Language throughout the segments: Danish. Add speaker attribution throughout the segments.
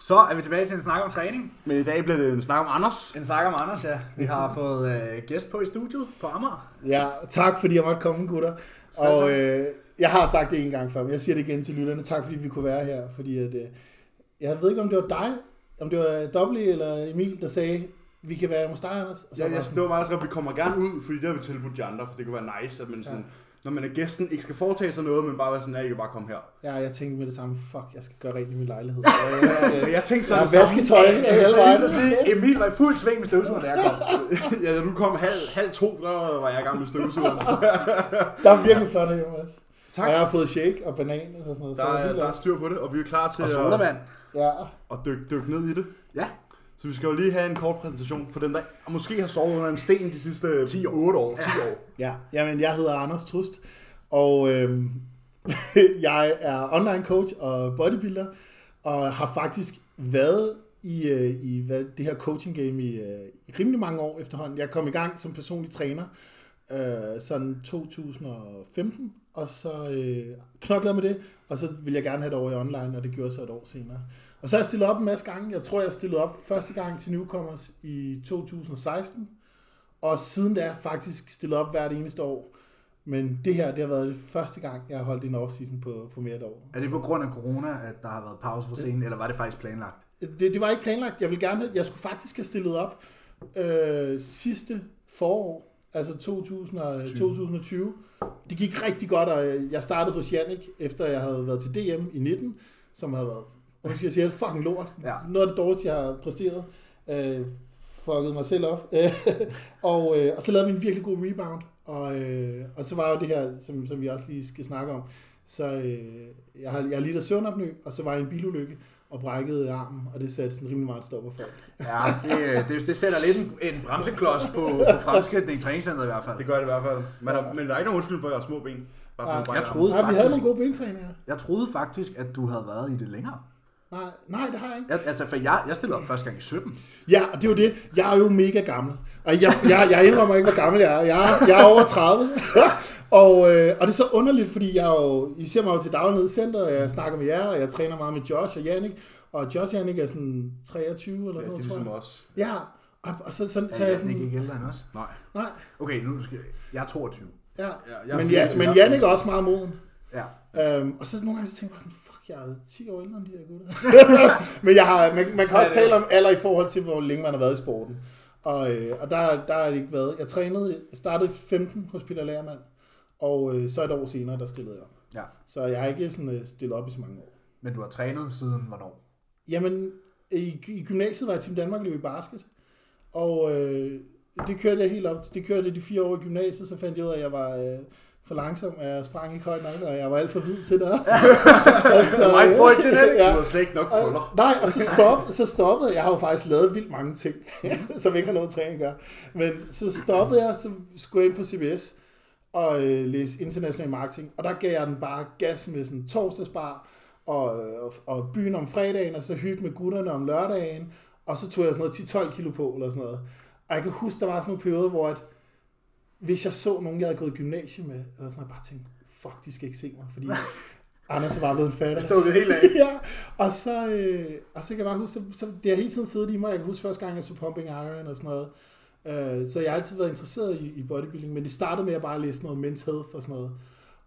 Speaker 1: Så er vi tilbage til en snak om træning.
Speaker 2: Men i dag bliver det en snak om Anders.
Speaker 1: En snak om Anders, ja. Vi har fået øh, gæst på i studiet på Amager.
Speaker 3: Ja, tak fordi jeg måtte komme, gutter. Og øh, jeg har sagt det en gang før, men jeg siger det igen til lytterne. Tak fordi vi kunne være her, fordi at, øh, jeg ved ikke, om det var dig, om det var Doble eller Emil, der sagde, vi kan være hos dig, Anders. Og
Speaker 2: Ja,
Speaker 3: så var jeg
Speaker 2: jeg
Speaker 3: sådan,
Speaker 2: det var meget sådan, at vi kommer gerne ud, fordi det har vi tilbudt de andre, for det kunne være nice, at man sådan, når man er gæsten, ikke skal foretage sig noget, men bare være sådan, at I kan bare komme her.
Speaker 3: ja, jeg tænkte med det samme, fuck, jeg skal gøre rent i min lejlighed. Og jeg skal-
Speaker 2: Men Øh, jeg tænkte sådan,
Speaker 3: jeg har vasketøj hele
Speaker 1: Jeg
Speaker 3: vejen.
Speaker 1: vil sige, Emil var i fuld sving med støvsugeren, da jeg kom.
Speaker 2: ja, da du kom halv, halv to, der var jeg i gang med støvsugeren.
Speaker 3: Der er virkelig flot her, Jonas.
Speaker 2: Tak.
Speaker 3: Og jeg har fået shake og banan og sådan noget.
Speaker 2: Der,
Speaker 3: så jeg er
Speaker 2: er,
Speaker 3: helt
Speaker 2: der er
Speaker 3: op.
Speaker 2: styr på det, og vi er klar til
Speaker 1: Og
Speaker 2: at,
Speaker 1: sodavand.
Speaker 3: Ja,
Speaker 2: at dykke, dykke ned i det.
Speaker 1: Ja.
Speaker 2: Så vi skal jo lige have en kort præsentation for dem, der måske har sovet under en sten de sidste 10 år. 8 år, 10 år.
Speaker 3: ja. Jamen, jeg hedder Anders Trust, og øhm, jeg er online coach og bodybuilder, og har faktisk været i, øh, i hvad, det her coaching game i, øh, i rimelig mange år efterhånden. Jeg kom i gang som personlig træner øh, sådan 2015, og så øh, knoklede jeg med det, og så ville jeg gerne have det over i online, og det gjorde jeg så et år senere. Og så har jeg stillet op en masse gange. Jeg tror, jeg stillede op første gang til Newcomers i 2016, og siden da har jeg faktisk stillet op hvert eneste år. Men det her, det har været det første gang, jeg har holdt en off-season på, på mere et år.
Speaker 1: Er det på grund af corona, at der har været pause på scenen, eller var det faktisk planlagt?
Speaker 3: Det, det var ikke planlagt. Jeg vil gerne, jeg skulle faktisk have stillet op øh, sidste forår, altså 2000, og- 2020. Det gik rigtig godt, og øh, jeg startede hos Jannik, efter jeg havde været til DM i 19, som havde været, undskyld, jeg siger, det, fucking lort.
Speaker 1: Ja.
Speaker 3: Noget af det dårligste, jeg har præsteret. Øh, fucket mig selv op. og, øh, og så lavede vi en virkelig god rebound. Og, øh, og så var jo det her, som, som vi også lige skal snakke om. Så øh, jeg har, jeg har lidt af søvnopnø, og så var jeg i en bilulykke og brækkede armen, og det satte sådan rimelig meget stopper for.
Speaker 1: Ja, det, det, det sætter lidt en, en bremseklods på, på fremskridtene i træningscenteret i hvert fald.
Speaker 2: Det gør det i hvert fald. Man har, men der er ikke nogen undskyldning for, at jeg har små ben. Bare fordi
Speaker 1: Jeg
Speaker 2: du brækker
Speaker 3: Ja.
Speaker 2: armen.
Speaker 1: troede,
Speaker 3: Nej, vi havde nogle
Speaker 1: faktisk,
Speaker 3: gode bentræninger.
Speaker 1: jeg troede faktisk, at du havde været i det længere.
Speaker 3: Nej, nej, det har jeg ikke.
Speaker 1: Jeg, altså, for jeg, jeg stillede op første gang i 17.
Speaker 3: Ja, og det er jo det. Jeg er jo mega gammel. Og jeg, jeg, jeg indrømmer ikke, hvor gammel jeg er. Jeg, er- jeg er over 30. og, øh, og det er så underligt, fordi jeg er jo, I ser mig jo til daglig nede i centret, og jeg snakker med jer, og jeg træner meget med Josh og Jannik. Og Josh og Jannik er sådan 23
Speaker 2: Ja,
Speaker 3: eller sådan
Speaker 2: det er
Speaker 3: noget,
Speaker 2: ligesom
Speaker 3: tror jeg.
Speaker 2: os.
Speaker 3: Ja, og, og så, så, så,
Speaker 1: Så
Speaker 3: er
Speaker 1: jeg
Speaker 3: jeg
Speaker 1: sådan ikke
Speaker 3: sådan,
Speaker 1: ikke ældre end os.
Speaker 2: Nej.
Speaker 3: nej,
Speaker 1: Okay, nu skal jeg... Jeg er 22.
Speaker 3: ja.
Speaker 2: jeg er
Speaker 3: men, ja,
Speaker 2: 24,
Speaker 3: men
Speaker 2: jeg er
Speaker 3: Jannik er også meget moden.
Speaker 1: Ja.
Speaker 3: Øhm, og så nogle gange så tænker jeg bare sådan, fuck, jeg er 10 år ældre end de her gutter. Men jeg har, man, man kan også tale om alder i forhold til, hvor længe man har været i sporten. Og, øh, og der, der har det ikke været. Jeg trænede, jeg startede i 15 hos Peter Lærmand, og øh, så et år senere, der stillede jeg op.
Speaker 1: ja.
Speaker 3: Så jeg har ikke sådan, øh, stillet op i så mange år.
Speaker 1: Men du har trænet siden hvornår?
Speaker 3: Jamen, i, i gymnasiet var jeg Team Danmark og løb i basket. Og øh, det kørte jeg helt op. til- Det kørte jeg de fire år i gymnasiet, så fandt jeg ud af, at jeg var øh, for langsom, og jeg sprang ikke højt nok, og jeg var alt for hvid til det også. altså,
Speaker 1: White boy genetics.
Speaker 2: Du
Speaker 3: ja.
Speaker 2: har slet ikke nok krøller.
Speaker 3: Nej, og så, stop, så stoppede jeg. Jeg har jo faktisk lavet vildt mange ting, som ikke har noget træning at gøre. Men så stoppede jeg, så skulle jeg ind på CBS og øh, læse international marketing. Og der gav jeg den bare gas med sådan en torsdagsbar og, øh, og, og byen om fredagen, og så hygge med gutterne om lørdagen. Og så tog jeg sådan noget 10-12 kilo på eller sådan noget. Og jeg kan huske, der var sådan nogle perioder, hvor at, hvis jeg så nogen, jeg havde gået i gymnasiet med, eller sådan, jeg bare tænkte, fuck, de skal ikke se mig, fordi Anders er bare blevet en fat.
Speaker 2: Stod det helt af.
Speaker 3: ja, og så, øh, og så kan jeg bare huske, så, så det har hele tiden siddet i mig. Jeg kan huske første gang, jeg så Pumping Iron og sådan noget. Øh, så jeg har altid været interesseret i, i bodybuilding, men det startede med at jeg bare læse noget men's health og sådan noget.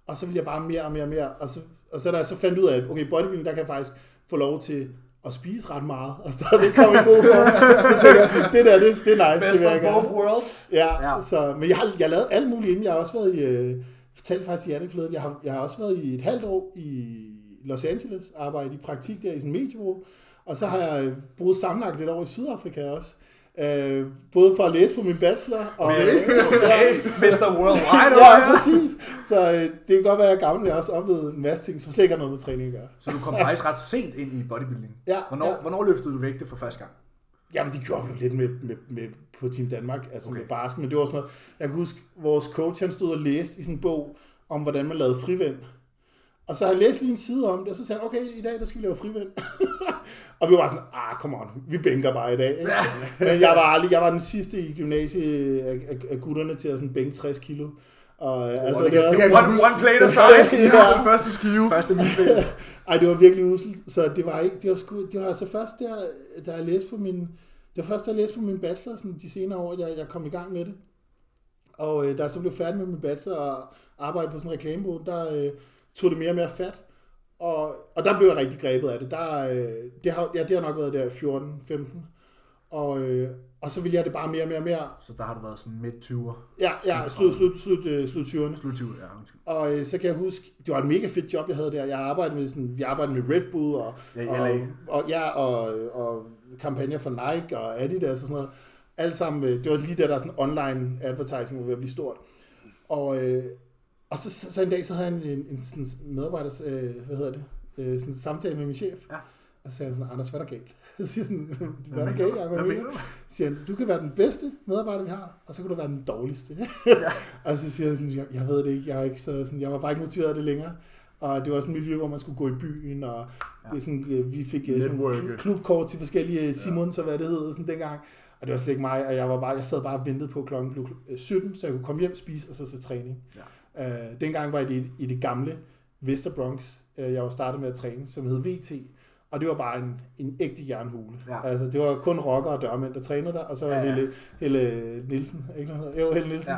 Speaker 3: Og så ville jeg bare mere og mere og mere. Og så, og så da jeg så fandt ud af, at okay, bodybuilding, der kan jeg faktisk få lov til at spise ret meget, og stadigvæk komme i god form. Så tænkte jeg sådan, det der, det, det er nice, det vil jeg gerne.
Speaker 1: worlds.
Speaker 3: Ja,
Speaker 1: Ja.
Speaker 3: ja. Så, men jeg har, jeg har lavet alt muligt inden. Jeg har også været i, øh, fortalte faktisk i Janne forleden, jeg har, jeg har også været i et halvt år i Los Angeles, arbejdet i praktik der i sådan en mediebureau, og så har jeg øh, boet sammenlagt et år i Sydafrika også. Øh, både for at læse på min bachelor og...
Speaker 1: Hey, Mr. Worldwide over
Speaker 3: ja,
Speaker 1: her.
Speaker 3: præcis. Så øh, det kan godt være, at jeg er gammel, men jeg har også oplevet en masse ting, som slet ikke har noget med træning at gøre.
Speaker 1: Så du kom faktisk ret sent ind i bodybuilding.
Speaker 3: Ja,
Speaker 1: Hvornår,
Speaker 3: ja.
Speaker 1: hvornår løftede du vægte for første gang?
Speaker 3: Jamen, det gjorde vi jo lidt med, med, med på Team Danmark, altså okay. med basket, men det var sådan noget, jeg kan huske, vores coach, han stod og læste i sådan en bog, om hvordan man lavede frivind. Og så har jeg læst lige en side om det, og så sagde han, okay, i dag, der skal vi lave frivind. og vi var bare sådan, ah, come on, vi bænker bare i dag. Ikke? Men jeg var, aldrig, jeg var den sidste i gymnasiet af, af, af gutterne til at sådan bænke 60 kilo. Og, øh, altså,
Speaker 2: det
Speaker 3: det var
Speaker 2: kan-
Speaker 1: Det er
Speaker 3: sådan-
Speaker 1: godt one plate aside.
Speaker 3: Ja.
Speaker 2: den første skive.
Speaker 1: Første vildbillede.
Speaker 3: Ej, det var virkelig uselt, så det var ikke, det var sgu, det var altså først der, da jeg læste på min, det var først, da jeg læste på min bachelor sådan, de senere år, jeg, jeg kom i gang med det. Og øh, da jeg så blev færdig med min bachelor og arbejdede på sådan en reklamebureau, der øh, tog det mere og mere fat. Og, og der blev jeg rigtig grebet af det. Der, øh, det, har, ja, det har nok været der 14-15. Og, øh, og så ville jeg det bare mere og mere og mere.
Speaker 1: Så der har du været sådan midt 20'er.
Speaker 3: Ja, ja, slut, slut, slut, øh, slut 20'erne.
Speaker 1: Slut 20'er, ja. undskyld.
Speaker 3: Og øh, så kan jeg huske, det var et mega fedt job, jeg havde der. Jeg arbejdede med, sådan, vi arbejdede med Red Bull og,
Speaker 1: Ja, i
Speaker 3: og,
Speaker 1: LA.
Speaker 3: og, ja, og, og kampagner for Nike og Adidas og sådan noget. Alt sammen, øh, det var lige der, der sådan online advertising var ved at blive stort. Og, øh, og så, så, så, en dag, så havde jeg en, en, en sådan medarbejders, øh, hvad hedder det, øh, sådan en samtale med min chef.
Speaker 1: Ja.
Speaker 3: Og så sagde jeg sådan, Anders, hvad er der galt? Så siger jeg sådan, hvad er der
Speaker 1: mener
Speaker 3: galt?
Speaker 1: du?
Speaker 3: Ja,
Speaker 1: Hvad
Speaker 3: mener
Speaker 1: mener du?
Speaker 3: Så siger han, du kan være den bedste medarbejder, vi har, og så kan du være den dårligste. og så siger jeg sådan, jeg, jeg ved det ikke, jeg, er ikke så, sådan, jeg var bare ikke motiveret af det længere. Og det var sådan et miljø, hvor man skulle gå i byen, og ja. sådan, øh, vi fik øh, sådan
Speaker 2: Netværke.
Speaker 3: kl- klubkort til forskellige øh, Simons og hvad det hed sådan dengang. Og det var slet ikke mig, og jeg, var bare, jeg sad bare og ventede på at klokken blev øh, 17, så jeg kunne komme hjem, spise og så til træning. Ja. Øh, dengang var jeg i det, i det gamle Vester Bronx, øh, jeg var startet med at træne, som hed VT. Og det var bare en, en ægte jernhule.
Speaker 1: Ja.
Speaker 3: Altså, det var kun rocker og dørmænd, der trænede der, og så var
Speaker 1: Ja,
Speaker 3: ja,
Speaker 1: ja.
Speaker 3: ja. Helle, Helle Nielsen, ikke noget, hedder? jo, Helle Nielsen.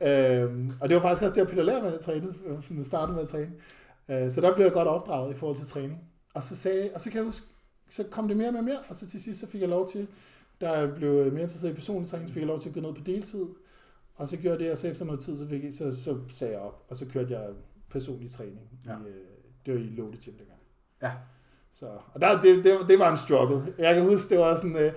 Speaker 3: Ja. Øhm, og det var faktisk også der, Peter Lærmann trænede, øh, sådan startede med at træne. Øh, så der blev jeg godt opdraget i forhold til træning. Og så, sagde, og så kan jeg huske, så kom det mere og mere og mere, og så til sidst så fik jeg lov til, da jeg blev øh, mere interesseret i personlig træning, så fik jeg lov til at gå ned på deltid. Og så gjorde jeg det, og så efter noget tid, så, fik jeg, så, så sagde jeg op, og så kørte jeg personlig træning. Ja.
Speaker 1: Ja.
Speaker 3: I, øh, det var i Lotte Gym dengang.
Speaker 1: Ja.
Speaker 3: Så, og der, det, det, det var en struggle. Jeg kan huske, det var sådan, øh,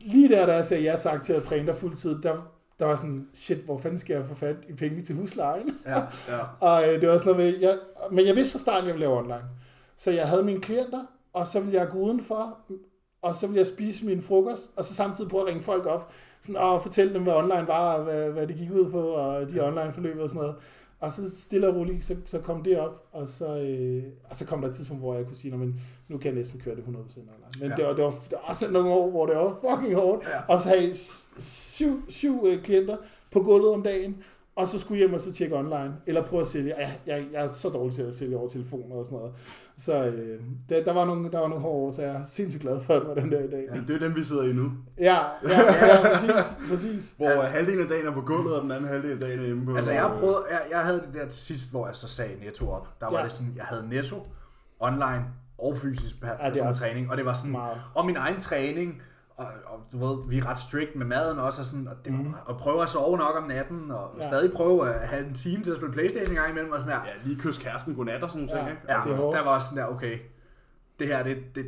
Speaker 3: lige der, da jeg sagde ja tak til at træne dig fuldtid, der, der var sådan, shit, hvor fanden skal jeg få fat i penge til huslejen?
Speaker 1: Ja.
Speaker 2: Ja.
Speaker 3: Og øh, det var sådan noget med, jeg, men jeg vidste fra starten, at jeg ville lave online. Så jeg havde mine klienter, og så ville jeg gå udenfor, og så ville jeg spise min frokost, og så samtidig prøve at ringe folk op, sådan, og fortælle dem, hvad online var, og hvad, hvad det gik ud på, og de online forløb og sådan noget. Og så stille og roligt, så, så kom det op, og så, øh, og så kom der et tidspunkt, hvor jeg kunne sige, "Nå, men nu kan jeg næsten køre det 100% online. Men ja.
Speaker 1: Ja.
Speaker 3: det, var, det, var, det var også nogle år, hvor det var fucking hårdt. Ja. Og så havde jeg s- syv, syv øh, klienter på gulvet om dagen, og så skulle jeg hjem og så tjekke online, eller prøve at sælge. Jeg, jeg, jeg er så dårlig til at sælge over telefoner og sådan noget. Så øh, der, der, var nogle, der var nogle hårde år, så jeg er sindssygt glad for, at det var den der i dag.
Speaker 2: Det, det er den, vi sidder i nu.
Speaker 3: Ja, ja, ja, ja præcis, præcis.
Speaker 2: Hvor ja. halvdelen af dagen er på gulvet, og den anden halvdel af dagen er hjemme på...
Speaker 1: Altså, jeg, prøvede, jeg, jeg havde det der til sidst, hvor jeg så sagde netto op. Der var
Speaker 3: Ja.
Speaker 1: ja. det sådan, jeg havde netto, online og fysisk per,
Speaker 3: er
Speaker 1: ja,
Speaker 3: også
Speaker 1: træning. Og det var sådan,
Speaker 3: meget.
Speaker 1: og min egen træning, og, og du ved, vi er ret strikt med maden også, og, sådan, og, det, mm. og prøve at sove nok om natten, og
Speaker 3: Mhm. Ja.
Speaker 1: ja. stadig prøve at have en time til at spille Playstation en gang imellem, og sådan her.
Speaker 2: Ja, lige kys kæresten godnat og sådan noget.
Speaker 3: Ja.
Speaker 2: Ja.
Speaker 1: Ja,
Speaker 3: det er hårdt.
Speaker 1: der var også sådan der, okay, det her, det, det,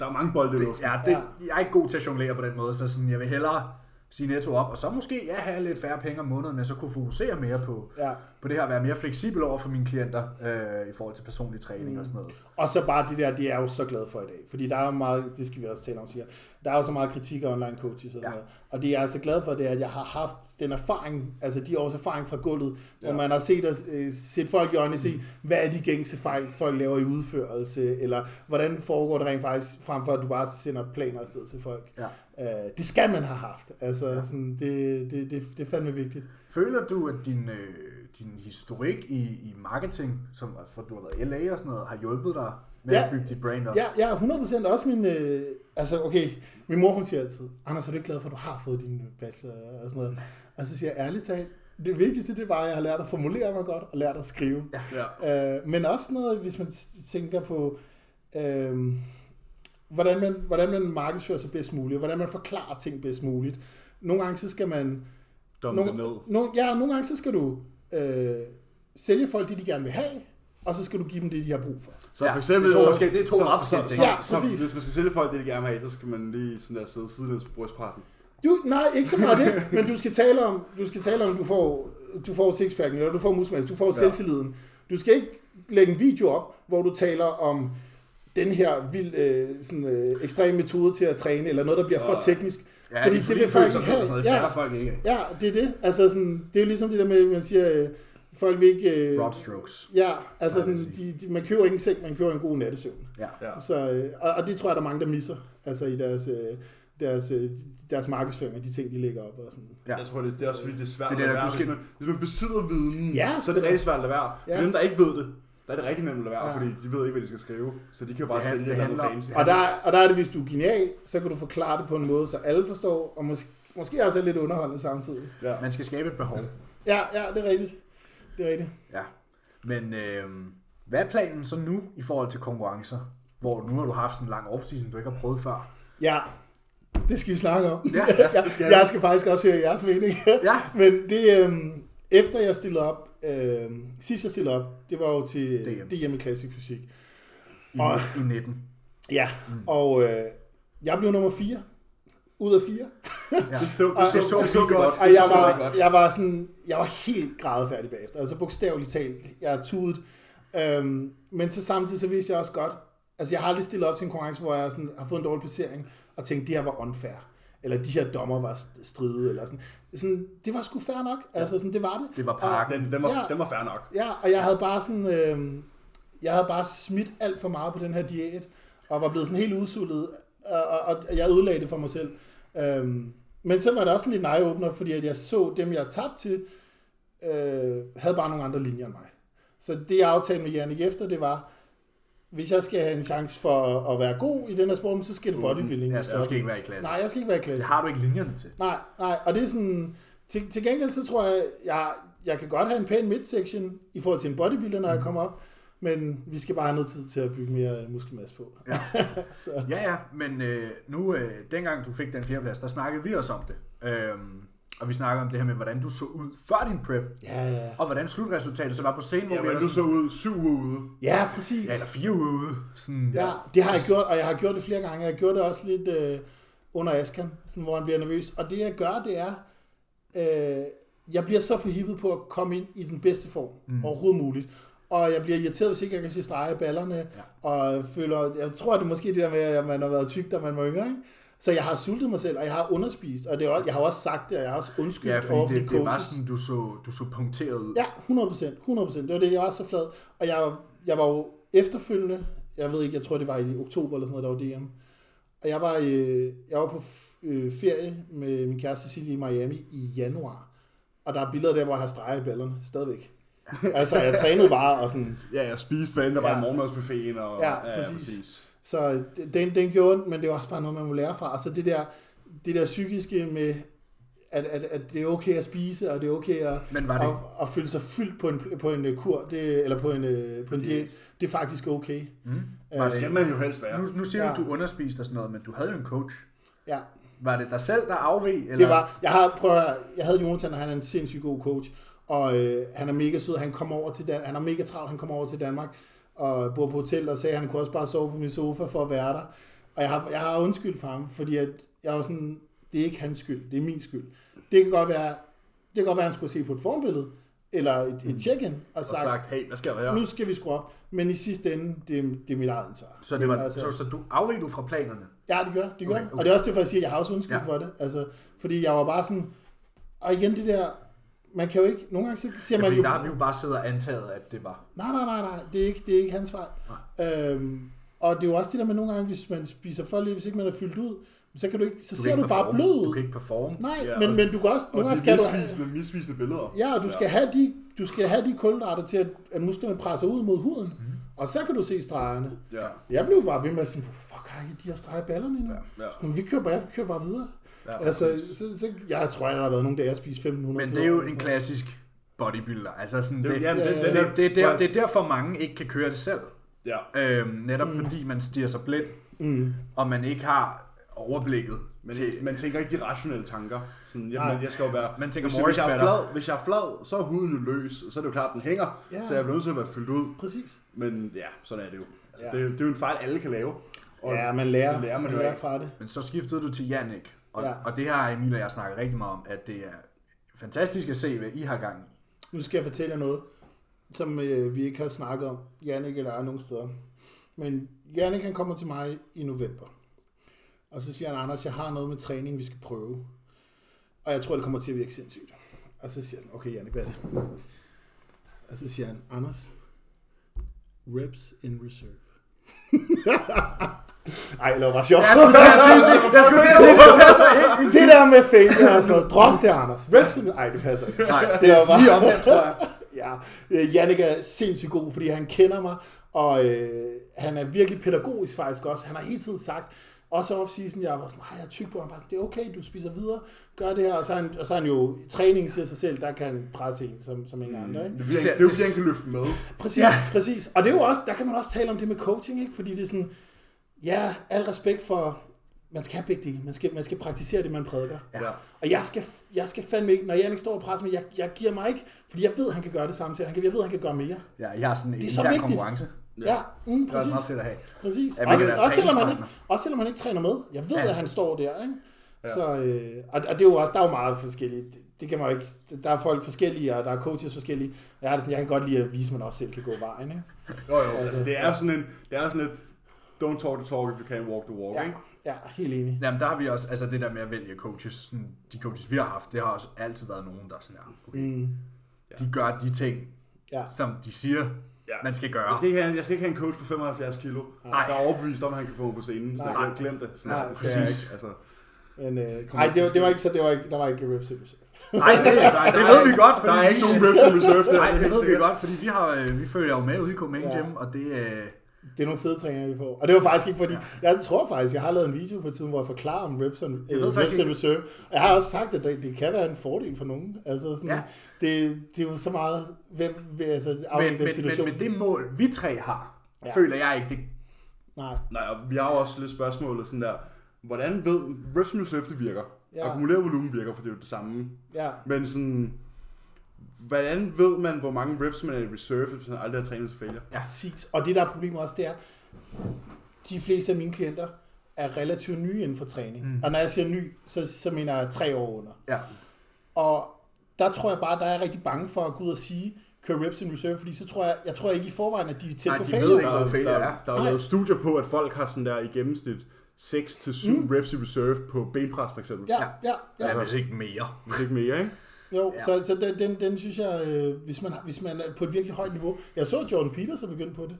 Speaker 2: Der er mange bolde i luften.
Speaker 1: ja, det, jeg er ikke god til at jonglere på den måde, så sådan, jeg vil hellere sige netto op, og så måske ja, have lidt færre penge om måneden, men så kunne fokusere mere på,
Speaker 3: Ja.
Speaker 1: på det her, at være mere fleksibel over for mine klienter øh, i forhold til personlig træning mm. og sådan noget.
Speaker 3: Og så bare det der, det er jeg jo så glad for i dag. Fordi der er jo meget, det skal vi også tale om, siger. jeg. Der er jo så meget kritik af online coaches og sådan ja.
Speaker 1: Ja.
Speaker 3: noget. Og det jeg er så glad for, det er, at jeg har haft den erfaring, altså de års erfaring fra gulvet, ja. hvor man har set, os- øh, set folk i øjnene se, hvad er de gængse fejl, folk laver i udførelse, eller hvordan foregår det rent faktisk, frem for at du bare sender planer afsted til folk.
Speaker 1: Ja.
Speaker 3: Øh, det skal man have haft. Altså, ja. sådan, det, det, det, det er fandme vigtigt.
Speaker 1: Føler du, at din, øh, din historik i, i marketing, som for du har været i LA og sådan noget, har hjulpet dig med
Speaker 3: Ja.
Speaker 1: ja. at bygge dit brand op?
Speaker 3: Ja, ja, 100% også min... Øh, altså, okay, min mor hun siger altid, Anders, er du ikke glad for, at du har fået din bachelor og sådan noget? Og så siger jeg ærligt talt, det vigtigste, det var, at jeg har lært at formulere mig godt og lært at skrive.
Speaker 2: Ja.
Speaker 3: Øh, men også sådan noget, hvis man t- tænker på, øh, hvordan, man, hvordan man markedsfører sig bedst muligt, og hvordan man forklarer ting bedst muligt. Nogle gange, så skal man...
Speaker 2: Dumme det ned.
Speaker 3: Nogle, nogle, ja, nogle gange, så skal du øh, sælge folk det, de gerne vil have, og så skal du give dem det, de har brug for.
Speaker 2: Så
Speaker 1: Ja,
Speaker 2: for eksempel...
Speaker 1: det er to
Speaker 2: så-
Speaker 1: forskellige- det er to
Speaker 2: så-
Speaker 1: meget forskellige
Speaker 2: så-
Speaker 1: ting.
Speaker 3: Ja,
Speaker 2: så-
Speaker 3: præcis.
Speaker 2: så Hvis man skal sælge folk det, de gerne vil have, så skal man lige sådan der sidde sidelæns på brystpressen.
Speaker 3: Du, nej, ikke så meget det, men du skal tale om, du skal tale om, du får, du får sixpacken, eller du får muskelmasse, du får ja. selvtilliden. Du skal ikke lægge en video op, hvor du taler om den her vild, øh, sådan, øh, ekstrem metode til at træne, eller noget, der bliver for teknisk.
Speaker 1: Ja, fordi det vil folk ikke have. Det fatter folk ikke.
Speaker 3: ja, det er det. Altså, sådan, det er jo ligesom det der med, at man siger, øh, folk vil ikke... Øh,
Speaker 1: Broad strokes.
Speaker 3: ja, altså
Speaker 1: Nej, det
Speaker 3: sådan,
Speaker 1: vil
Speaker 3: de, de, man køber ikke en seng, man køber en god nattesøvn.
Speaker 1: Ja.
Speaker 2: Ja.
Speaker 3: Så, øh, og, og det tror jeg, der er mange, der misser altså i deres øh, deres, øh, deres markedsføring og de ting, de lægger op og sådan
Speaker 1: Ja.
Speaker 2: Jeg tror, det, det er også fordi, det er svært
Speaker 1: Det er det,
Speaker 2: at
Speaker 1: der
Speaker 2: lade
Speaker 1: er
Speaker 2: være. Hvis
Speaker 1: gudskelov.
Speaker 2: man, hvis man besidder viden,
Speaker 3: Ja,
Speaker 2: så er det rigtig svært at lade være. Ja.
Speaker 3: Ja.
Speaker 2: For dem, der ikke ved det, der er det rigtig nemt at lade være,
Speaker 3: Ja.
Speaker 2: ja. fordi de ved ikke, hvad de skal skrive. Så de kan jo bare
Speaker 1: Det han-
Speaker 2: sælge
Speaker 1: det
Speaker 2: et eller andet
Speaker 1: handler-
Speaker 2: fancy.
Speaker 3: Og der, og der er det, hvis du er genial, så kan du forklare det på en måde, så alle forstår, og måske, måske også er lidt underholdende samtidig.
Speaker 2: Ja.
Speaker 1: Man skal skabe et behov.
Speaker 3: Ja, ja, det er rigtigt. Det er rigtigt.
Speaker 1: Ja. Men øh, hvad er planen så nu i forhold til konkurrencer? Hvor nu har du haft sådan en lang offseason, du ikke har prøvet før.
Speaker 3: Ja, det skal vi snakke om.
Speaker 1: Ja,
Speaker 3: jeg,
Speaker 2: skal vi.
Speaker 3: jeg skal faktisk også høre jeres mening.
Speaker 1: Ja.
Speaker 3: Men det, øhm, efter jeg stillede op, øhm, sidst jeg stillede op, det var jo til
Speaker 1: DM.
Speaker 3: DM, DM i klassisk fysik.
Speaker 1: I,
Speaker 3: Og,
Speaker 1: i 19.
Speaker 3: ja, og øh, jeg blev nummer 4 ud af 4.
Speaker 1: Ja.
Speaker 2: Det så, det så, det så, det så vi godt.
Speaker 3: Og jeg
Speaker 2: Det så vi
Speaker 3: var,
Speaker 2: godt.
Speaker 3: jeg var sådan, jeg var helt grædefærdig bagefter. Altså bogstaveligt talt, jeg er tudet. Øhm, men så samtidig så vidste jeg også godt, altså jeg har aldrig stillet op til en konkurrence, hvor jeg sådan, har fået en dårlig placering, og tænkt, det her var unfair. Eller de her dommer var stride, eller sådan. sådan det var sgu fair nok. Altså sådan, det var det.
Speaker 1: Det var
Speaker 3: Og-
Speaker 1: parken.
Speaker 2: Den, den, var,
Speaker 3: Ja.
Speaker 2: den var fair nok.
Speaker 3: Ja, og jeg havde bare sådan, øh, jeg havde bare smidt alt for meget på den her diæt, og var blevet sådan helt udsultet, og, og, og jeg ødelagde det for mig selv. Øh, men så var det også sådan lidt nej-åbner, fordi at jeg så dem, jeg tabte til, øh, havde bare nogle andre linjer end mig. Så det, jeg aftalte med Jannik efter, det var, hvis jeg skal have en chance for at være god i den her sport, så skal det bodybuilding.
Speaker 1: Mm-hmm. Ja,
Speaker 3: vi
Speaker 1: så
Speaker 3: skal
Speaker 1: du
Speaker 3: op
Speaker 1: skal
Speaker 3: i.
Speaker 1: ikke være i klasse.
Speaker 3: Nej, jeg skal ikke være i klasse.
Speaker 1: Det har du ikke linjerne til.
Speaker 3: Nej, nej, og det er sådan... Til, til gengæld så tror jeg, jeg, jeg kan godt have en pæn midsection i forhold til en bodybuilder, når jeg kommer op, men vi skal bare have noget tid til at bygge mere muskelmasse på. Ja. så,
Speaker 1: Ja, ja, men øh, nu, øh, dengang du fik den fjerdeplads, der snakkede vi også om det. Øhm, og vi snakkede om det her med, hvordan du så ud før din prep,
Speaker 3: ja, ja.
Speaker 1: og hvordan slutresultatet så var på scenen, hvor
Speaker 2: Ja,
Speaker 1: vi
Speaker 2: men
Speaker 1: var
Speaker 2: du så
Speaker 1: sådan,
Speaker 2: ud syv uger ude.
Speaker 3: ja, præcis.
Speaker 1: ja, eller fire uger ude. Sådan,
Speaker 3: Ja, det har jeg gjort, og jeg har gjort det flere gange. Jeg gjorde det også lidt øh, under Askan, sådan, hvor han bliver nervøs. Og det jeg gør, det er, øh, jeg bliver så forhippet på at komme ind i den bedste form mm. overhovedet muligt. Og jeg bliver irriteret, hvis ikke jeg kan se streger i ballerne. Ja. Og føler, jeg tror, det er måske det der med, at man har været tyk, da man var yngre. Ikke? Så jeg har sultet mig selv, og jeg har underspist. Og det er også, jeg har også sagt det, og jeg har også undskyldt
Speaker 1: ja fordi
Speaker 3: over for de
Speaker 1: det, det var
Speaker 3: coaches.
Speaker 1: sådan, du så, du så punkteret ud.
Speaker 3: Ja, 100%. 100%. Det var det, jeg var så flad. Og jeg, jeg var jo efterfølgende, jeg ved ikke, jeg tror det var i oktober eller sådan noget, der var DM. Og jeg var, øh, jeg var på f- øh, ferie med min kæreste Cecilie i Miami i januar. Og der er billeder der, hvor jeg har streger i ballerne, stadigvæk. altså, jeg trænede bare, og sådan,
Speaker 2: Ja, jeg spiste, hvad end der var
Speaker 3: Ja.
Speaker 2: i morgenmadsbuffeten. Og,
Speaker 3: Ja, præcis. så den, den gjorde ondt, men det var også bare noget, man må lære fra. Og så det der, det der psykiske med, at, at, at det er okay at spise, og det er okay at,
Speaker 1: Men var det-
Speaker 3: at, at føle sig fyldt på en, på en øh, kur, det, eller på en, øh, på en diæt, det er faktisk okay. Mm.
Speaker 1: Var det,
Speaker 2: Det skal man jo helst være.
Speaker 1: nu, nu siger du,
Speaker 3: Ja.
Speaker 1: at du underspiste og sådan noget, men du havde jo en coach.
Speaker 3: Ja,
Speaker 1: Var det dig selv, der afveg? Eller?
Speaker 3: det var, jeg har, prøv at, høre, jeg havde Jonathan, og han er en sindssygt god coach, og øh, han er mega sød, han kommer over til Dan, han er mega travlt, han kommer over til Danmark, og bor på hotel, og sagde, at han kunne også bare sove på min sofa for at være der. Og jeg har, jeg har undskyldt for ham, fordi at jeg var sådan, det er ikke hans skyld, det er min skyld. Det kan godt være, det kan godt være, at han skulle se på et formbillede, eller et, et check-in, Mm. og
Speaker 2: Og
Speaker 3: sagt,
Speaker 2: sagt, hey, hvad sker der her?
Speaker 3: nu skal vi skrue op, men i sidste ende, det, er- det er mit eget ansvar.
Speaker 1: Så, det var,
Speaker 3: Men altså-
Speaker 1: så, så du afveg du fra planerne?
Speaker 3: Ja, det gør, det gør.
Speaker 1: Okay,
Speaker 3: Okay,
Speaker 1: okay.
Speaker 3: okay. Og det er også derfor, jeg siger, at jeg har også undskyld
Speaker 1: Ja.
Speaker 3: ja. for det. Altså, fordi jeg var bare sådan... Og igen det der... Man kan jo ikke... Nogle gange så
Speaker 1: Ja,
Speaker 3: siger man
Speaker 1: Altså, fordi
Speaker 3: jo...
Speaker 1: der har vi jo bare siddet og antaget, at det var.
Speaker 3: Nej, nej, nej, nej. Det er ikke, det er ikke hans fejl. Øhm, og det er jo også det der med nogle gange, hvis man spiser for lidt, hvis ikke man er fyldt ud, så, kan du ikke, så
Speaker 1: Du kan
Speaker 3: ser
Speaker 1: ikke
Speaker 3: du bare
Speaker 1: performe.
Speaker 3: blød
Speaker 1: Du
Speaker 3: ud.
Speaker 1: kan ikke performe.
Speaker 3: Nej,
Speaker 2: Ja,
Speaker 3: men,
Speaker 2: og-
Speaker 3: men du kan også...
Speaker 2: Og
Speaker 3: Nogle
Speaker 2: de
Speaker 3: gange skal du...
Speaker 2: misvisende, misvisende billeder.
Speaker 3: Ja, og du skal, Have de, du skal have de kulhydrater til, at, at musklerne presser ud mod huden.
Speaker 1: Mhm.
Speaker 3: Og så kan du se stregerne.
Speaker 2: Ja.
Speaker 3: Jeg blev bare ved med at sige, fuck, har ikke de her streger i ballerne endnu?
Speaker 2: Ja.
Speaker 3: Men vi kører bare, vi kører bare videre.
Speaker 2: Ja,
Speaker 3: Ja, altså, så, så, jeg tror, jeg har været nogle dage, jeg spiste 1500
Speaker 1: Men det er jo
Speaker 3: kalorier,
Speaker 1: en
Speaker 3: så-
Speaker 1: klassisk bodybuilder. Altså sådan, det,
Speaker 2: Det,
Speaker 1: det,
Speaker 2: ja,
Speaker 1: det,
Speaker 2: det, det,
Speaker 1: det,
Speaker 2: det,
Speaker 1: det, er der, det er derfor, mange ikke kan køre det selv.
Speaker 2: Ja.
Speaker 1: Øhm, netop mm. fordi man stiger sig blind, mm. og man ikke har overblikket.
Speaker 2: Men,
Speaker 1: til,
Speaker 2: man tænker ikke de rationelle tanker. Sådan,
Speaker 3: Nej.
Speaker 2: jamen, jeg skal jo være...
Speaker 1: Man tænker
Speaker 2: hvis, jeg- hvis, jeg er
Speaker 1: morris
Speaker 2: flad, hvis jeg er flad, så er huden jo løs, og så er det jo klart, at den hænger.
Speaker 3: Ja.
Speaker 2: Så jeg bliver nødt til at være fyldt ud.
Speaker 3: Præcis.
Speaker 2: Men ja, sådan er det jo. Altså,
Speaker 3: Ja.
Speaker 2: det, er jo- det er jo en fejl, alle kan lave. Og
Speaker 3: Ja, man lærer,
Speaker 2: det lærer man
Speaker 3: man,
Speaker 2: jo
Speaker 3: lærer
Speaker 2: af.
Speaker 3: fra det.
Speaker 1: men så skiftede du til Jannik, og, ja.
Speaker 3: Ja.
Speaker 1: og det har Emil og jeg snakket rigtig meget om, at det er fantastisk at se, hvad I har gang i.
Speaker 3: Nu skal jeg fortælle jer noget, som øh, vi ikke har snakket om, Jannik eller jeg nogen steder. Men Jannik, han kommer til mig i november. Og så siger han, Anders, jeg har noget med træning, vi skal prøve. Og jeg tror, det kommer til at virke sindssygt. Og så siger han, okay Jannik, hvad er det? Og så siger han, Anders, reps in reserve. Ej, det var bare sjovt.
Speaker 1: Jeg skulle til at sige, det- jeg skulle til at sige, det passer ikke.
Speaker 3: Det der med failure og sådan noget, drop det, Anders. Wrestling, ej, det passer ikke.
Speaker 1: Nej,
Speaker 3: det er
Speaker 1: Lige omvendt, tror jeg.
Speaker 3: Ja, øh, Jannik er sindssygt god, fordi han kender mig, og øh, han er virkelig pædagogisk faktisk også. Han har hele tiden sagt, også off-season, jeg var sådan, nej, jeg er tyk på ham, Bare sådan, det er okay, du spiser videre, gør det her. Og så er han, og så er han jo, i træningen siger sig selv, der kan han presse en, som, som ingen andre. Ikke?
Speaker 2: Det bliver,
Speaker 1: Især-
Speaker 2: det er jo fordi, han kan løfte med.
Speaker 3: Præcis,
Speaker 1: Mm. Ja.
Speaker 3: ja. præcis. Og det er jo også, der kan man også tale om det med coaching, ikke? fordi det er sådan, ja, al respekt for, man skal have begge dele, man skal, man skal praktisere det, man prædiker.
Speaker 2: Ja.
Speaker 3: Og jeg skal, jeg skal fandme ikke, når Jannik står og presser mig, jeg, jeg giver mig ikke, fordi jeg ved, han kan gøre det samtidig, han kan, jeg ved, han kan gøre mere.
Speaker 1: Ja, jeg har sådan en
Speaker 3: Det er så
Speaker 1: intern
Speaker 3: vigtigt.
Speaker 1: konkurrence.
Speaker 3: Ja, mm,
Speaker 1: Det er også
Speaker 3: præcis.
Speaker 1: meget fedt at have.
Speaker 3: præcis.
Speaker 1: Ja,
Speaker 3: Ja,
Speaker 1: hvilket
Speaker 3: også,
Speaker 1: er
Speaker 3: også, selvom han ikke,
Speaker 1: træningspartner.
Speaker 3: også selvom han ikke træner med. Jeg ved,
Speaker 1: Ja.
Speaker 3: ja. at han står der, ikke? Ja. Så, øh, og, og, det er jo også, der er jo meget forskelligt. Det, det kan man jo ikke, der er folk forskellige, og der er coaches forskellige. Jeg, har det sådan, jeg kan godt lide at vise, at man også selv kan gå vejen, ikke?
Speaker 2: Jo, jo, altså, det er jo sådan en, det er jo sådan et, don't talk the talk if you can't walk the walk,
Speaker 3: Ja,
Speaker 2: ikke?
Speaker 3: ja helt enig.
Speaker 1: Jamen, der har vi også, altså det der med at vælge coaches, sådan, de coaches, vi har haft, det har også altid været nogen, der er sådan her, okay,
Speaker 3: Mm,
Speaker 1: de gør de ting,
Speaker 3: ja.
Speaker 1: som de siger,
Speaker 2: Ja.
Speaker 1: man skal gøre.
Speaker 2: Jeg skal, ikke have, en- jeg skal ikke have en coach på 75 kilo,
Speaker 1: Nej.
Speaker 2: der er overbevist om, at han kan få mig på scenen. Så
Speaker 3: Nej.
Speaker 2: jeg glem det. Sådan,
Speaker 3: Nej,
Speaker 2: det skal jeg
Speaker 1: præcis.
Speaker 2: ikke. Altså,
Speaker 3: Men, øh,
Speaker 2: Kommer
Speaker 3: nej, det, var-
Speaker 2: til
Speaker 3: det var ikke så, det var ikke, der var ikke rip
Speaker 1: Nej, det, der,
Speaker 2: der
Speaker 1: det
Speaker 2: er
Speaker 1: ved
Speaker 2: ikke-
Speaker 1: vi godt, fordi
Speaker 2: der er ikke nogen
Speaker 1: vi-
Speaker 2: reps in reserve der.
Speaker 1: Nej, det ved vi
Speaker 2: sikkert.
Speaker 1: godt, fordi vi, har, øh, vi følger jo med ude i Comain
Speaker 3: Ja.
Speaker 1: Gym, og det, øh,
Speaker 3: Det er nogle fede træninger, vi får. Og det var faktisk ikke fordi, jeg tror faktisk, jeg har lavet en video på tiden, hvor jeg forklarer om reps and,
Speaker 1: ved
Speaker 3: øh,
Speaker 1: faktisk
Speaker 3: reps and reserve. Og jeg har også sagt, at det, det kan være en fordel for nogen. Altså sådan,
Speaker 1: Ja.
Speaker 3: ja. det, det er jo så meget, hvem vil altså
Speaker 1: men,
Speaker 3: afhænge
Speaker 1: men,
Speaker 3: af
Speaker 1: men,
Speaker 3: situationen.
Speaker 1: men, det mål, vi tre har,
Speaker 3: Ja.
Speaker 1: føler jeg ikke, det,
Speaker 3: Nej,
Speaker 2: Nej, og vi har jo også lidt spørgsmålet sådan der, hvordan ved reps and reserve, det virker?
Speaker 3: Ja.
Speaker 2: Akkumuleret volumen virker, for det er jo det samme.
Speaker 3: ja.
Speaker 2: Men sådan, hvordan ved man, hvor mange reps man er i reserve, hvis man aldrig har trænet til failure?
Speaker 1: Ja.
Speaker 3: ja. Præcis. Og det, der er problemet også, det er, de fleste af mine klienter er relativt nye inden for træning.
Speaker 1: Mm.
Speaker 3: Mm. Og når jeg siger ny, så, så mener jeg tre år under.
Speaker 1: ja,
Speaker 3: Og der tror jeg bare, der er jeg rigtig bange for at gå ud og sige, kør reps in reserve, fordi så tror jeg, jeg tror ikke i forvejen, at de er tæt
Speaker 1: Nej,
Speaker 3: på
Speaker 1: de
Speaker 3: failure.
Speaker 1: ved ikke,
Speaker 2: Der,
Speaker 1: Hvor
Speaker 2: der,
Speaker 1: failure
Speaker 2: der,
Speaker 1: er.
Speaker 2: der er
Speaker 3: Nej.
Speaker 2: lavet studier på, at folk har sådan der i gennemsnit 6-7 mm. reps i reserve på benpres for eksempel.
Speaker 3: Ja, ja, ja.
Speaker 1: ja, hvis ikke mere.
Speaker 2: Hvis ikke mere, ikke?
Speaker 1: Ja.
Speaker 3: Jo, ja. så, så den, den, den synes jeg, øh, hvis, man, hvis man er på et virkelig højt niveau. Jeg så Jordan Peterson begynde på det.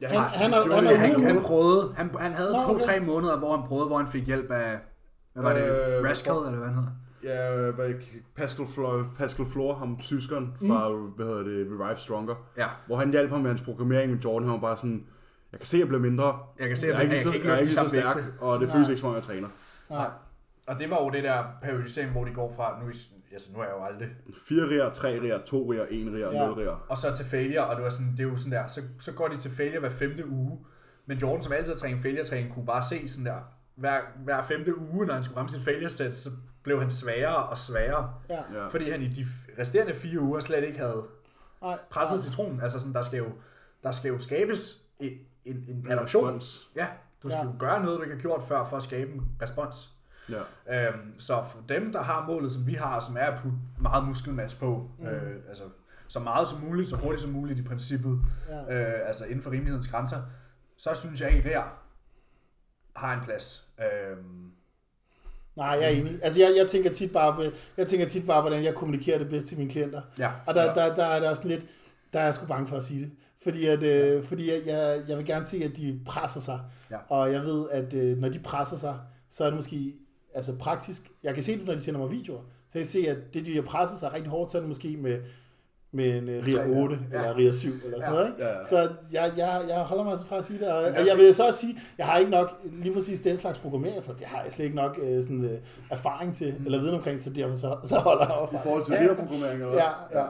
Speaker 2: Ja,
Speaker 3: han,
Speaker 2: han-
Speaker 3: han,
Speaker 2: han
Speaker 3: er,
Speaker 2: gjorde
Speaker 3: han,
Speaker 2: det.
Speaker 3: er
Speaker 1: Han,
Speaker 3: ude
Speaker 1: han
Speaker 3: nu.
Speaker 1: prøvede, han, han havde
Speaker 3: Nå,
Speaker 1: to-tre
Speaker 3: okay.
Speaker 1: måneder, hvor han prøvede, hvor han fik hjælp af, hvad var det,
Speaker 2: Øh,
Speaker 1: Rascal,
Speaker 2: hvor-
Speaker 1: eller hvad han hedder?
Speaker 2: Ja, hvad, Pascal, Flor, Pascal Flor, ham tyskeren
Speaker 1: Mm.
Speaker 2: fra, hvad hedder det, Revive Stronger,
Speaker 1: Ja,
Speaker 2: hvor han hjalp ham med hans programmering med Jordan, han var bare sådan, jeg kan se, at jeg bliver mindre,
Speaker 1: jeg kan se,
Speaker 2: jeg
Speaker 1: at jeg,
Speaker 2: er ikke lige
Speaker 1: jeg
Speaker 2: så,
Speaker 1: kan ikke
Speaker 2: jeg er
Speaker 1: løfte
Speaker 2: ikke
Speaker 1: de
Speaker 2: lige så
Speaker 1: samme
Speaker 2: stærk,
Speaker 1: vægte.
Speaker 2: og det
Speaker 3: Nej.
Speaker 2: føles ikke som om, jeg træner.
Speaker 3: Nej.
Speaker 1: Og det var jo det der periodisering, hvor de går fra, nu, i- altså, nu er jeg jo aldrig
Speaker 2: 4 riger, 3 riger, 2 riger, 1 riger,
Speaker 3: Ja.
Speaker 2: 0 riger.
Speaker 1: og så til failure, og det, var sådan, det er jo sådan der, så, så går de til failure hver femte uge, men Jordan, som altid har trænet failure-træning, kunne bare se sådan der, hver, hver femte uge, når han skulle ramme sit failure-sæt, så blev han sværere og sværere,
Speaker 3: Ja.
Speaker 2: Ja.
Speaker 1: fordi han i de f- resterende fire uger slet ikke havde
Speaker 3: Nej.
Speaker 1: presset citronen. Altså sådan, der skal jo, der skal jo skabes en, en, en adoption.
Speaker 2: Respons.
Speaker 1: Ja, du skal
Speaker 3: Ja.
Speaker 1: jo gøre noget, du ikke har gjort før, for at skabe en respons.
Speaker 2: Ja.
Speaker 1: Øhm, så for dem, der har målet, som vi har, som er at putte meget muskelmasse på, mm. øh, altså så meget som muligt, så hurtigt som muligt i princippet,
Speaker 3: Ja.
Speaker 1: øh, altså inden for rimelighedens grænser, så synes jeg, at her har en plads. Øhm,
Speaker 3: Nej, jeg er enig. Altså, jeg, jeg, tænker tit bare, jeg tænker tit bare, hvordan jeg kommunikerer det bedst til mine klienter.
Speaker 1: ja.
Speaker 3: Og der, der, der er der også lidt, der er jeg sgu bange for at sige det. Fordi, at, øh, fordi at jeg, jeg vil gerne se, at de presser sig.
Speaker 1: Ja.
Speaker 3: Og jeg ved, at øh, når de presser sig, så er det måske altså praktisk. Jeg kan se det, når de sender mig videoer. Så jeg kan se, at det, de har presset sig rigtig hårdt, så er det måske med, med en øh,
Speaker 1: Tre, ja.
Speaker 3: RIA 8
Speaker 1: Ja.
Speaker 3: eller RIA 7 eller sådan
Speaker 1: Ja.
Speaker 3: noget. Ikke?
Speaker 2: Ja, ja.
Speaker 3: Så jeg, jeg, jeg holder mig altså fra at sige det. Og,
Speaker 1: jeg
Speaker 3: og jeg
Speaker 1: skal-
Speaker 3: vil så også sige, jeg har ikke nok lige præcis den slags programmering, så det har jeg slet ikke nok øh, sådan, øh, erfaring til,
Speaker 1: Mm.
Speaker 3: eller viden omkring, så derfor så, så holder jeg op.
Speaker 2: I forhold til rigerprogrammering, eller hvad?
Speaker 3: Ja, ja.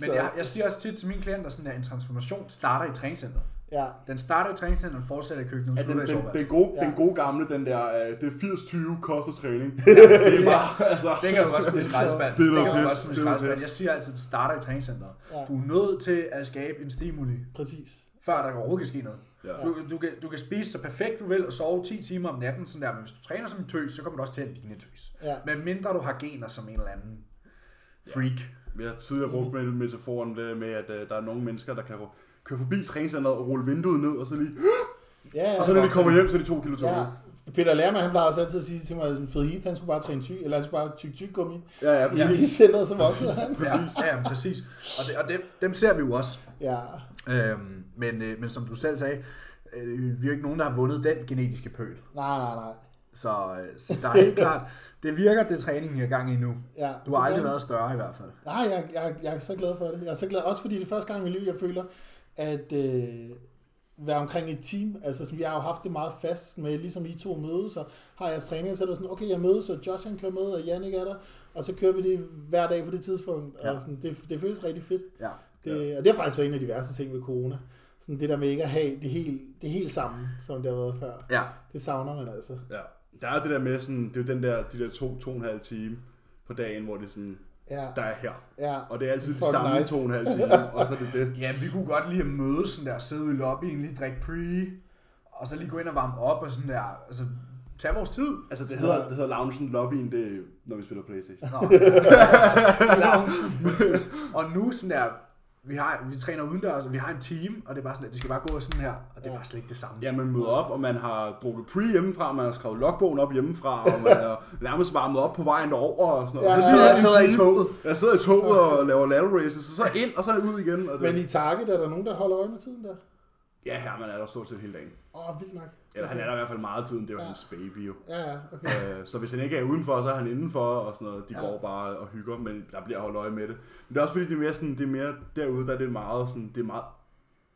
Speaker 1: Men jeg, jeg siger også tit til mine klienter, sådan at en transformation starter i træningscenteret.
Speaker 3: ja.
Speaker 1: Den starter i træningscenteret, fortsætter i køkkenet,
Speaker 2: Ja,
Speaker 1: og
Speaker 2: den,
Speaker 1: slutter i
Speaker 2: den,
Speaker 1: soveværelset.
Speaker 2: den, gode,
Speaker 3: Ja.
Speaker 2: den gode gamle, den der, øh, det er 80-20 kost og træning. det er bare, altså,
Speaker 1: Det kan du godt smide i skraldespanden.
Speaker 2: Det er
Speaker 1: Det
Speaker 2: noget
Speaker 1: kan du godt
Speaker 2: pis.
Speaker 1: smide i
Speaker 2: Det er noget
Speaker 1: skraldespanden.
Speaker 2: pis.
Speaker 1: Jeg siger altid, at den starter i træningscenteret.
Speaker 3: Ja.
Speaker 1: Du er nødt til at skabe en stimuli,
Speaker 3: Præcis.
Speaker 1: før der overhovedet kan ske noget.
Speaker 2: Ja.
Speaker 1: Du, du, kan, du kan spise så perfekt du vil og sove 10 timer om natten, sådan der, men hvis du træner som en tøs, så kommer du også til at ligne en tøs.
Speaker 3: Ja.
Speaker 1: Men mindre du har gener som en eller anden freak.
Speaker 2: Vi har tidligere brugt med metaforen det der med, at øh, der er nogle mennesker, der kan ru- køre forbi træningscenteret og rulle vinduet ned, og så lige...
Speaker 3: Ja,
Speaker 2: Og så når de kommer hjem, så er de to kilo tunge.
Speaker 3: ja. Peter Lærmann, han plejer også altid at sige til mig, at Fed Heath, han skulle bare træne ty, eller han skulle bare tyk tyk gummi.
Speaker 2: Ja, ja,
Speaker 3: Ja.
Speaker 2: præcis.
Speaker 3: I centret, så voksede han.
Speaker 2: Præcis.
Speaker 1: Ja, ja men præcis. Og, det, og dem, dem ser vi jo også.
Speaker 3: Ja,
Speaker 1: Øhm, men, øh, men som du selv sagde, øh, vi er jo ikke nogen, der har vundet den genetiske pøl.
Speaker 3: Nej, nej, nej.
Speaker 1: Så, øh, så der er helt klart, det virker, det træning, jeg er i gang i nu.
Speaker 3: Ja,
Speaker 1: Du har
Speaker 3: det
Speaker 1: aldrig
Speaker 3: gør-
Speaker 1: været større i hvert fald.
Speaker 3: Nej, jeg, jeg, jeg er så glad for det. Jeg er så glad, også fordi det er første gang i mit liv, jeg føler, at øh, være omkring et team, altså sådan, vi har jo haft det meget fast med, ligesom I to mødes, og har jeres træninger, så er det sådan, okay, jeg mødes, og Josh han kører med, og Jannik er der, og så kører vi det hver dag på det tidspunkt, ja.
Speaker 1: Ja.
Speaker 3: og sådan, det, det føles rigtig fedt.
Speaker 1: Ja.
Speaker 3: Det, Og det har faktisk været en af de værste ting ved corona. Sådan det der med ikke at have det helt, det helt samme, som det har været før.
Speaker 1: ja.
Speaker 3: Det savner man altså.
Speaker 2: Ja. Der er det der med sådan, det er jo den der, de der to, to og en halv time på dagen, hvor det er sådan,
Speaker 3: Ja,
Speaker 2: der er her.
Speaker 3: ja.
Speaker 2: Og det er altid de
Speaker 3: Fuck
Speaker 2: samme
Speaker 3: nice.
Speaker 2: nice. to og en halv time, og så er det det.
Speaker 1: Ja, vi kunne godt lige at mødes sådan der, sidde i lobbyen, lige drikke pre, og så lige gå ind og varme op og sådan der, altså, tage vores tid.
Speaker 2: Altså det hedder, det hedder loungen, lobbyen, det er, når vi spiller Playstation.
Speaker 1: Nå, lounge. og nu sådan der, vi, har, vi træner udendørs, og vi har en team, og det er bare sådan, at det skal bare gå sådan her, og det er bare slet ikke det samme.
Speaker 2: Ja, man møder op, og man har drukket pre hjemmefra, man har skrevet logbogen op hjemmefra, og man er nærmest varmet op på vejen derover og sådan noget.
Speaker 3: Ja,
Speaker 2: Så
Speaker 3: ja,
Speaker 2: sidder
Speaker 3: ja.
Speaker 2: jeg
Speaker 1: Sidder i
Speaker 2: time-
Speaker 1: toget.
Speaker 2: Jeg sidder i toget og laver lateral races, og så ind, og så ud igen. Og det,
Speaker 3: Men i Target er der nogen, der holder øje med tiden der?
Speaker 2: Ja, Herman er der stort set hele dagen.
Speaker 3: Åh, oh, vildt nok.
Speaker 2: Eller han er der i hvert fald meget af tiden, det er jo
Speaker 3: Ja.
Speaker 2: hans baby jo.
Speaker 3: Ja, ja, okay.
Speaker 2: Øh, så hvis han ikke er udenfor, så er han indenfor og sådan noget. De
Speaker 3: Ja.
Speaker 2: ja. går bare og hygger, men der bliver holdt øje med det. Men det er også fordi, det er mere, sådan, det er mere derude, der er det meget, sådan, det er meget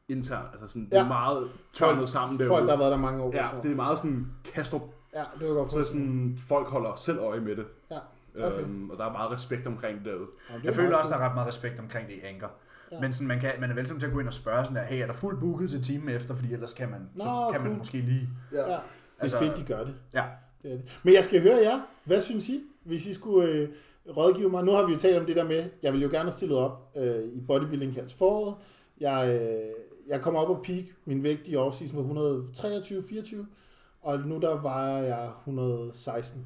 Speaker 2: internt. Altså sådan, det
Speaker 3: Ja.
Speaker 2: er meget tørnet sammen derude.
Speaker 3: Folk, der har været der mange år.
Speaker 2: ja,
Speaker 3: så.
Speaker 2: det er meget sådan Kastrup.
Speaker 3: ja, det var godt
Speaker 2: Så er det
Speaker 3: for.
Speaker 2: sådan, folk holder selv øje med det.
Speaker 3: Ja, okay.
Speaker 2: Okay. Øhm, og der er meget respekt omkring det derude.
Speaker 3: Jamen, det
Speaker 1: Jeg
Speaker 3: var
Speaker 1: føler
Speaker 3: meget
Speaker 1: også, der er ret meget respekt omkring det i Anker.
Speaker 3: Ja.
Speaker 1: Ja. Men sådan, man, kan, man er velkommen til at gå ind og spørge sådan der, hey, er der fuldt booket til timen efter, fordi ellers kan man, Nå,
Speaker 3: Nå,
Speaker 1: så kan
Speaker 3: cool.
Speaker 1: man måske lige...
Speaker 3: fedt. Ja. Det er
Speaker 1: Altså-
Speaker 3: fedt, de gør det.
Speaker 1: Ja,
Speaker 3: det, er det. Men jeg skal høre jer. Hvad synes I, hvis I skulle øh, rådgive mig? Nu har vi jo talt om det der med, jeg ville jo gerne have stillet op øh, i bodybuilding her til foråret. Jeg, øh, jeg kom op og peak min vægt i offseason på 123-24, og nu der vejer jeg 116.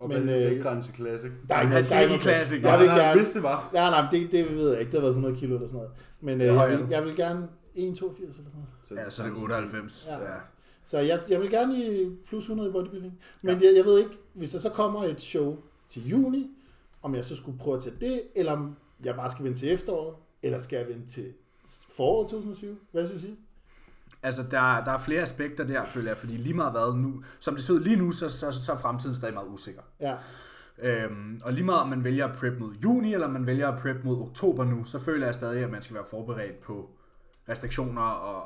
Speaker 2: Og
Speaker 3: Men,
Speaker 2: men,
Speaker 3: øh,
Speaker 2: øh, ikke grænse classic.
Speaker 3: Der er ikke
Speaker 1: Han
Speaker 3: noget-
Speaker 1: skal
Speaker 3: der er
Speaker 1: ikke i
Speaker 3: noget-
Speaker 1: classic.
Speaker 3: Jeg
Speaker 2: Jeg
Speaker 3: vil
Speaker 2: ved ikke,
Speaker 3: gerne,
Speaker 2: hvis det var.
Speaker 3: Nej, nej, men det, det ved jeg ikke. Det har været 100 kilo eller sådan noget. Men øh,
Speaker 1: er
Speaker 3: jeg,
Speaker 1: højere.
Speaker 3: vil, jeg vil gerne 1,82 eller sådan noget.
Speaker 2: Så,
Speaker 1: ja så er det 98.
Speaker 3: Ja.
Speaker 1: Ja. Ja.
Speaker 3: Så jeg, jeg vil gerne i plus 100 i bodybuilding. Men jeg, jeg ved ikke, hvis der så kommer et show til juni, om jeg så skulle prøve at tage det, eller om jeg bare skal vente til efteråret, eller skal jeg vente til foråret 2020? Hvad synes I?
Speaker 1: Altså, der, der er flere aspekter der, føler jeg, fordi lige meget hvad nu, som det ser ud lige nu, så, så, så er fremtiden stadig meget usikker.
Speaker 3: Ja,
Speaker 1: Øhm, og lige meget om man vælger at prep mod juni, eller om man vælger at prep mod oktober nu, så føler jeg stadig, at man skal være forberedt på restriktioner og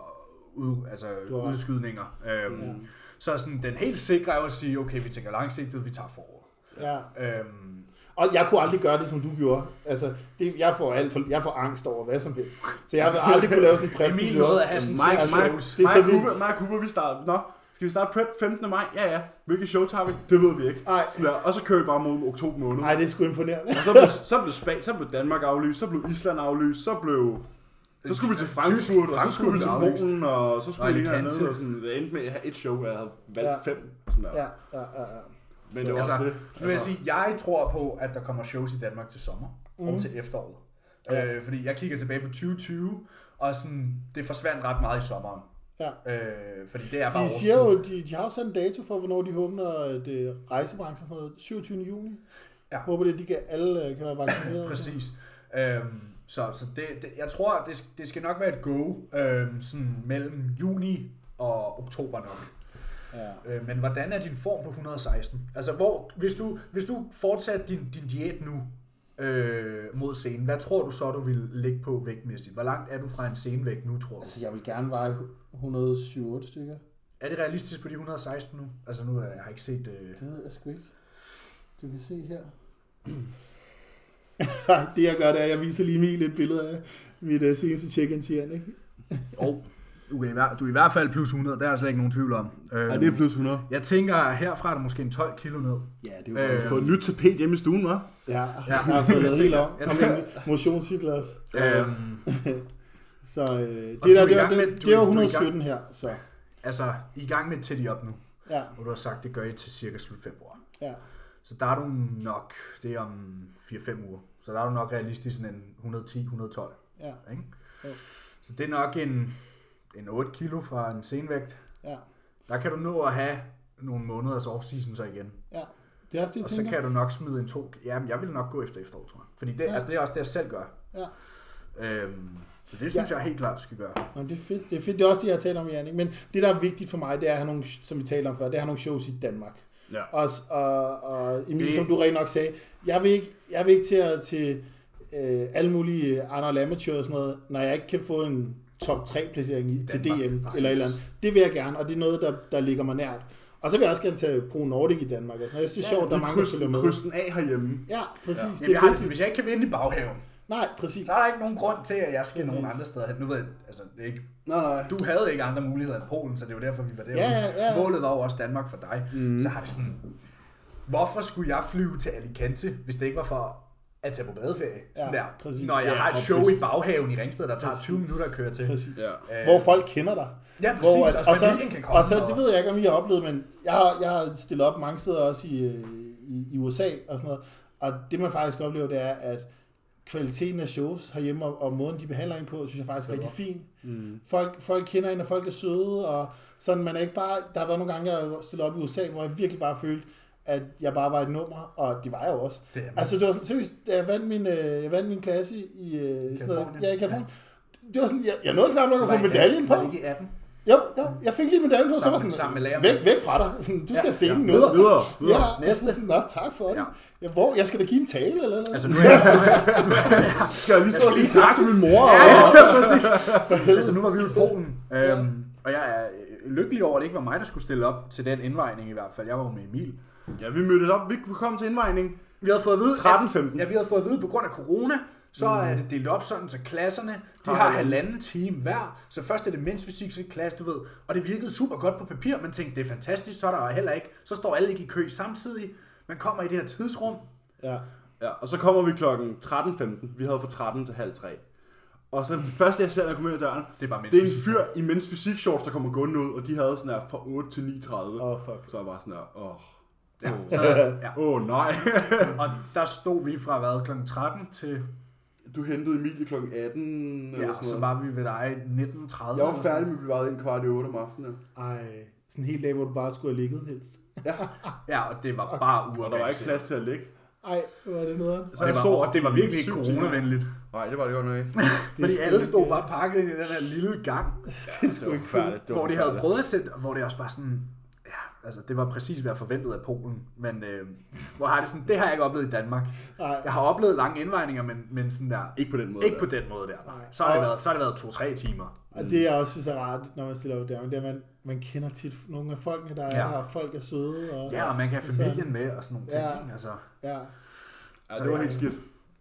Speaker 1: ud, altså
Speaker 3: Du har-
Speaker 1: udskydninger. Øhm, Så sådan, den helt sikre er jo at sige, okay, vi tænker langsigtet, vi tager forår.
Speaker 3: ja.
Speaker 1: Øhm,
Speaker 3: Og jeg kunne aldrig gøre det, som du gjorde. Altså, det, jeg, får alt for, jeg får angst over hvad som helst. Så jeg vil aldrig kunne lave sådan en præm.
Speaker 1: Emil nåede at have sådan
Speaker 2: Mike,
Speaker 1: seks
Speaker 2: Mike,
Speaker 1: shows.
Speaker 3: det er så
Speaker 2: Mike,
Speaker 3: vildt.
Speaker 2: Cooper, Mike Cooper, vi starter. Nå, skal vi starte prep 15. maj? Ja, ja. Hvilket show tager vi? Det ved vi ikke.
Speaker 3: Ej.
Speaker 2: Sådan der. Og så kører vi bare mod oktober måned.
Speaker 3: Nej, det er sgu imponerende.
Speaker 2: Og så blev, så blev, Span, så blev Danmark aflyst, så blev Island aflyst, så blev... Så skulle vi til Frankfurt, og så skulle vi til
Speaker 1: Frankfurt blev aflyst.
Speaker 2: Polen, og så
Speaker 1: Og
Speaker 2: skulle vi lige
Speaker 1: Alicante.
Speaker 2: hernede, og sådan, det endte med at have et show, og jeg havde valgt
Speaker 3: Ja.
Speaker 2: ja. fem. Sådan der.
Speaker 3: Ja, ja, ja. ja.
Speaker 2: Men det var også
Speaker 1: Altså,
Speaker 2: det.
Speaker 1: nu vil jeg sige, jeg tror på, at der kommer shows i Danmark til sommer mm. og til efteråret.
Speaker 3: Ja.
Speaker 1: Ja. Øh, fordi jeg kigger tilbage på 2020, og sådan, det forsvandt ret meget i sommeren.
Speaker 3: ja.
Speaker 1: Øh, fordi det er bare
Speaker 3: De siger
Speaker 1: årstid.
Speaker 3: jo, de, de har jo sat en dato for, hvornår de åbner at øh, rejsebranchen og sådan noget. 27. juni.
Speaker 1: Ja.
Speaker 3: Jeg håber, det, de kan alle øh, kan være vaccineret.
Speaker 1: Præcis. Øhm, så så det, det, jeg tror, det, det skal nok være et go øhm, sådan mellem juni og oktober nok.
Speaker 3: Ja.
Speaker 1: Øh, men hvordan er din form på 116? Altså, hvor, hvis, du, hvis du fortsatte din, din diæt nu øh, mod scenen, hvad tror du så, du vil ligge på vægtmæssigt? Hvor langt er du fra en scenevægt nu, tror du?
Speaker 3: Altså, jeg vil gerne veje 107 stykker.
Speaker 1: Er det realistisk på de 116 nu? Altså, nu har jeg har ikke set... Øh...
Speaker 3: Det ved jeg sgu ikke. Du kan se her. det jeg gør, det er, at jeg viser lige Emil et billede af mit uh, seneste check-in til Jan, ikke?
Speaker 1: Oh, du, er i hver, du er i hvert fald plus 100, der er jeg slet ikke nogen tvivl om. Øh,
Speaker 2: Ja, det er plus 100.
Speaker 1: Jeg tænker, at herfra er det måske en 12 kilo ned.
Speaker 3: Ja, det er jo
Speaker 1: Øh,
Speaker 2: Få et nyt tapet hjemme i stuen, hva'?
Speaker 3: Ja, jeg har fået lavet helt om. Kom med motionscykler også.
Speaker 1: Øhm,
Speaker 3: Så øh, det,
Speaker 1: Og du
Speaker 3: der,
Speaker 1: er i
Speaker 3: det, var,
Speaker 1: gang med-
Speaker 3: det,
Speaker 1: du-
Speaker 3: det var
Speaker 1: du er i gang-
Speaker 3: 117 her, så
Speaker 1: altså, I er i gang med tæt op nu,
Speaker 3: ja,
Speaker 1: og du har sagt, det gør I til cirka slut februar.
Speaker 3: ja.
Speaker 1: Så der er du nok, det er om 4-5 uger, så der er du nok realistisk sådan en 110-112.
Speaker 3: Ja,
Speaker 1: Ikke?
Speaker 3: Jo.
Speaker 1: Så det er nok en, en 8 kilo fra en senvægt.
Speaker 3: ja,
Speaker 1: Der kan du nå at have nogle måneders off-season så igen.
Speaker 3: ja. Det er også det, jeg
Speaker 1: Og så
Speaker 3: tænker.
Speaker 1: kan du nok smide en to... Jamen, jeg vil nok gå efter efterår, tror jeg. Fordi det,
Speaker 3: Ja.
Speaker 1: ja. altså, det er også det, jeg selv gør.
Speaker 3: Ja.
Speaker 1: Øhm, Så det synes ja. jeg helt klart, du skal gøre.
Speaker 3: Nå, det, er fedt. det er fedt. Det er også det, jeg har talt om, Jannik. Men det, der er vigtigt for mig, det er at have nogle, som vi talte om før, det er at have nogle shows i Danmark.
Speaker 2: Ja.
Speaker 3: Og, s- og, og Emil,
Speaker 2: Det-
Speaker 3: det... som du rent nok sagde, jeg vil ikke, jeg vil ikke til, at- til øh, alle mulige andre amatører og sådan noget, når jeg ikke kan få en top 3 placering i, til DM
Speaker 1: Danmark.
Speaker 3: eller et eller andet. Det vil jeg gerne, og det er noget, der, der ligger mig nært. Og så vil jeg også gerne tage Pro Nordic i Danmark. Altså, jeg synes, det er sjovt, der er mange, der følger med.
Speaker 2: Kryds den af herhjemme.
Speaker 3: Ja, præcis. Ja.
Speaker 1: Jamen,
Speaker 3: Det
Speaker 1: jeg har,
Speaker 3: er
Speaker 1: det
Speaker 3: vigtigt.
Speaker 1: sådan, hvis jeg ikke kan vinde i baghaven,
Speaker 3: Nej, præcis.
Speaker 1: så er der ikke nogen grund til, at jeg skal nogen
Speaker 3: Præcis.
Speaker 1: andre steder hen. Nu ved jeg, altså, det er ikke,
Speaker 2: Nej, nej.
Speaker 1: du havde ikke andre muligheder end Polen, så det var derfor, vi var derude.
Speaker 3: ja, ja.
Speaker 1: Målet var jo også Danmark for dig. Mm. Så har det sådan, hvorfor skulle jeg flyve til Alicante, hvis det ikke var for at tage på badeferie? Sådan
Speaker 3: Ja,
Speaker 1: der.
Speaker 3: præcis.
Speaker 1: Når jeg
Speaker 3: Ja,
Speaker 1: har et
Speaker 3: og
Speaker 1: show
Speaker 3: præcis.
Speaker 1: i baghaven i Ringsted, der tager 20 minutter at køre til.
Speaker 3: Præcis.
Speaker 2: Ja.
Speaker 1: Øh,
Speaker 3: Hvor folk kender dig.
Speaker 1: Ja, præcis,
Speaker 3: Hvor,
Speaker 1: og familien kan komme,
Speaker 3: Og så,
Speaker 1: og-
Speaker 3: det ved jeg ikke, om I har oplevet, men jeg, har- jeg har stillet op mange steder også i, øh, i, i USA og sådan noget. Og det man faktisk oplever, det er, at kvaliteten af shows herhjemme og, og måden, de behandler en på, synes jeg faktisk er rigtig fin. Mm. Folk, folk kender en, og folk er søde, og sådan, man er ikke bare... Der har været nogle gange, jeg har stillet op i USA, hvor jeg virkelig bare følte, at jeg bare var et nummer, og det var jeg jo også.
Speaker 1: Det er man.
Speaker 3: altså, det var sådan, seriøst, da jeg vandt min, øh, jeg vandt min klasse i øh, sådan noget,
Speaker 1: Californien.
Speaker 3: ja, i Californien. Det var sådan, jeg, jeg nåede knap nok at
Speaker 1: var
Speaker 3: få
Speaker 1: ikke-
Speaker 3: medaljen på.
Speaker 1: var det ikke i 18?
Speaker 3: Jo, jo, jeg fik lige medaljen på, så var
Speaker 1: Sammen-
Speaker 3: sådan,
Speaker 1: sammen med læreren.
Speaker 3: væk, væk fra dig. Sådan, Du skal ja, se den nu.
Speaker 2: Videre, videre, videre.
Speaker 3: Ja, næste. Sådan, Nå, tak for det.
Speaker 1: Ja.
Speaker 3: Ja. Ja, hvor, jeg skal da give en tale, eller eller?
Speaker 1: Altså, nu er jeg,
Speaker 2: Skal jeg lige stå og
Speaker 1: lige
Speaker 2: lige snakke med min mor?
Speaker 1: altså, nu var vi jo i Polen, øhm, og jeg er øh, lykkelig over, at det ikke var mig, der skulle stille op til den indvejning i hvert fald. Jeg var jo med Emil.
Speaker 2: Ja, vi mødtes op. Vi kunne komme til indvejning.
Speaker 1: Vi havde fået at vide,
Speaker 2: 13-15.
Speaker 1: At, ja, vi havde fået at vide, at på grund af corona, så er det delt op sådan, så klasserne, de
Speaker 2: Mm. Har
Speaker 1: har
Speaker 2: halvanden.
Speaker 1: halvanden time hver. Så først er det mens fysik, så er det klasse, du ved. Og det virkede super godt på papir. Man tænkte, det er fantastisk, så er der heller ikke. Så står alle ikke i kø samtidig. Man kommer i det her tidsrum.
Speaker 3: Ja.
Speaker 2: Ja, og så kommer vi klokken 13.15. Vi havde fra 13 til halv 3. Og så det første, jeg ser, når jeg kommer ind ad døren,
Speaker 1: Det er bare mens
Speaker 2: det er en
Speaker 1: fysik.
Speaker 2: fyr i mens fysik shorts, der kommer gående ud, og de havde sådan her fra 8 til 9.30.
Speaker 3: Åh, oh, fuck.
Speaker 2: Så jeg var sådan her, åh, oh,
Speaker 1: Så, ja.
Speaker 2: åh oh, nej.
Speaker 1: Og der stod vi fra hvad, kl. 13 til...
Speaker 2: Du hentede Emilie klokken 18 eller
Speaker 1: Ja,
Speaker 2: sådan
Speaker 1: så
Speaker 2: noget.
Speaker 1: var vi ved dig 19.30.
Speaker 2: Jeg var færdig med at blive vejet ind kvart i 8 om aftenen. ja.
Speaker 3: Ej, sådan en hel dag, hvor du bare skulle have ligget helst.
Speaker 1: Ja, og det var bare
Speaker 2: Og der var ikke
Speaker 1: uorganiseret.
Speaker 2: plads til at ligge.
Speaker 3: Ej, hvor er det nederen.
Speaker 1: Og det
Speaker 2: jeg
Speaker 1: var,
Speaker 2: stod
Speaker 1: og det var
Speaker 2: i
Speaker 1: virkelig ikke
Speaker 2: syv timer.
Speaker 1: coronavenligt.
Speaker 2: Nej, det var det godt nok ikke.
Speaker 3: Det
Speaker 1: Fordi
Speaker 3: sgu
Speaker 1: alle
Speaker 3: ikke-
Speaker 1: stod bare pakket ind i den her lille gang.
Speaker 3: Det er sgu
Speaker 2: Det var
Speaker 3: ikke fedt.
Speaker 2: forfærdeligt. Det var
Speaker 1: hvor de havde
Speaker 2: forfærdeligt.
Speaker 1: prøvet at sætte, hvor det også bare sådan, ja, altså det var præcis, hvad jeg forventede af Polen, men øh, hvor har det sådan, det har jeg ikke oplevet i Danmark.
Speaker 3: Nej.
Speaker 1: Jeg har oplevet lange indvejninger, men, men sådan der,
Speaker 2: Ikke på den måde.
Speaker 1: ikke på
Speaker 2: der.
Speaker 1: den måde der.
Speaker 3: Nej.
Speaker 1: Så har det
Speaker 3: Og-
Speaker 1: været, så har det været to-tre timer.
Speaker 3: Og det, jeg også synes er rart, når man stiller op der, det er, at man, man kender tit nogle af folkene, der er
Speaker 1: Ja.
Speaker 3: ja. der, og folk er søde. Og,
Speaker 1: Ja, og man kan have
Speaker 3: Så-
Speaker 1: familien med og sådan nogle ting.
Speaker 3: Ja.
Speaker 1: ikke? Altså,
Speaker 3: Ja.
Speaker 2: Ja, det var helt skidt.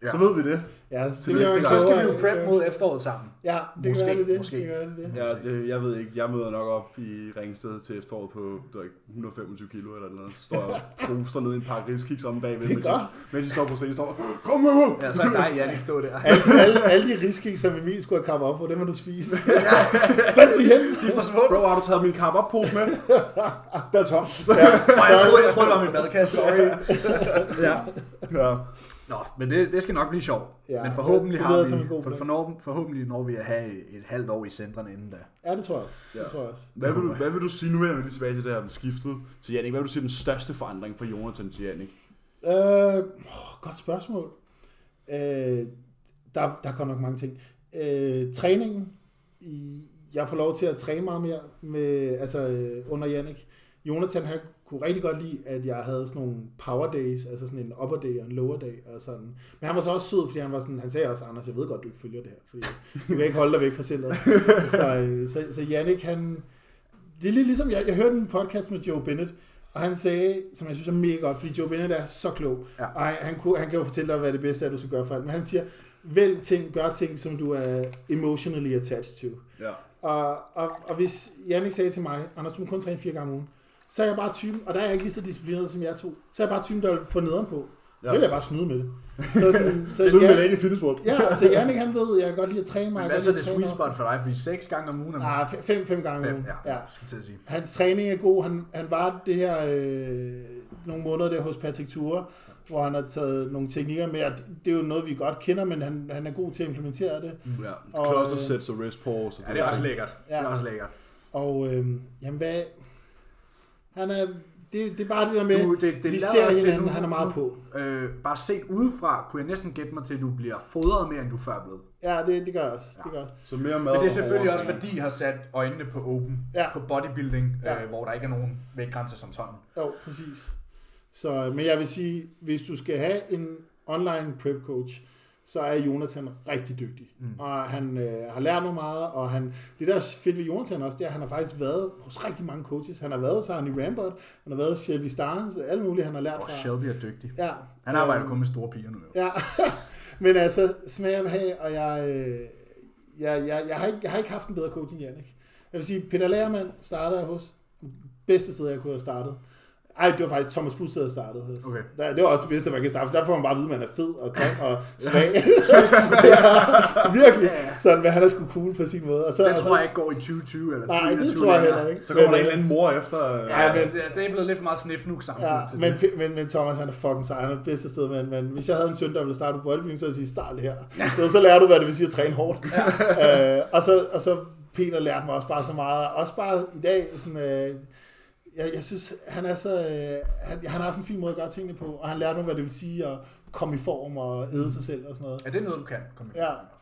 Speaker 1: Ja.
Speaker 2: Så ved vi det.
Speaker 3: Ja, så, det
Speaker 2: næste
Speaker 3: bliver jo ikke
Speaker 1: så skal
Speaker 2: gang.
Speaker 3: klogere,
Speaker 1: vi jo
Speaker 3: ja.
Speaker 1: prep mod efteråret sammen.
Speaker 3: Ja, det
Speaker 1: Måske,
Speaker 3: gør det det.
Speaker 1: måske.
Speaker 3: Det gør det det.
Speaker 2: Ja, det, jeg ved ikke. Jeg møder nok op i Ringsted til efteråret på det var ikke, 125 kilo eller noget. Så står jeg og proster ned i en pakke riskiks om bagved,
Speaker 3: Det er
Speaker 2: mens, jeg, mens jeg står på scenen og står, kom nu!
Speaker 1: Ja, så er dig, Jannik, stå der.
Speaker 3: Alle, alle, alle de riskæg, som Emil skulle have kappet op på, dem har du spist. Fandt de hen?
Speaker 1: De forsvundet.
Speaker 2: Bro, har du taget min kap op pose med? Den er tom.
Speaker 1: Og jeg troede, jeg troede, det var min madkasse, sorry. ja.
Speaker 2: Ja.
Speaker 1: Nå, men det, det skal nok blive sjovt.
Speaker 3: Ja,
Speaker 1: men forhåbentlig,
Speaker 3: det
Speaker 1: har
Speaker 3: lyder
Speaker 1: vi,
Speaker 3: som en god
Speaker 1: for,
Speaker 3: plan.
Speaker 1: for, forhåbentlig når vi at have et halvt år i centrene inden da.
Speaker 3: Ja, det tror jeg også.
Speaker 2: Ja.
Speaker 3: Det tror jeg også.
Speaker 2: Hvad vil, du, hvad vil du sige, nu vender vi lige tilbage til det her med skiftet til Jannik. Hvad vil du sige er den største forandring fra Jonathan til Jannik?
Speaker 3: Øh, åh, godt spørgsmål. Øh, der, der er godt nok mange ting. Øh, træningen. I, jeg får lov til at træne meget mere med, altså, øh, under Jannik. Jonathan han kunne rigtig godt lide, at jeg havde sådan nogle power days, altså sådan en upper day og en lower day og sådan. Men han var så også sød, fordi han var sådan, han sagde også, Anders, jeg ved godt, du ikke følger det her, fordi du kan ikke holde dig væk fra centret. så, øh, så, så Jannik, han, det er lidt ligesom, jeg, jeg hørte en podcast med Joe Bennett, og han sagde, som jeg synes er mega godt, fordi Joe Bennett er så klog,
Speaker 1: Ja.
Speaker 3: og han, han, kunne, han kan jo fortælle dig, hvad det bedste er, du skal gøre for alt, men han siger, vælg ting, gør ting, som du er emotionally attached to.
Speaker 2: Ja.
Speaker 3: Og, og, og hvis Jannik sagde til mig, Anders, du må kun træne fire gange om ugen, så er jeg bare typen, og der er jeg ikke lige så disciplineret som jeg to, så er jeg bare typen, der vil få nederen på.
Speaker 2: Ja.
Speaker 3: Ja. Så vil jeg bare snyde med det. Så, sådan, så,
Speaker 2: Det er med
Speaker 3: ja,
Speaker 2: Lane i Fitnessworld.
Speaker 3: ja, så Jannik, han ved, jeg kan godt lide at træne
Speaker 1: Men
Speaker 3: mig. jeg
Speaker 1: hvad
Speaker 3: kan
Speaker 1: så er
Speaker 3: godt
Speaker 1: det
Speaker 3: lide at træne
Speaker 1: sweet
Speaker 3: ofte.
Speaker 1: spot for dig? Fordi seks gange om ugen er
Speaker 3: Ah, fe- fem, fem gange om
Speaker 1: fem,
Speaker 3: ugen.
Speaker 1: ja,
Speaker 3: Ja.
Speaker 1: ja. Skulle jeg til at sige.
Speaker 3: Hans træning er god. Han, han var det her øh, nogle måneder der hos Patrick Ture, hvor han har taget nogle teknikker med, og det, det er jo noget, vi godt kender, men han, han er god til at implementere det.
Speaker 2: Ja.
Speaker 3: Og,
Speaker 2: Cluster
Speaker 3: øh,
Speaker 2: sets og wrist pause.
Speaker 1: Ja, det er også lækkert. Ja.
Speaker 3: Ja.
Speaker 1: Det er også lækkert.
Speaker 3: Og øh, jamen hvad... øh, Han er det, det er bare det der med,
Speaker 1: Du, det- det lader
Speaker 3: vi ser
Speaker 1: os til
Speaker 3: hinanden,
Speaker 1: nu.
Speaker 3: han er meget på.
Speaker 1: Øh, bare set udefra, kunne jeg næsten gætte mig til, at du bliver fodret mere, end du før blev.
Speaker 3: Ja, det, det gør jeg også. Det gør jeg også.
Speaker 2: Så mere
Speaker 1: Men
Speaker 2: mad
Speaker 1: det er
Speaker 2: og
Speaker 1: selvfølgelig også,
Speaker 2: overraskninger.
Speaker 1: fordi I har sat øjnene på open,
Speaker 3: Ja.
Speaker 1: på bodybuilding,
Speaker 3: Ja.
Speaker 1: øh, hvor der ikke er nogen vægtgrænser som sådan.
Speaker 3: Jo, præcis. Så, øh, men jeg vil sige, hvis du skal have en online prep coach, så er Jonathan rigtig dygtig. Mm. Og han øh, har lært mig meget, og han, det der er fedt ved Jonathan også, det er, at han har faktisk været hos rigtig mange coaches. Han har været hos Arne Rambert, han har været hos Shelby Starnes, alle mulige, han har lært
Speaker 1: Og
Speaker 3: fra.
Speaker 1: Shelby er dygtig.
Speaker 3: Ja,
Speaker 1: Han arbejder kun med store piger nu. Jo.
Speaker 3: Ja, men altså, smag og behag, og jeg, øh, jeg, jeg, jeg, har ikke, jeg har ikke haft en bedre coach end Jannik. Jeg vil sige, Peter Lærmann startede jeg hos. Bedste sted, jeg kunne have startet. Ej, det var faktisk Thomas Busse, der startede hos.
Speaker 1: Okay.
Speaker 3: Der, det var også det bedste, man kan starte, for der får man bare at vide, at man er fed og grøn og svag. ja, virkelig.
Speaker 1: Ja, ja.
Speaker 3: Sådan, hvad han er sgu cool på sin måde. Og så,
Speaker 1: Den
Speaker 3: og så,
Speaker 1: tror jeg ikke går i 2020 eller
Speaker 3: Nej, det
Speaker 1: 2021
Speaker 3: tror jeg
Speaker 1: længere.
Speaker 3: heller ikke.
Speaker 2: Så kommer der
Speaker 3: Men,
Speaker 2: en
Speaker 3: øh,
Speaker 2: eller anden mor efter... øh,
Speaker 1: Ja,
Speaker 3: Ej,
Speaker 1: men,
Speaker 3: men-
Speaker 1: det, det er blevet lidt for meget snefnuk samfund
Speaker 3: Ja,
Speaker 1: til
Speaker 3: men,
Speaker 1: det.
Speaker 3: men, men Thomas, han er fucking sej. Han er det bedste sted, men, men hvis jeg havde en søn, der ville starte på bodybuilding, så ville jeg sige, start her. Så, så lærer du, hvad det vil sige at træne hårdt. Ja. øh, og, så, og så Peter lærte mig også bare så meget. Også bare i dag, sådan, øh, jeg, jeg synes, han er så, øh, han, han har sådan en fin måde at gøre tingene på, og han lærte mig, hvad det vil sige at komme i form og æde sig selv og sådan noget.
Speaker 1: Er det noget, du kan? Kom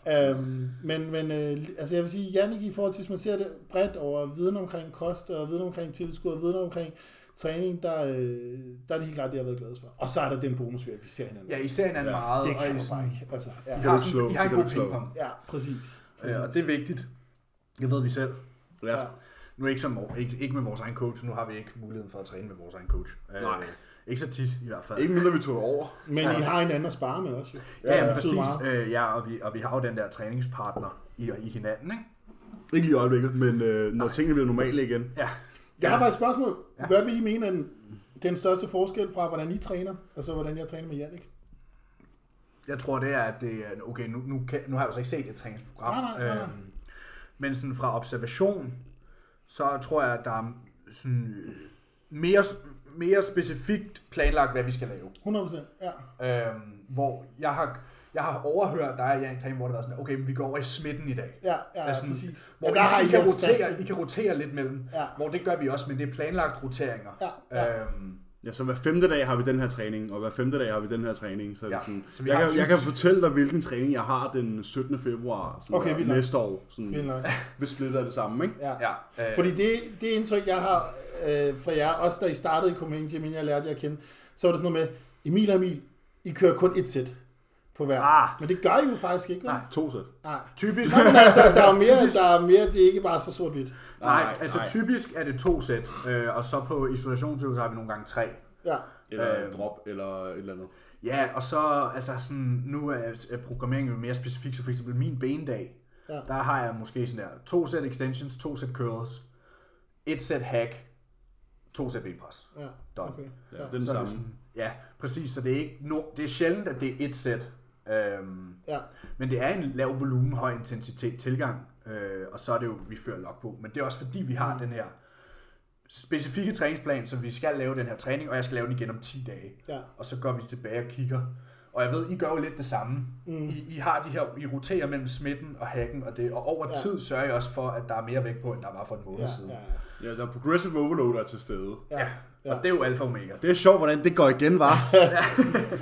Speaker 3: Ja, øhm, men, men øh, altså jeg vil sige, Jannik i forhold til, hvis man ser det bredt over viden omkring kost og viden omkring tilskud og viden omkring træning, der, øh, der er det helt klart, det jeg har været gladest for. Og så er der den bonus ved, at vi ser hinanden.
Speaker 1: ja I ser hinanden ja,
Speaker 2: Ja,
Speaker 1: meget.
Speaker 3: det
Speaker 1: og I
Speaker 3: kan du
Speaker 1: sådan-
Speaker 3: bare ikke. Altså,
Speaker 1: I
Speaker 3: ja.
Speaker 1: har,
Speaker 2: Det kan du
Speaker 1: sådan,
Speaker 2: slå.
Speaker 1: I har en
Speaker 2: Det kan
Speaker 1: god
Speaker 2: du slå.
Speaker 1: pingpong.
Speaker 3: ja, præcis.
Speaker 1: Ja, og det er vigtigt. Det ved vi selv.
Speaker 2: Ja.
Speaker 3: Ja.
Speaker 1: Nu ikke, som, ikke, ikke med vores egen coach. Nu har vi ikke muligheden for at træne med vores egen coach. Øh,
Speaker 2: Nej.
Speaker 1: Ikke så tit i hvert fald.
Speaker 2: Ikke mindre, vi tog over.
Speaker 3: Men I har hinanden at spare med også, jo.
Speaker 1: ja, ja,
Speaker 3: Det betyder
Speaker 1: præcis.
Speaker 3: meget.
Speaker 1: Øh, ja, og vi, og vi har jo den der træningspartner i, i hinanden, ikke?
Speaker 2: Ikke lige i øjeblikket, men øh, når tingene bliver normale igen.
Speaker 1: Ja.
Speaker 3: Jeg har faktisk et spørgsmål. Hvad vil I mene er den, den største forskel fra, hvordan I træner, og så hvordan jeg træner med Jannik?
Speaker 1: Jeg tror, det er, at det er, okay, nu, nu, kan, nu har jeg jo så ikke set et træningsprogram.
Speaker 3: Nej, nej, nej, nej.
Speaker 1: Øhm, men sådan fra observation, så tror jeg, at der er sådan, øh, mere, mere specifikt planlagt, hvad vi skal lave.
Speaker 3: 100%. Ja.
Speaker 1: Øhm, hvor jeg har, jeg har overhørt dig og Jan Tame, hvor det var sådan, okay, men vi går over i smitten i dag.
Speaker 3: Ja, ja,
Speaker 1: Altså,
Speaker 3: præcis.
Speaker 1: Hvor
Speaker 3: Ja, der har
Speaker 1: I,
Speaker 3: I,
Speaker 1: I, kan
Speaker 3: også
Speaker 1: rotere,
Speaker 3: faste.
Speaker 1: I kan rotere lidt mellem,
Speaker 3: Ja.
Speaker 1: hvor det gør vi også, men det er planlagt roteringer.
Speaker 3: Ja, ja.
Speaker 1: Øhm,
Speaker 2: Ja, så hver femte dag har vi den her træning, og hver femte dag har vi den her træning. Så, ja,
Speaker 1: Ja,
Speaker 2: sådan,
Speaker 1: så vi
Speaker 2: jeg,
Speaker 1: har
Speaker 2: kan, jeg kan fortælle dig, hvilken træning jeg har den 17. februar sådan
Speaker 3: Okay,
Speaker 2: der,
Speaker 3: vildt nok.
Speaker 2: næste år. Sådan,
Speaker 3: Vildt nok.
Speaker 2: vi splitter det sammen, ikke?
Speaker 3: Ja.
Speaker 1: ja, øh,
Speaker 3: Fordi det, det indtryk, jeg har øh, fra jer, også da I startede i Copenhagen Gym, inden jeg lærte jer at kende, så var det sådan noget med, Emil og Emil, I kører kun et sæt på hver.
Speaker 1: Ah.
Speaker 3: Men det gør I jo faktisk ikke, vel?
Speaker 1: Nej.
Speaker 2: To sæt.
Speaker 3: Nej.
Speaker 1: typisk,
Speaker 3: Nå, men altså, der er jo mere, der er mere, det er ikke bare så sort-hvidt.
Speaker 1: Nej,
Speaker 2: Nej,
Speaker 1: altså
Speaker 2: nej.
Speaker 1: typisk er det to sæt, øh, og så på isolationsøvelser har vi nogle gange tre.
Speaker 3: Ja.
Speaker 2: Eller
Speaker 1: Øhm.
Speaker 2: drop, eller et eller andet.
Speaker 1: Ja, og så, altså sådan, nu er, er programmeringen jo mere specifik, så for eksempel min bendag,
Speaker 3: Ja.
Speaker 1: ja. der har jeg måske sådan der, to sæt extensions, to sæt curls, et sæt hack, to sæt benpres.
Speaker 3: ja.
Speaker 1: Done.
Speaker 3: Okay.
Speaker 2: Ja,
Speaker 3: Ja.
Speaker 2: det er den
Speaker 1: Så er
Speaker 2: samme.
Speaker 1: det sådan, ja, præcis, så det er, ikke no, det er sjældent, at det er et sæt. Øhm,
Speaker 3: ja.
Speaker 1: men det er en lav volumen, høj intensitet tilgang, øh, og så er det jo, vi fører log på. Men det er også fordi, vi
Speaker 3: Mm.
Speaker 1: har den her specifikke træningsplan, så vi skal lave den her træning, og jeg skal lave den igen om 10 dage.
Speaker 3: Ja.
Speaker 1: Og så går vi tilbage og kigger. Og jeg ved, I gør jo lidt det samme. Mm. I, I, har de her, I roterer mellem smitten og hacken og det, og over ja. tid sørger I også for, at der er mere vægt på, end der var for en måned
Speaker 3: Ja.
Speaker 1: siden.
Speaker 3: Ja.
Speaker 2: Ja, der er progressive overload, der er til stede.
Speaker 3: Ja. Ja.
Speaker 1: Og det er jo alfa og omega.
Speaker 2: Det er sjovt, hvordan det går igen, var.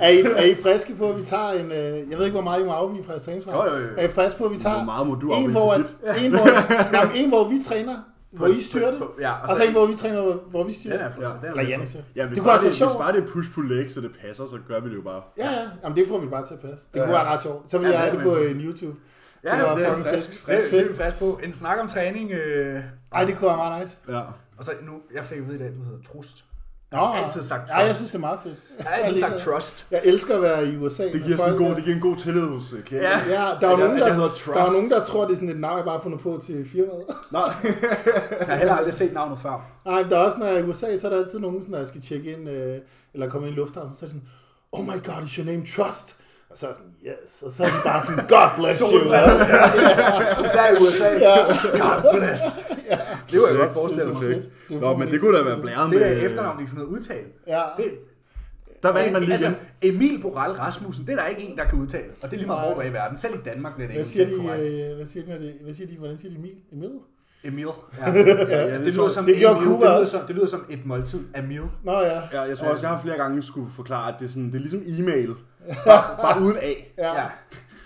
Speaker 3: Er, I, er I friske på, at vi tager en... Øh, jeg ved ikke, hvor meget I må afvige fra jeres træningsprogram.
Speaker 1: Jo, jo, jo.
Speaker 3: Er I friske på, at vi tager
Speaker 2: Hvor meget må du
Speaker 3: en,
Speaker 2: afvige
Speaker 3: hvor,
Speaker 2: fra
Speaker 3: at, en, hvor, jamen, en, hvor vi træner, hvor I styrer det,
Speaker 1: på- ja, og
Speaker 3: og så
Speaker 1: så-
Speaker 3: en, hvor vi træner, hvor- hvor vi
Speaker 1: Den
Speaker 3: styrer det.
Speaker 1: er, ja. den er
Speaker 3: Eller Janne siger.
Speaker 2: Ja, hvis,
Speaker 3: det
Speaker 2: det
Speaker 3: kunne
Speaker 2: bare,
Speaker 3: altså
Speaker 2: det,
Speaker 3: være
Speaker 2: hvis
Speaker 3: sjovt.
Speaker 2: bare det er push pull leg, så det passer, så gør vi det jo bare.
Speaker 3: Ja, ja. Jamen, det får vi bare til at passe. Det
Speaker 1: Ja,
Speaker 3: kunne
Speaker 1: ja.
Speaker 3: være ret sjovt. Så vil
Speaker 1: Ja,
Speaker 3: jeg
Speaker 1: det
Speaker 3: have det
Speaker 1: er
Speaker 3: på
Speaker 1: det.
Speaker 3: en YouTube.
Speaker 1: Ja,
Speaker 3: det var
Speaker 1: det, er
Speaker 3: fucking
Speaker 1: frisk,
Speaker 3: fedt.
Speaker 1: frisk, det, det er
Speaker 3: Fedt.
Speaker 1: vi fast på. En snak om træning. Øh,
Speaker 3: Ej, det kunne være meget nice.
Speaker 2: Ja.
Speaker 1: og så nu, jeg fik at vide i dag, at du hedder Trust.
Speaker 3: Nå,
Speaker 1: har altid sagt
Speaker 3: ja, jeg
Speaker 1: trust.
Speaker 3: synes, det er meget fedt.
Speaker 1: Jeg har altid sagt trust.
Speaker 3: Jeg elsker at være i USA.
Speaker 2: Det
Speaker 3: med
Speaker 2: giver, sådan en god,
Speaker 3: folk, der-
Speaker 2: det giver en god tillid hos uh, klienten.
Speaker 1: Ja.
Speaker 3: Ja, der er, jo
Speaker 2: Jeg-
Speaker 3: nogen, der,
Speaker 2: jeg hedder
Speaker 3: der er jo
Speaker 2: Trust.
Speaker 3: nogen, der tror, det er sådan et navn, jeg bare har fundet på til firmaet.
Speaker 2: Nej.
Speaker 1: Jeg har heller aldrig set navnet før.
Speaker 3: Nej, men der er også, når jeg er i USA, så er der altid nogen, sådan, når jeg skal tjekke ind, øh, eller komme ind i lufthavnen, så er det sådan, oh my god, is your name Trust? Og så er jeg sådan, yes. Og så er de bare sådan, God bless you.
Speaker 1: Solbriller. Især i USA.
Speaker 3: Ja.
Speaker 1: God bless. Det var jeg godt forestille mig.
Speaker 2: Perfekt.
Speaker 3: Det er
Speaker 2: Nå, men
Speaker 3: fucking
Speaker 2: det kunne da
Speaker 3: fedt.
Speaker 2: være blæren
Speaker 1: Det
Speaker 2: med...
Speaker 1: der efternavn, de finder ud af at udtale.
Speaker 3: Ja.
Speaker 1: Det,
Speaker 2: Der vandt man lige
Speaker 1: altså,
Speaker 2: igen.
Speaker 1: Emil Boral Rasmussen, det er der ikke en, der kan udtale. Og det er lige meget hvor du er i verden. Selv i Danmark bliver det
Speaker 3: Hvad
Speaker 1: ikke
Speaker 3: siger
Speaker 1: udtalt
Speaker 3: de,
Speaker 1: korrekt.
Speaker 3: øh, hvad siger de, når det, hvad siger de, hvordan siger de Emil? Emil?
Speaker 1: Emil. Ja, ja, ja, det, det, lyder som det, gjorde Emil.
Speaker 3: Cuba
Speaker 1: det, lyder
Speaker 3: også.
Speaker 1: som, det lyder som et måltid af meal.
Speaker 3: Nå ja.
Speaker 2: Ja, jeg tror også, jeg har flere gange skulle forklare, at det er, sådan, det er ligesom e-mail, bare, bare uden A.
Speaker 3: Ja.
Speaker 1: Ja.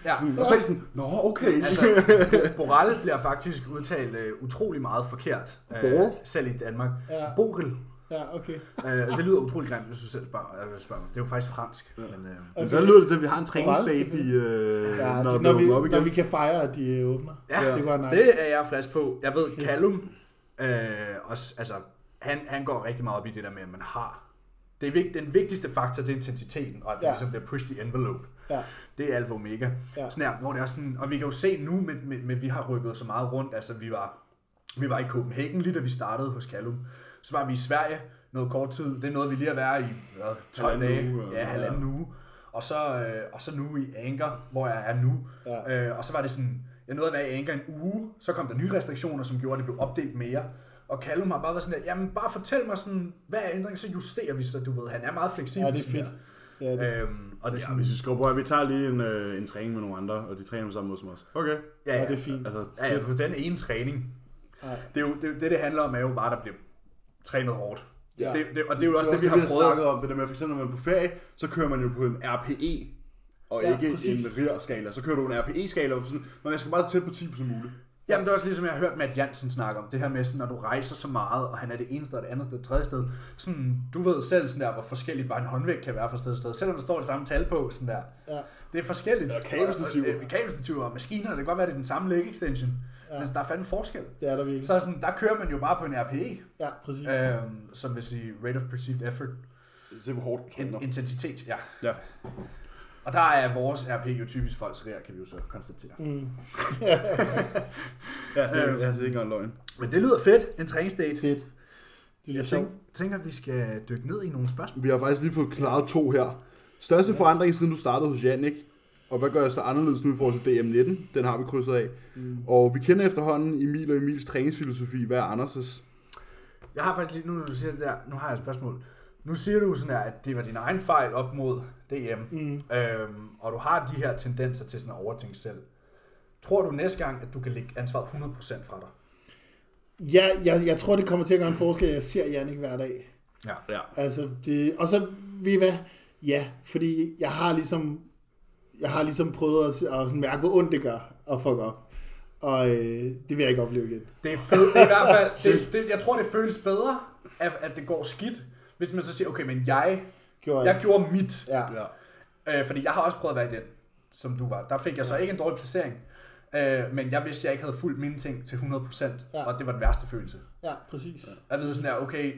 Speaker 1: ja.
Speaker 2: Sådan, og så er det sådan, nå, okay.
Speaker 1: Altså, Boral bliver faktisk udtalt øh, utrolig meget forkert, øh,
Speaker 2: Borel? selv
Speaker 1: selv i Danmark.
Speaker 3: Ja.
Speaker 1: Borel.
Speaker 3: ja, okay.
Speaker 1: Øh, det lyder utrolig grimt, hvis du selv spørger. øh, spørger mig. Det er jo faktisk fransk. Ja. Men, øh,
Speaker 2: Altså, Men så lyder det til, at vi har en træningsdag, i,
Speaker 3: selvfølgelig.
Speaker 2: øh,
Speaker 3: Ja,
Speaker 2: når,
Speaker 3: når,
Speaker 2: det
Speaker 3: når, vi,
Speaker 2: bliver åbnet op igen.
Speaker 3: når vi kan fejre, at de øh, åbner.
Speaker 1: ja,
Speaker 3: det var nice.
Speaker 1: det er jeg flash på. Jeg ved, Callum, øh, også, altså, han, han går rigtig meget op i det der med, at man har. Det er vigt, den vigtigste faktor, det er intensiteten, og at det
Speaker 3: Ja.
Speaker 1: ja. ligesom bliver pushed i envelope.
Speaker 3: Ja.
Speaker 1: Det er alfa og omega.
Speaker 3: Ja.
Speaker 1: Ja. Sådan her, hvor det er sådan, og vi kan jo se nu, med, med, med, vi har rykket så meget rundt, altså vi var, vi var i Copenhagen lige da vi startede hos Callum, så var vi i Sverige noget kort tid, det er noget vi lige har været i hvad, 12
Speaker 2: Halvanden
Speaker 1: dage,
Speaker 2: uge, eller
Speaker 1: ja,
Speaker 2: hvad?
Speaker 1: halvanden uge, og så, øh, og så nu i Anker, hvor jeg er nu,
Speaker 3: Ja.
Speaker 1: øh, og så var det sådan, jeg nåede at være i Anker en uge, så kom der nye restriktioner, som gjorde, at det blev opdelt mere, og Callum har bare været sådan, at, jamen bare fortæl mig sådan, hvad er ændringen, så justerer vi så, du ved, han er meget fleksibel.
Speaker 3: Ja, det er
Speaker 1: sådan
Speaker 3: fedt. Ja, det,
Speaker 1: der. Øhm, og det er
Speaker 2: Ja,
Speaker 1: sådan,
Speaker 2: hvis vi skal prøve, vi tager lige en, øh, en træning med nogle andre, og de træner på samme måde som os. Okay.
Speaker 1: ja,
Speaker 3: ja, det er fint.
Speaker 2: Altså,
Speaker 1: Ja, ja, på den ene træning.
Speaker 3: Ej.
Speaker 1: Det, er jo, det, er jo- det, det handler om, er jo bare, at der bliver trænet hårdt.
Speaker 3: Ja.
Speaker 1: Ja. Det, det, og det er jo også
Speaker 2: det,
Speaker 1: det,
Speaker 2: det,
Speaker 1: vi har prøvet.
Speaker 2: snakket om, det der med, for eksempel når man er på ferie, så kører man jo på en RPE, og
Speaker 3: Ja,
Speaker 2: ja, ikke
Speaker 3: præcis.
Speaker 2: præcis. en RIR-skala. Så kører du en RPE-skala, og sådan, når jeg skal bare så tæt på 10 som muligt.
Speaker 1: Jamen, det er også ligesom, jeg har hørt Matt Jansen snakke om, det her med, sådan, når du rejser så meget, og han er det ene sted, og det andet sted, det tredje sted. Sådan, du ved selv, sådan der, hvor forskelligt bare en håndvægt kan være fra sted til sted, selvom der står det samme tal på. Sådan der.
Speaker 3: ja.
Speaker 1: Det er forskelligt.
Speaker 2: Eller kabelstativer.
Speaker 1: Og- og- øh, Kabelstativer og maskiner, det kan godt være, det er den samme leg extension. Ja. Men der er fandme forskel.
Speaker 3: det er der virkelig.
Speaker 1: Så er sådan, der kører man jo bare på en RPE,
Speaker 3: Ja, præcis.
Speaker 1: øhm, som vil sige Rate of Perceived Effort.
Speaker 2: Se, hvor hårdt du træner.
Speaker 1: In- intensitet, ja.
Speaker 2: Ja.
Speaker 1: Og der er vores RP jo typisk folks ræer, kan vi jo så konstatere. Mm.
Speaker 2: Ja, det,
Speaker 1: Øhm.
Speaker 2: er, ja, det er ikke engang løgn.
Speaker 1: Men det lyder fedt, en træningsdate.
Speaker 3: Fedt. Det lyder
Speaker 1: Jeg
Speaker 3: sjovt.
Speaker 1: tænker, tænker, vi skal dykke ned i nogle spørgsmål.
Speaker 2: Vi har faktisk lige fået klaret to her. Største yes. forandring siden du startede hos Jannik, og hvad gør jeg så anderledes nu i forhold til DM19? Den har vi krydset af. Mm. Og vi kender efterhånden Emil og Emils træningsfilosofi. Hvad er Anders'
Speaker 1: Jeg har faktisk lige, nu når du siger det der, nu har jeg et spørgsmål. Nu siger du sådan her, at det var din egen fejl op mod DM, mm. øhm, og du har de her tendenser til sådan at overtænke selv. Tror du næste gang, at du kan lægge ansvaret 100% fra dig?
Speaker 3: Ja, jeg, jeg tror, det kommer til at gøre en forskel. Jeg ser Jannik hver dag.
Speaker 1: Ja.
Speaker 2: Ja.
Speaker 3: Altså, det, og så, ved I hvad? Ja, fordi jeg har ligesom, jeg har ligesom prøvet at, at sådan mærke, hvor ondt det gør at fuck op. Og øh, det vil jeg ikke opleve igen.
Speaker 1: Det er, fed, det er i hvert fald, det, det, jeg tror, det føles bedre, at, at det går skidt, hvis man så siger, okay, men jeg,
Speaker 3: Gjorde
Speaker 1: jeg gjorde mit.
Speaker 3: Ja,
Speaker 2: Ja.
Speaker 1: Øh, fordi jeg har også prøvet at være i den, som du var. Der fik jeg så ikke en dårlig placering. Øh, men jeg vidste, at jeg ikke havde fulgt mine ting til 100%,
Speaker 3: Ja.
Speaker 1: ja. og det var den værste følelse.
Speaker 3: ja præcis.
Speaker 1: At vide sådan her, okay,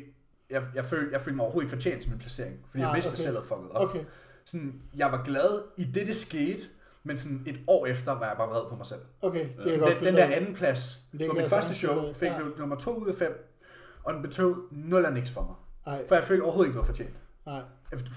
Speaker 1: jeg, jeg, følte, jeg følte mig overhovedet ikke fortjent til min placering, fordi
Speaker 3: Nej,
Speaker 1: jeg vidste, at
Speaker 3: okay.
Speaker 1: jeg selv havde fucket op.
Speaker 3: Okay,
Speaker 1: Sådan, jeg var glad i det, det skete, men sådan et år efter var jeg bare vred på mig selv.
Speaker 3: okay. Det kan jeg godt
Speaker 1: Den,
Speaker 3: finde
Speaker 1: den
Speaker 3: ud af.
Speaker 1: der anden plads
Speaker 3: kan
Speaker 1: på
Speaker 3: jeg
Speaker 1: mit første
Speaker 3: sagtens finde ud
Speaker 1: show
Speaker 3: af.
Speaker 1: fik
Speaker 3: Ja.
Speaker 1: ja. nummer 2 ud af 5, og den betød 0 og niks for mig.
Speaker 3: Ej,
Speaker 1: For jeg følte overhovedet ikke, det var fortjent.
Speaker 3: nej.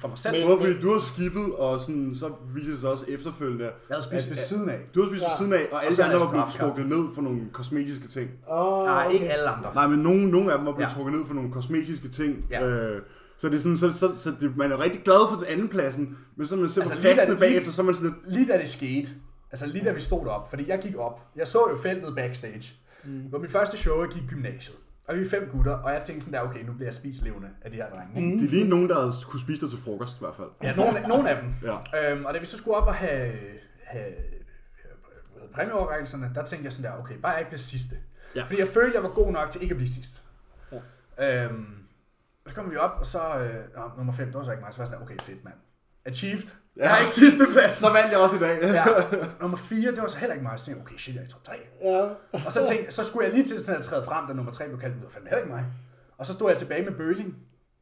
Speaker 1: For mig selv.
Speaker 3: Men-
Speaker 1: Men,
Speaker 2: Både fordi du har skippet, og sådan, så viser det sig også efterfølgende. at-
Speaker 1: jeg havde
Speaker 3: Altså,
Speaker 1: spist ved siden af.
Speaker 2: Du har spist
Speaker 3: Ja.
Speaker 2: ja. ved siden af, og alle
Speaker 1: så
Speaker 2: de
Speaker 1: er
Speaker 2: andre
Speaker 1: der
Speaker 2: var blevet
Speaker 1: strafskærm.
Speaker 2: trukket ned for nogle kosmetiske ting.
Speaker 3: Åh,
Speaker 1: Nej, ikke
Speaker 3: okay.
Speaker 1: alle andre.
Speaker 2: Nej, men nogen, nogen af dem var blevet
Speaker 1: Ja.
Speaker 2: ja. trukket ned for nogle kosmetiske ting.
Speaker 1: Ja.
Speaker 2: Øh, så det er sådan, så, så, så det, man er rigtig glad for den anden pladsen, men så når man ser altså,
Speaker 1: Altså,
Speaker 2: på
Speaker 1: lige da-
Speaker 2: faxene
Speaker 1: lige-
Speaker 2: bagefter, så er man sådan lidt,
Speaker 1: lige da det skete, altså lige da vi stod op, fordi jeg gik op, jeg så jo feltet backstage. Mm. Det var mit første show, jeg gik i gymnasiet. Og vi er fem gutter, og jeg tænkte sådan der, okay, nu bliver jeg spist levende af de her drenge. Mm.
Speaker 2: det er lige nogen, der havde kunne spise dig til frokost i hvert fald.
Speaker 1: Ja, nogle, af- nogle af dem.
Speaker 2: Ja.
Speaker 1: Øhm, og da vi så skulle op og have, have hvad hedder, præmieoverrækkelserne, der tænkte jeg sådan der, okay, bare jeg ikke bliver sidste.
Speaker 2: Ja.
Speaker 1: Ja. Fordi jeg følte, jeg var god nok til ikke at blive sidst. Ja. Øhm, så kom vi op, og så, øh, nå, nummer 5, det var så ikke mig, så var jeg sådan der, okay, fedt mand. Achieved. Ja. Jeg har ikke sidste plads.
Speaker 2: Så vandt jeg også i dag.
Speaker 1: Ja. Nummer 4, det var så heller ikke mig. Så tænkte jeg, okay, shit, jeg er i top 3.
Speaker 3: Ja,
Speaker 1: Og så tænkte så skulle jeg lige til sådan at træde frem, da nummer 3 blev kaldt, det var fandme heller ikke mig. Og så stod jeg tilbage med bøling.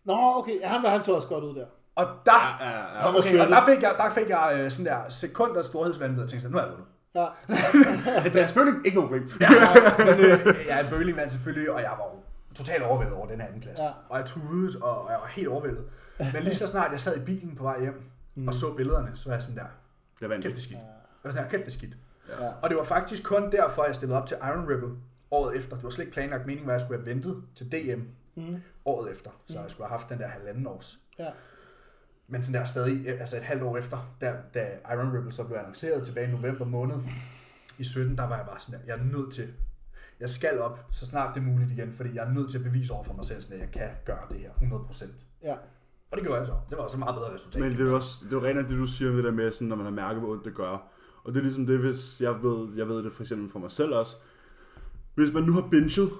Speaker 3: nå, okay. Ja, han, han tog også godt ud der.
Speaker 1: Og der,
Speaker 2: Ja, ja, ja.
Speaker 3: Han var
Speaker 1: okay, og
Speaker 3: svettet.
Speaker 1: der fik jeg, der fik jeg øh, sådan der sekunder storhedsvandvid, og tænkte sådan, nu er jeg vundet.
Speaker 3: Ja,
Speaker 2: Det er selvfølgelig ikke noget problem. Ja.
Speaker 1: Men øh, jeg er en bølingmand selvfølgelig, og jeg var jo totalt overvældet over den her anden klasse.
Speaker 3: Ja.
Speaker 1: Ja. Og jeg tudede, og, og jeg var helt overvældet. Men lige så snart jeg sad i bilen på vej hjem, og så billederne, så var jeg sådan der,
Speaker 2: Jeg vandt.
Speaker 1: kæft det er skidt. Jeg var sådan der, kæft det er skidt.
Speaker 3: ja.
Speaker 1: Og det var faktisk kun derfor, jeg stillede op til Iron Rebel året efter. Det var slet ikke planlagt meningen, var, at jeg skulle have ventet til DM mm. året efter. Så jeg skulle have haft den der halvanden års.
Speaker 3: ja.
Speaker 1: Men sådan der stadig, øh, altså et halvt år efter, da, da Iron Rebel så blev annonceret tilbage i november måned i 17, der var jeg bare sådan der, jeg er nødt til. jeg skal op, så snart det er muligt igen, fordi jeg er nødt til at bevise over for mig selv, sådan, at jeg kan gøre det her 100%.
Speaker 3: Ja.
Speaker 1: Og det gjorde jeg så. Det var også et meget bedre resultat.
Speaker 2: Men det er jo også, det er jo rent nok det, du siger om det der med, sådan, når man har mærket, hvor ondt det gør. Og det er ligesom det, hvis jeg ved, jeg ved det for eksempel for mig selv også. Hvis man nu har binget,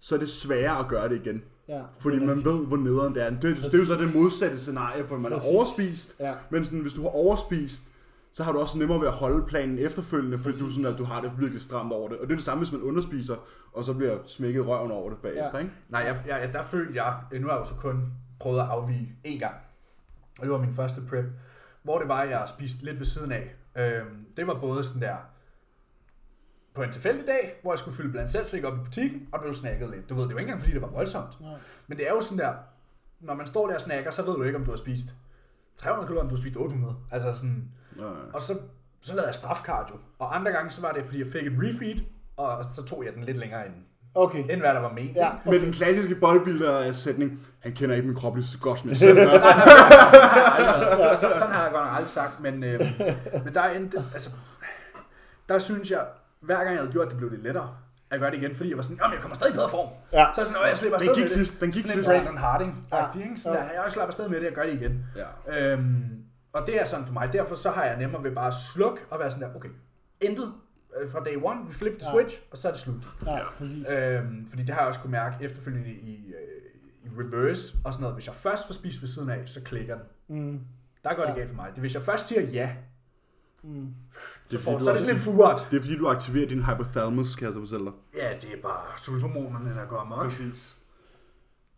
Speaker 2: så er det sværere at gøre det igen.
Speaker 3: ja.
Speaker 2: Fordi man ved, hvor nederen det er. Det, det er jo så det modsatte scenarie, hvor man er
Speaker 3: Præcis.
Speaker 2: overspist.
Speaker 3: Ja.
Speaker 2: Men sådan, hvis du har overspist, så har du også nemmere ved at holde planen efterfølgende, fordi du, sådan, at du har det virkelig stramt over det. Og det er det samme, hvis man underspiser, og så bliver smækket røven over det bagefter,
Speaker 3: Ja.
Speaker 2: ikke?
Speaker 1: Nej, jeg, jeg, jeg- der følte jeg, øh, nu har jeg jo så kun prøvet at afvige én gang. Og det var min første prep, hvor det var, jeg spiste lidt ved siden af. Øhm, det var både sådan der, på en tilfældig dag, hvor jeg skulle fylde blandt selv slik op i butikken, og blev snakket lidt. Du ved, det var ikke engang, fordi det var voldsomt.
Speaker 3: Nej.
Speaker 1: Men det er jo sådan der, når man står der og snakker, så ved du ikke, om du har spist 300 kalorier, om du har spist 800. Altså sådan,
Speaker 2: Nej.
Speaker 1: og så, så lavede jeg strafkardio. Og andre gange, så var det, fordi jeg fik et refeed, og så tog jeg den lidt længere end,
Speaker 3: Okay.
Speaker 1: end hvad der var ment.
Speaker 3: Ja.
Speaker 2: Med den klassiske bodybuilder-sætning, han kender ikke min krop lige så godt, som jeg selv gør.
Speaker 1: Så- sådan har jeg godt nok aldrig sagt, men, øh, men der endte, altså, der synes jeg, hver gang jeg havde gjort det, blev det lettere at gøre det igen, fordi jeg var sådan, jamen jeg kommer stadig i bedre form.
Speaker 3: Ja.
Speaker 1: Så er jeg sådan, "Åh, jeg slipper
Speaker 2: Den
Speaker 1: afsted
Speaker 2: gik
Speaker 1: med det.
Speaker 2: sidst, den gik
Speaker 1: sådan en
Speaker 2: sidst.
Speaker 1: Brandon Harding,
Speaker 3: Ja.
Speaker 1: ja. ikke? Sådan, ja. jeg slapper afsted med det, jeg gør det igen.
Speaker 2: Ja.
Speaker 1: Øhm, og det er sådan for mig, derfor så har jeg nemmere ved bare at slukke og være sådan der, okay, intet øh, fra day one, vi flip the switch, og så er det slut.
Speaker 3: Nej, præcis.
Speaker 1: Øhm, fordi det har jeg også kunne mærke efterfølgende i, øh, i reverse og sådan noget. Hvis jeg først får spist ved siden af, så klikker den.
Speaker 3: Mm.
Speaker 1: Der går det
Speaker 3: Ja.
Speaker 1: galt for mig. Det, er, hvis jeg først siger ja,
Speaker 2: Det er,
Speaker 1: for, så er
Speaker 2: fordi, du
Speaker 1: det sådan en
Speaker 2: aktiverer,
Speaker 1: furet.
Speaker 2: det er fordi, du aktiverer din hypothalamus, kan jeg så fortælle dig.
Speaker 1: Ja, det er bare sulfhormonerne, der går amok.
Speaker 2: Præcis.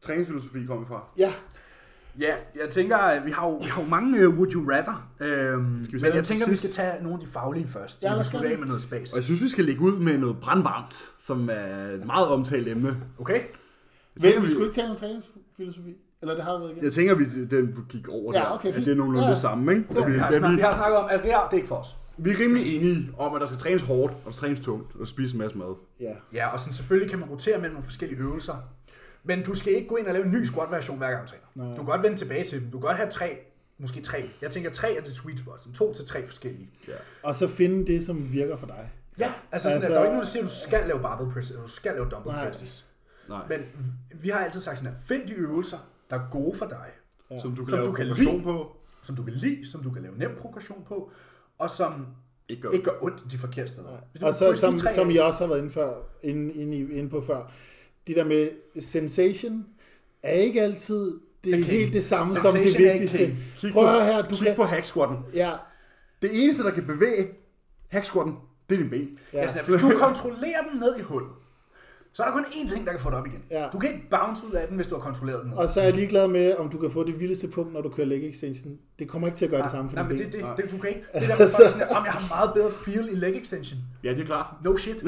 Speaker 2: Træningsfilosofi kommer fra.
Speaker 3: Ja,
Speaker 1: Ja, jeg tænker, at vi har jo, vi har jo mange øh, would you rather. Øhm,
Speaker 2: vi så
Speaker 1: men
Speaker 2: lave
Speaker 1: jeg
Speaker 2: den
Speaker 1: tænker,
Speaker 2: til
Speaker 1: vi skal
Speaker 2: sidst?
Speaker 1: tage nogle af de faglige først.
Speaker 3: Ja,
Speaker 1: Ja,
Speaker 3: lad
Speaker 1: vi
Speaker 3: os
Speaker 1: skal
Speaker 3: gøre
Speaker 1: af
Speaker 3: det.
Speaker 1: med noget
Speaker 2: Og
Speaker 1: space.
Speaker 2: jeg synes, vi skal lægge ud med noget brandvarmt, som er et meget omtalt emne.
Speaker 1: Okay?
Speaker 2: Jeg
Speaker 3: men
Speaker 2: tænker,
Speaker 3: vi skulle
Speaker 2: vi,
Speaker 3: ikke tale om træningsfilosofi. Eller det har vi været igen.
Speaker 2: jeg tænker, vi den gik over
Speaker 3: Ja,
Speaker 2: der,
Speaker 3: okay,
Speaker 2: at
Speaker 3: fint.
Speaker 2: det er nogenlunde
Speaker 3: Ja,
Speaker 2: det
Speaker 3: ja.
Speaker 2: samme. Ikke? At
Speaker 1: Vi,
Speaker 2: vi,
Speaker 1: har
Speaker 2: at
Speaker 1: snakket,
Speaker 2: vi,
Speaker 1: vi har snakket om, at rær, det er ikke for os.
Speaker 2: vi er rimelig enige om, at der skal trænes hårdt, og der skal trænes tungt, og spise en masse mad.
Speaker 3: Ja.
Speaker 1: Ja, og sådan, selvfølgelig kan man rotere mellem nogle forskellige øvelser. Men du skal ikke gå ind og lave en ny squat-version hver gang du træner.
Speaker 3: Nej.
Speaker 1: Du kan godt vende tilbage til dem. Du kan godt have tre, måske tre. Jeg tænker, tre er det sweet spot. Sådan to til tre forskellige.
Speaker 2: Ja.
Speaker 3: Og så finde det, som virker for dig.
Speaker 1: Ja, altså, sådan,
Speaker 3: Altså-
Speaker 1: altså der er jo ikke nogen, der siger, at du skal lave barbell presses, eller du skal lave dumbbell
Speaker 3: Nej.
Speaker 1: presses.
Speaker 2: Nej.
Speaker 1: Men vi har altid sagt sådan her, find de øvelser, der er gode for dig,
Speaker 2: Som du kan
Speaker 1: Som
Speaker 2: lave
Speaker 1: du kan
Speaker 2: progression
Speaker 1: lide.
Speaker 2: på.
Speaker 1: som du kan lide, som du kan lave nem progression på, og som
Speaker 2: Ikke gør
Speaker 1: ikke gør ondt de forkerte steder. Hvis du
Speaker 3: Og
Speaker 1: kan
Speaker 3: så,
Speaker 1: krydse de
Speaker 3: som,
Speaker 1: tre
Speaker 3: som
Speaker 1: af,
Speaker 3: jeg også har været inde, før, inde, inde, i- inde på før, det der med sensation er ikke altid det er
Speaker 1: Okay.
Speaker 3: helt det samme som
Speaker 1: Sensation
Speaker 3: det
Speaker 1: er ikke
Speaker 3: vigtigste.
Speaker 1: king.
Speaker 2: Kig
Speaker 3: Prøv
Speaker 2: på,
Speaker 3: at høre her, du
Speaker 2: kig
Speaker 3: kan...
Speaker 2: på hack squatten.
Speaker 3: Ja,
Speaker 2: Det eneste, der kan bevæge hack squatten, det er din ben.
Speaker 1: Ja. Altså, hvis du kontrollerer den ned i hullet, så er der kun én ting, der kan få dig op igen.
Speaker 3: Ja.
Speaker 1: Du kan ikke bounce ud af den, hvis du har kontrolleret den ned.
Speaker 3: og så er jeg ligeglad med, om du kan få det vildeste pump, når du kører leg extension. Det kommer ikke til at gøre det samme for
Speaker 1: Ah, Nej,
Speaker 3: dine
Speaker 1: men
Speaker 3: ben.
Speaker 1: det, det, det, du kan ikke. Det der med folk sådan, at, "Om, jeg har meget bedre feel i leg extension.
Speaker 2: Ja, det er klart.
Speaker 1: No shit.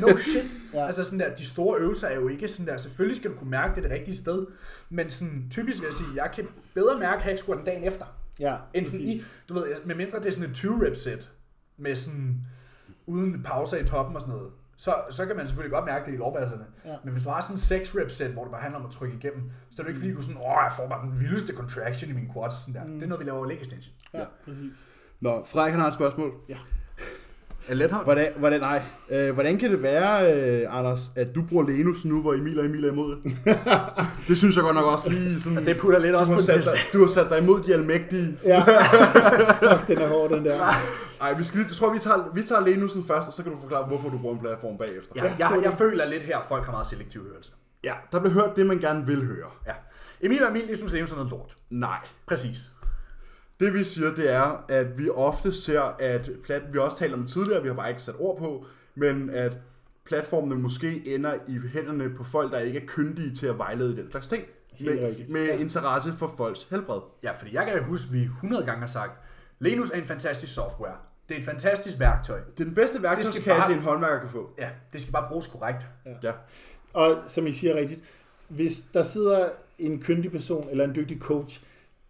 Speaker 1: No shit.
Speaker 3: Ja.
Speaker 1: ja. Altså sådan der, de store øvelser er jo ikke sådan der, selvfølgelig skal du kunne mærke det det rigtige sted, men sådan typisk vil jeg sige, jeg kan bedre mærke hack squat dagen efter,
Speaker 3: Ja,
Speaker 1: end sådan i, du ved, med mindre det er sådan et 20 rep set, med sådan, uden pauser i toppen og sådan noget, så, så kan man selvfølgelig godt mærke det i lårbasserne.
Speaker 3: Ja.
Speaker 1: Ja. Men hvis du har sådan en 6 rep set, hvor det bare handler om at trykke igennem, så er det ikke fordi, du er sådan, åh, jeg får bare den vildeste contraction i min quads. Sådan der. Mm. Det er noget, vi laver i leg extension.
Speaker 3: ja, præcis.
Speaker 2: Nå, Frederik, han har et spørgsmål.
Speaker 1: Er Letholm?
Speaker 2: Hvordan, hvordan, nej. Øh, hvordan kan det være, øh, Anders, at du bruger Lenus nu, hvor Emil og Emil er imod det? det synes jeg godt nok også lige sådan...
Speaker 1: Det putter lidt også
Speaker 2: du,
Speaker 1: på
Speaker 2: har
Speaker 1: den
Speaker 2: sat dig, du har sat dig imod de almægtige.
Speaker 3: Ja. Fuck, den er hård, den der.
Speaker 2: Ej, vi skal, lige- jeg tror, vi tager, vi tager Lenusen først, og så kan du forklare, hvorfor du bruger en platform bagefter.
Speaker 1: Ja, jeg, jeg føler lidt her, at folk har meget selektiv hørelse.
Speaker 2: ja. Der bliver hørt det, man gerne vil høre.
Speaker 1: Ja. Emil og Emil, de synes, det er sådan noget lort.
Speaker 2: Nej.
Speaker 1: Præcis.
Speaker 2: Det vi siger, det er, at vi ofte ser, at plat, vi har også talt om det tidligere, vi har bare ikke sat ord på, men at platformene måske ender i hænderne på folk, der ikke er kyndige til at vejlede i den slags ting.
Speaker 3: Helt
Speaker 2: med,
Speaker 3: rigtigt.
Speaker 2: med
Speaker 3: Ja.
Speaker 2: interesse for folks helbred.
Speaker 1: Ja, fordi jeg kan jo huske, at vi 100 gange har sagt, Linux er en fantastisk software. Det er et fantastisk værktøj.
Speaker 2: Det er den bedste værktøjskasse,
Speaker 1: bare-
Speaker 2: en håndværker kan få.
Speaker 1: Ja, det skal bare bruges korrekt.
Speaker 2: Ja.
Speaker 3: Og som I siger rigtigt, hvis der sidder en kyndig person eller en dygtig coach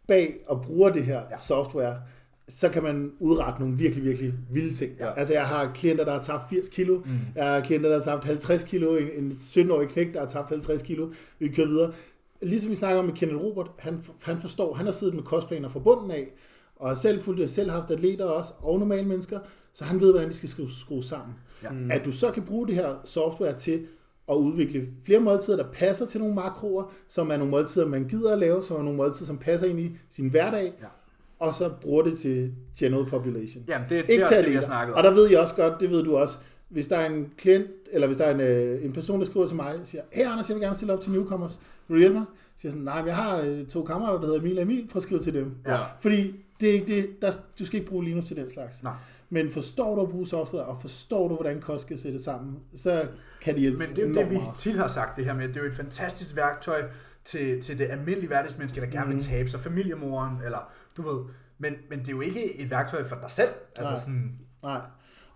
Speaker 3: bag og bruger det her ja. software, så kan man udrette nogle virkelig, virkelig vilde ting.
Speaker 2: Ja.
Speaker 3: Altså jeg har klienter, der har tabt 80 kilo, mm. jeg har klienter, der har tabt 50 kilo, en, en 17-årig knæk, der har tabt 50 kilo, vi kører videre. Ligesom vi snakker om med Kenneth Robert, han, han forstår, han har siddet med kostplaner fra bunden af, og har selv fulgt, selv haft atleter også, og normale mennesker, Så han ved, hvordan de skal skru- skrues sammen.
Speaker 1: Ja.
Speaker 3: Mm. At du så kan bruge det her software til at udvikle flere måltider, der passer til nogle makroer, som er nogle måltider, man gider at lave, som er nogle måltider, som passer ind i sin hverdag,
Speaker 1: Ja.
Speaker 3: og så bruger det til general population.
Speaker 1: Jamen, det, det,
Speaker 3: Ikke
Speaker 1: er også
Speaker 3: til
Speaker 1: det, vi har
Speaker 3: atleter.
Speaker 1: snakket
Speaker 3: Og
Speaker 1: om.
Speaker 3: der ved jeg også godt, det ved du også, hvis der er en klient, eller hvis der er en, øh, en person, der skriver til mig, og siger, hey Anders, jeg vil gerne stille op til Newcomers, vil du hjælpe mig? Så siger jeg sådan, nej, men jeg har øh, to kammerater, der hedder Emil og Emil, prøv at skrive til dem.
Speaker 1: Ja.
Speaker 3: Fordi det er ikke det, der, du skal ikke bruge Linux til den slags.
Speaker 1: Nej.
Speaker 3: Men forstår du at bruge software, og forstår du, hvordan kost skal sættes sammen, så kan det hjælpe
Speaker 1: Men det er jo det,
Speaker 3: enormt
Speaker 1: vi
Speaker 3: meget.
Speaker 1: tit har sagt det her med, at det er jo et fantastisk værktøj til, til det almindelige hverdagsmenneske, der gerne vil
Speaker 3: Mhm.
Speaker 1: tabe sig, familiemoren, eller du ved. Men, men det er jo ikke et værktøj for dig selv. Altså
Speaker 3: Nej.
Speaker 1: sådan,
Speaker 3: Nej.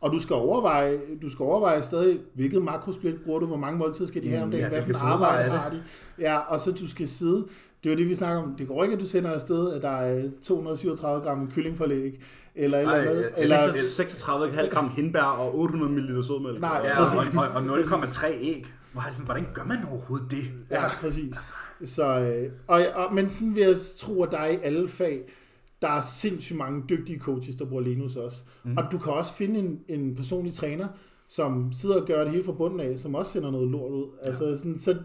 Speaker 3: Og du skal overveje, du skal overveje stadig, hvilket makrosplit bruger du, hvor mange måltider skal de have om dagen,
Speaker 1: Mm, ja,
Speaker 3: ja, hvad for
Speaker 1: hvilke
Speaker 3: et
Speaker 1: fødevarer
Speaker 3: arbejde
Speaker 1: er det?
Speaker 3: har de. Ja, og så du skal sidde, det var det vi snakker om, det går ikke, at du sender afsted, at der er 237 gram kyllingforlæg, eller et eller
Speaker 1: Ej,
Speaker 3: andet.
Speaker 1: ja,
Speaker 3: eller,
Speaker 2: 36,5 gram hindbær og 800 ml sødmælk.
Speaker 3: Nej,
Speaker 1: ja,
Speaker 3: præcis.
Speaker 1: og, og, og 0,3 æg. Hvor er det sådan, hvordan gør man overhovedet det?
Speaker 3: ja, præcis. Så, øh, og, og, men sådan vil jeg tro, at der er i alle fag, der er sindssygt mange dygtige coaches, der bruger Linus også. Mm. Og du kan også finde en, en personlig træner, som sidder og gør det hele fra bunden af, som også sender noget lort ud. Altså, ja. sådan, så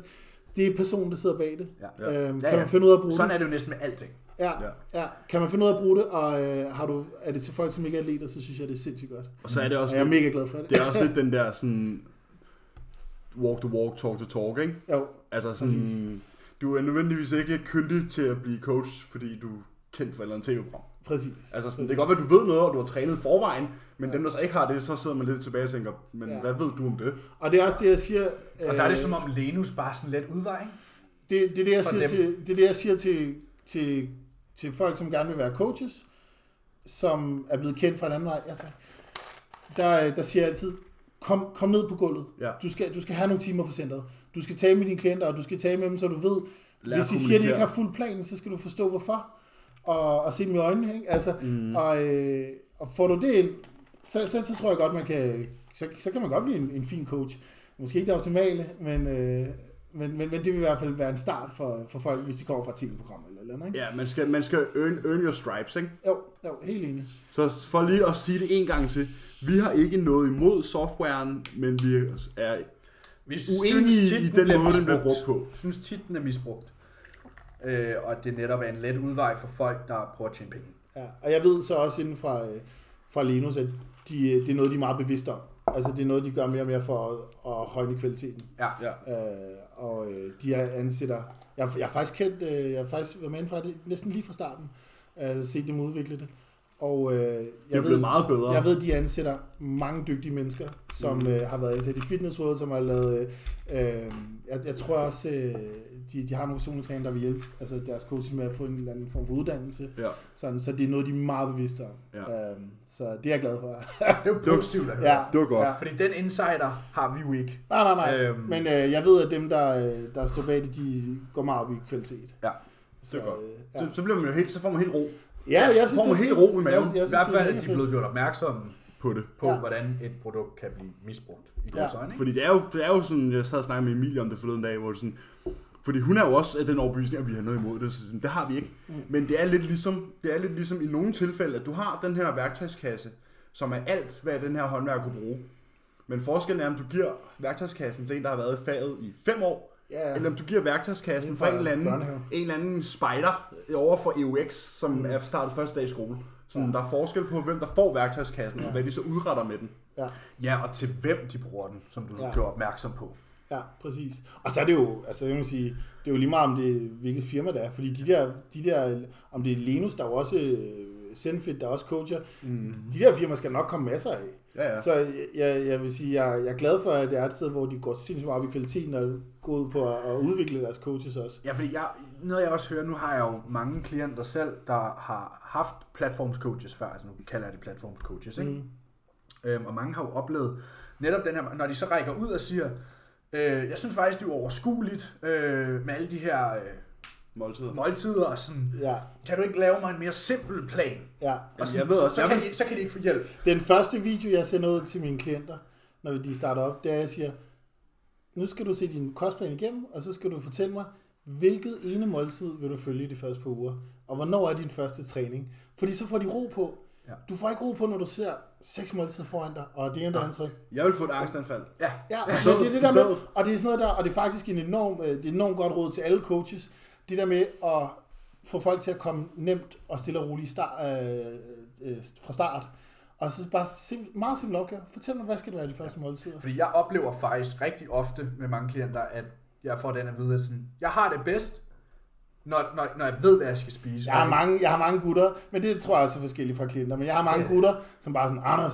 Speaker 3: det er personen, der sidder bag det.
Speaker 1: Ja.
Speaker 3: Øhm,
Speaker 1: Ja,
Speaker 3: kan
Speaker 1: ja.
Speaker 3: man finde ud af at bruge
Speaker 1: Sådan
Speaker 3: det?
Speaker 1: er det jo næsten med alting.
Speaker 3: Ja, ja. Kan man finde ud af at bruge det, og øh, har du, er det til folk, som ikke er atleter, så synes jeg, det er sindssygt godt.
Speaker 2: Og så er det
Speaker 3: Og
Speaker 2: også,
Speaker 3: jeg er mega glad for det.
Speaker 2: det er også lidt den der sådan, walk the walk, talk the talk, ikke?
Speaker 3: Jo,
Speaker 2: Altså sådan,
Speaker 3: Mm.
Speaker 2: du er nødvendigvis ikke kyndig til at blive coach, fordi du er kendt for et eller andet tv-program.
Speaker 3: præcis.
Speaker 2: Altså sådan, det kan godt være, at du ved noget, og du har trænet i forvejen, men dem, der så ikke har det, så sidder man lidt tilbage og tænker, men
Speaker 3: Ja.
Speaker 2: hvad ved du om det?
Speaker 3: Og det er også det, jeg siger...
Speaker 1: Og der er
Speaker 3: øh,
Speaker 1: det som om Lenus bare er sådan let udvej, ikke?
Speaker 3: det, det, er det, jeg
Speaker 1: For
Speaker 3: siger
Speaker 1: dem.
Speaker 3: til, det er det, jeg siger til, til, til folk, som gerne vil være coaches, som er blevet kendt fra en anden vej. Altså, der, øh, der siger jeg altid, kom, kom ned på gulvet.
Speaker 2: Ja.
Speaker 3: Du, skal, du skal have nogle timer på centret. Du skal tale med dine klienter, og du skal tale med dem, så du ved,
Speaker 2: Lær
Speaker 3: Lær
Speaker 2: at
Speaker 3: hvis de siger, at de
Speaker 2: kommunikere.
Speaker 3: ikke har fuld planen, så skal du forstå, hvorfor. Og, og se dem i øjnene. Ikke? Altså, mm. og, øh, og får du det ind, så, så, så tror jeg godt, man kan, så, så kan man godt blive en, en fin coach. Måske ikke det optimale, men, øh, men, men, men det vil i hvert fald være en start for, for folk, hvis de kommer fra et tv-program eller et eller andet. Ikke?
Speaker 2: Ja, man skal, man skal earn, earn your stripes, ikke?
Speaker 3: Jo, jo, helt enig.
Speaker 2: Så for lige at sige det en gang til, vi har ikke noget imod softwaren, men vi er
Speaker 1: Vi
Speaker 2: Uenige
Speaker 1: synes
Speaker 2: i
Speaker 1: tit,
Speaker 2: den
Speaker 1: bliver
Speaker 2: måde, den bliver
Speaker 1: misbrugt.
Speaker 2: brugt på.
Speaker 1: synes tit, den er misbrugt. Øh, og at det netop er en let udvej for folk, der prøver at tjene penge.
Speaker 3: Ja, og jeg ved så også inden fra, øh, fra Linus, at de, øh, det er noget, de er meget bevidste om. Altså det er noget, de gør mere og mere for at, at højne kvaliteten.
Speaker 1: Ja.
Speaker 2: Ja.
Speaker 3: Øh, og øh, de her ansætter... Jeg, jeg har faktisk kendt, øh, jeg har faktisk været med fra det næsten lige fra starten, øh, set dem udvikle det. Og øh, jeg,
Speaker 2: Det er blevet meget bedre.
Speaker 3: jeg ved, de ansætter mange dygtige mennesker, som mm. øh, har været ansat i fitnessrådet, som har lavet... Øh, øh, jeg, jeg tror også, øh, de, de har nogle personlige træner, der vil hjælpe altså deres coach med at få en eller anden form for uddannelse.
Speaker 2: Ja.
Speaker 3: Sådan, så det er noget, de er meget bevidste om.
Speaker 2: Ja.
Speaker 3: Øh, så det er jeg glad for.
Speaker 1: Det er jo positivt at høre.
Speaker 3: ja,
Speaker 2: det var godt.
Speaker 3: Ja.
Speaker 1: Fordi den insider har vi jo ikke.
Speaker 3: Nej, nej, nej.
Speaker 1: Øhm.
Speaker 3: Øhm. Men øh, jeg ved, at dem, der, øh, der står bag det, de går meget op i kvalitet.
Speaker 1: Ja.
Speaker 3: Så,
Speaker 2: Det er godt.
Speaker 3: øh, ja.
Speaker 2: Så, så, bliver man jo helt, så får man helt ro
Speaker 3: ja, jeg
Speaker 2: får
Speaker 3: synes,
Speaker 2: man
Speaker 3: det er
Speaker 2: helt
Speaker 3: fedt.
Speaker 2: ro i maven.
Speaker 3: Jeg- jeg
Speaker 1: I
Speaker 3: synes,
Speaker 1: hvert
Speaker 3: det
Speaker 1: fald,
Speaker 3: mega
Speaker 1: at de er
Speaker 3: fedt.
Speaker 1: blevet gjort opmærksomme
Speaker 2: på det.
Speaker 1: på, ja.
Speaker 3: Ja.
Speaker 1: hvordan et produkt kan blive misbrugt i
Speaker 3: Ja.
Speaker 1: vores øjne. ikke?
Speaker 2: Fordi det er, jo, det er jo sådan, jeg sad og snakkede med Emilie om det forleden dag, hvor det sådan, fordi hun er jo også af den overbevisning, at vi har noget imod det, så sådan, det har vi ikke. Men det er, lidt ligesom, det er lidt ligesom i nogle tilfælde, at du har den her værktøjskasse, som er alt, hvad den her håndværker kunne bruge. Men forskellen er, om du giver værktøjskassen til en, der har været i faget i fem år,
Speaker 3: Ja,
Speaker 2: eller om du giver værktøjskassen
Speaker 3: Inden
Speaker 2: fra
Speaker 3: for
Speaker 2: en eller anden,
Speaker 3: børnehave.
Speaker 2: en eller anden spider over for EUX, som mm. er startet første dag i skole. Sådan, ja. der er forskel på, hvem der får værktøjskassen, ja. og hvad de så udretter med den.
Speaker 3: ja,
Speaker 1: Ja, og til hvem de bruger den, som du ja.
Speaker 3: Ja.
Speaker 1: gjorde opmærksom på.
Speaker 3: ja, præcis. Og så er det jo, altså jeg vil sige, det er jo lige meget om det er, hvilket firma det er, fordi de der, de der om det er Linus, der er jo også øh, Zenfit, der er også coacher, mm. de der firmaer skal der nok komme masser af.
Speaker 2: Mhm. Ja, ja.
Speaker 3: Så jeg- jeg, jeg vil sige, jeg, jeg er glad for, at det er et sted, hvor de går sindssygt meget op i kvaliteten og går ud på at, at udvikle deres coaches også.
Speaker 1: Ja, fordi jeg, noget jeg også hører, nu har jeg jo mange klienter selv, der har haft platformscoaches før, altså nu kalder jeg det platformscoaches, ikke? Mm. Øhm, og mange har jo oplevet netop den her, når de så rækker ud og siger, øh, jeg synes faktisk, det er uoverskueligt øh, med alle de her øh,
Speaker 2: Måltider.
Speaker 1: måltider, og sådan,
Speaker 3: Ja,
Speaker 1: kan du ikke lave mig en mere simpel plan?
Speaker 3: ja.
Speaker 1: Og sådan,
Speaker 2: Altså, jeg ved også,
Speaker 1: så,
Speaker 2: jeg
Speaker 1: kan
Speaker 2: vil-
Speaker 1: de, så kan de ikke få hjælp.
Speaker 3: Den første video, jeg sender ud til mine klienter, når de starter op, det er, at jeg siger, nu skal du se din kostplan igennem, og så skal du fortælle mig, hvilket ene måltid vil du følge de første par uger, og hvornår er din første træning. Fordi så får de ro på.
Speaker 1: Ja.
Speaker 3: Du får ikke ro på, når du ser seks måltider foran dig, og det ene og det andet tredje.
Speaker 4: Jeg vil få et angstanfald.
Speaker 1: Ja,
Speaker 3: Ja, altså, det er det der med, og det er sådan noget der, og det er faktisk en enorm, øh, det er et enormt godt råd til alle coaches, det der med at få folk til at komme nemt og stille og roligt start, øh, øh, fra start. Og så bare sim- meget simpel opgave. Fortæl mig, hvad skal det være i de første måltider?
Speaker 1: fordi jeg oplever faktisk rigtig ofte med mange klienter, at jeg får den at vide, at sådan, jeg har det bedst, når, når, når jeg ved, hvad jeg skal spise.
Speaker 3: Jeg har mange, jeg har mange gutter, men det tror jeg også er forskelligt fra klienter, men jeg har mange gutter, som bare sådan, Anders,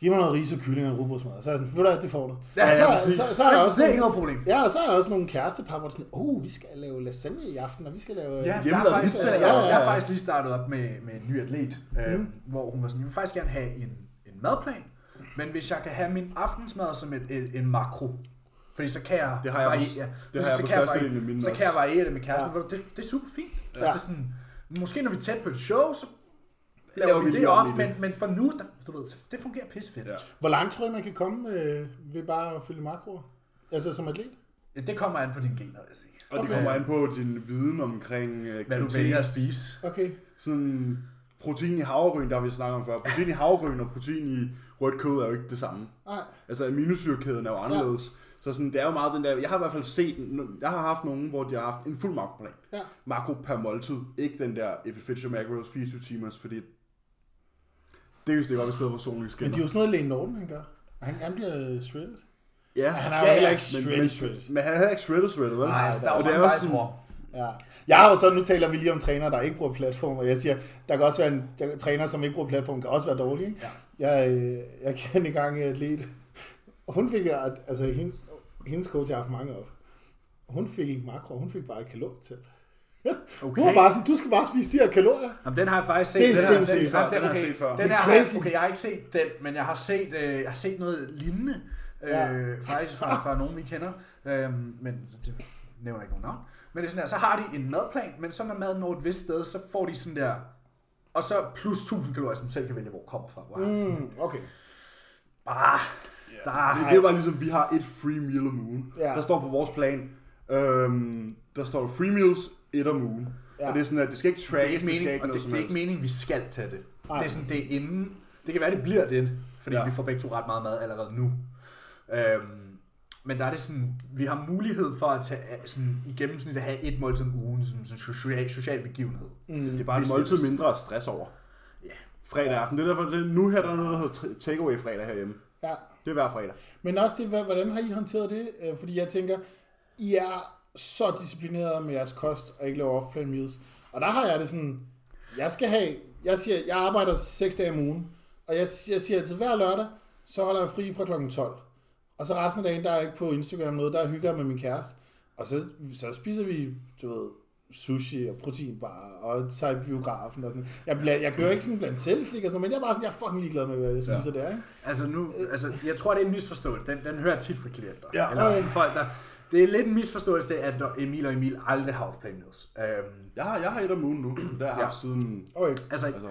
Speaker 3: giv mig noget ris og kylling og en rugbrødsmad. Så er jeg sådan, ved du hvad, det får du.
Speaker 1: Ja,
Speaker 3: Og så,
Speaker 1: ja,
Speaker 3: så,
Speaker 1: præcis.
Speaker 3: så, så, er jeg
Speaker 1: Men
Speaker 3: også
Speaker 1: det er ikke
Speaker 3: nogle-
Speaker 1: noget problem.
Speaker 3: Ja, og så er jeg også nogle kærestepar, hvor det er sådan, oh, vi skal lave lasagne i aften, og vi skal lave... øh,
Speaker 1: Ja, jeg,
Speaker 4: Hjemmelavet
Speaker 1: har faktisk, altså, jeg,
Speaker 3: ja,
Speaker 4: pizza,
Speaker 1: jeg,
Speaker 3: ja,
Speaker 1: jeg har
Speaker 3: ja.
Speaker 1: faktisk lige startet op med, med en ny atlet, øh,
Speaker 4: Mm.
Speaker 1: hvor hun var sådan, jeg vil faktisk gerne have en, en madplan, men hvis jeg kan have min aftensmad som et, et, en makro, fordi så kan jeg
Speaker 4: Det har jeg
Speaker 1: variere,
Speaker 4: på- det
Speaker 1: Fordi
Speaker 4: har jeg
Speaker 1: så
Speaker 4: på
Speaker 1: kan jeg
Speaker 4: størstedelen af
Speaker 1: variere,
Speaker 4: mine
Speaker 1: så
Speaker 4: også.
Speaker 1: kan jeg variere det med kæresten,
Speaker 3: Ja.
Speaker 1: ja. det, det er super fint. Ja. Altså sådan, måske når vi er tæt på et show, så laver,
Speaker 4: Laver
Speaker 1: vi,
Speaker 4: vi
Speaker 1: det
Speaker 4: lige om
Speaker 1: om,
Speaker 4: i det.
Speaker 1: men, men for nu, der, du ved, det fungerer pissefedt.
Speaker 4: Ja.
Speaker 3: Hvor langt tror I, man kan komme øh, ved bare at fylde makroer? Altså som atlet?
Speaker 1: Ja. Det kommer an på dine gener, vil jeg sige.
Speaker 4: Og det kommer an på din viden omkring øh,
Speaker 1: Hvad du
Speaker 4: kvalitet.
Speaker 1: vælger at spise.
Speaker 3: Okay.
Speaker 4: Sådan protein i havregryn, der har vi snakket om før. Protein i havregryn og protein i rødt kød er jo ikke det samme.
Speaker 3: Nej.
Speaker 4: Altså aminosyrekæden er jo anderledes. Så sådan, det er jo meget den der... Jeg har i hvert fald set... Jeg har haft nogen, hvor de har haft en fuld makroplan.
Speaker 3: Ja.
Speaker 4: Makro per måltid. Ikke den der if it fits your macros 24 timers, fordi... Det er jo det godt, vi sidder på solen
Speaker 3: Men det er
Speaker 4: skinner.
Speaker 3: jo sådan noget, Lene Norton, han gør. Han, han bliver øh, shredded.
Speaker 4: Ja,
Speaker 3: Han er
Speaker 4: han
Speaker 3: jo
Speaker 1: Ja, ja,
Speaker 3: heller ikke
Speaker 4: men,
Speaker 3: shredded,
Speaker 4: men,
Speaker 3: shredded.
Speaker 4: men, han er heller ikke shredded shredded, vel?
Speaker 1: Nej, altså, der er
Speaker 4: Og
Speaker 1: jo
Speaker 4: det er
Speaker 1: mange
Speaker 4: også
Speaker 1: vejs
Speaker 4: sådan-
Speaker 1: hvor.
Speaker 3: Ja. Jeg har jo så, nu taler vi lige om trænere, der ikke bruger platformer. Jeg siger, der kan også være en der, træner, som ikke bruger platform, kan også være dårlig. Ikke? Ja. Jeg, øh, jeg kendte engang en atlet. Hun fik, at- altså hende, hendes coach har haft mange op. Hun fik ikke makro, hun fik bare et kalor til. Okay. Hun var bare sådan, du skal bare spise de her kalorier.
Speaker 1: Jamen, den har jeg faktisk set.
Speaker 3: Det er
Speaker 1: den her-
Speaker 3: sindssygt
Speaker 1: den-
Speaker 3: før.
Speaker 1: Den,
Speaker 4: Den
Speaker 1: den,
Speaker 4: har jeg
Speaker 1: okay,
Speaker 4: set før.
Speaker 1: Den
Speaker 3: Det er
Speaker 1: her, har jeg-
Speaker 3: crazy.
Speaker 1: okay, jeg har ikke set den, men jeg har set, øh, jeg har set noget lignende, øh,
Speaker 3: Ja.
Speaker 1: faktisk fra, fra nogen, vi kender. Øh, men det nævner ikke nogen navn. Men det er sådan der, så har de en madplan, men så når maden når et vist sted, så får de sådan der, og så plus 1000 kalorier, som du selv kan vælge, hvor kommer fra. Hvor mm. sådan,
Speaker 3: Mm, okay.
Speaker 1: bare, der,
Speaker 4: Det, det var ligesom, vi har et free meal om ugen.
Speaker 3: Ja.
Speaker 4: Ja. Der står på vores plan, øhm, der står free meals et om ugen.
Speaker 3: Ja.
Speaker 4: Ja. Og det er sådan, at det skal ikke
Speaker 1: det er
Speaker 4: trackes,
Speaker 1: ikke
Speaker 4: det, det skal
Speaker 1: meningen,
Speaker 4: ikke
Speaker 1: og
Speaker 4: noget
Speaker 1: det,
Speaker 4: som
Speaker 1: det er ikke
Speaker 4: helst.
Speaker 1: meningen, vi skal tage det.
Speaker 3: Nej.
Speaker 1: Det er sådan, det er inden, det kan være, det bliver det, fordi
Speaker 4: Ja.
Speaker 1: ja. vi får begge to ret meget mad allerede nu. Øhm, men der er det sådan, vi har mulighed for at tage øh, sådan, i gennemsnit at have et måltid om ugen, sådan en social, social begivenhed. Mm.
Speaker 4: Det er bare et måltid mindre at stress over.
Speaker 1: Ja.
Speaker 4: Fredag aften. Det er derfor, det, er- nu her der er noget, der hedder takeaway fredag herhjemme.
Speaker 3: Ja.
Speaker 4: Det er hver fredag.
Speaker 3: Men også det, hvad- hvordan har I håndteret det? Øh, Fordi jeg tænker, I er så disciplineret med jeres kost og ikke laver off-plan meals. Og der har jeg det sådan, jeg skal have, jeg siger, jeg arbejder 6 dage om ugen, og jeg, jeg siger altid, hver lørdag, så holder jeg fri fra kl. 12. Og så resten af dagen, der er jeg ikke på Instagram noget, der hygger jeg med min kæreste. Og så, så spiser vi, du ved, sushi og proteinbar og tager i biografen og sådan. Jeg, bla, jeg kører ikke sådan blandt selvslik og sådan, noget, men jeg er bare sådan, jeg er fucking ligeglad med, hvad jeg spiser ja. der, ikke?
Speaker 1: Altså nu, altså, jeg tror, det er en misforståelse. Den, den hører jeg tit fra klienter.
Speaker 4: Ja.
Speaker 1: Eller sådan folk, der, det er lidt en misforståelse, at når Emil og Emil aldrig har off-plan meals. Øhm,
Speaker 4: Jeg har, jeg har et om ugen nu, der har jeg haft siden...
Speaker 3: Okay.
Speaker 1: altså,
Speaker 4: Altså,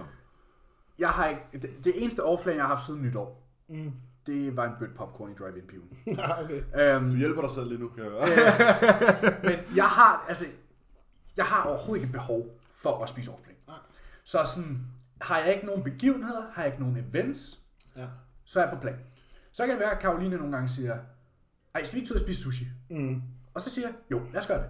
Speaker 1: Jeg har ikke, det, det eneste offline, jeg har haft siden nytår, mm. det var en bødt popcorn i drive in piven
Speaker 3: Ja, okay.
Speaker 4: du
Speaker 1: øhm,
Speaker 4: hjælper dig selv lige nu, kan jeg høre.
Speaker 1: Men jeg har, altså, jeg har overhovedet ikke behov for at spise offline. Så sådan, har jeg ikke nogen begivenheder, har jeg ikke nogen events,
Speaker 3: Ja.
Speaker 1: så er jeg på plan. Så kan det være, at Karoline nogle gange siger, ej, skal vi ikke tage ud og spise sushi? Mm. Og så siger jeg, jo, lad os gøre det.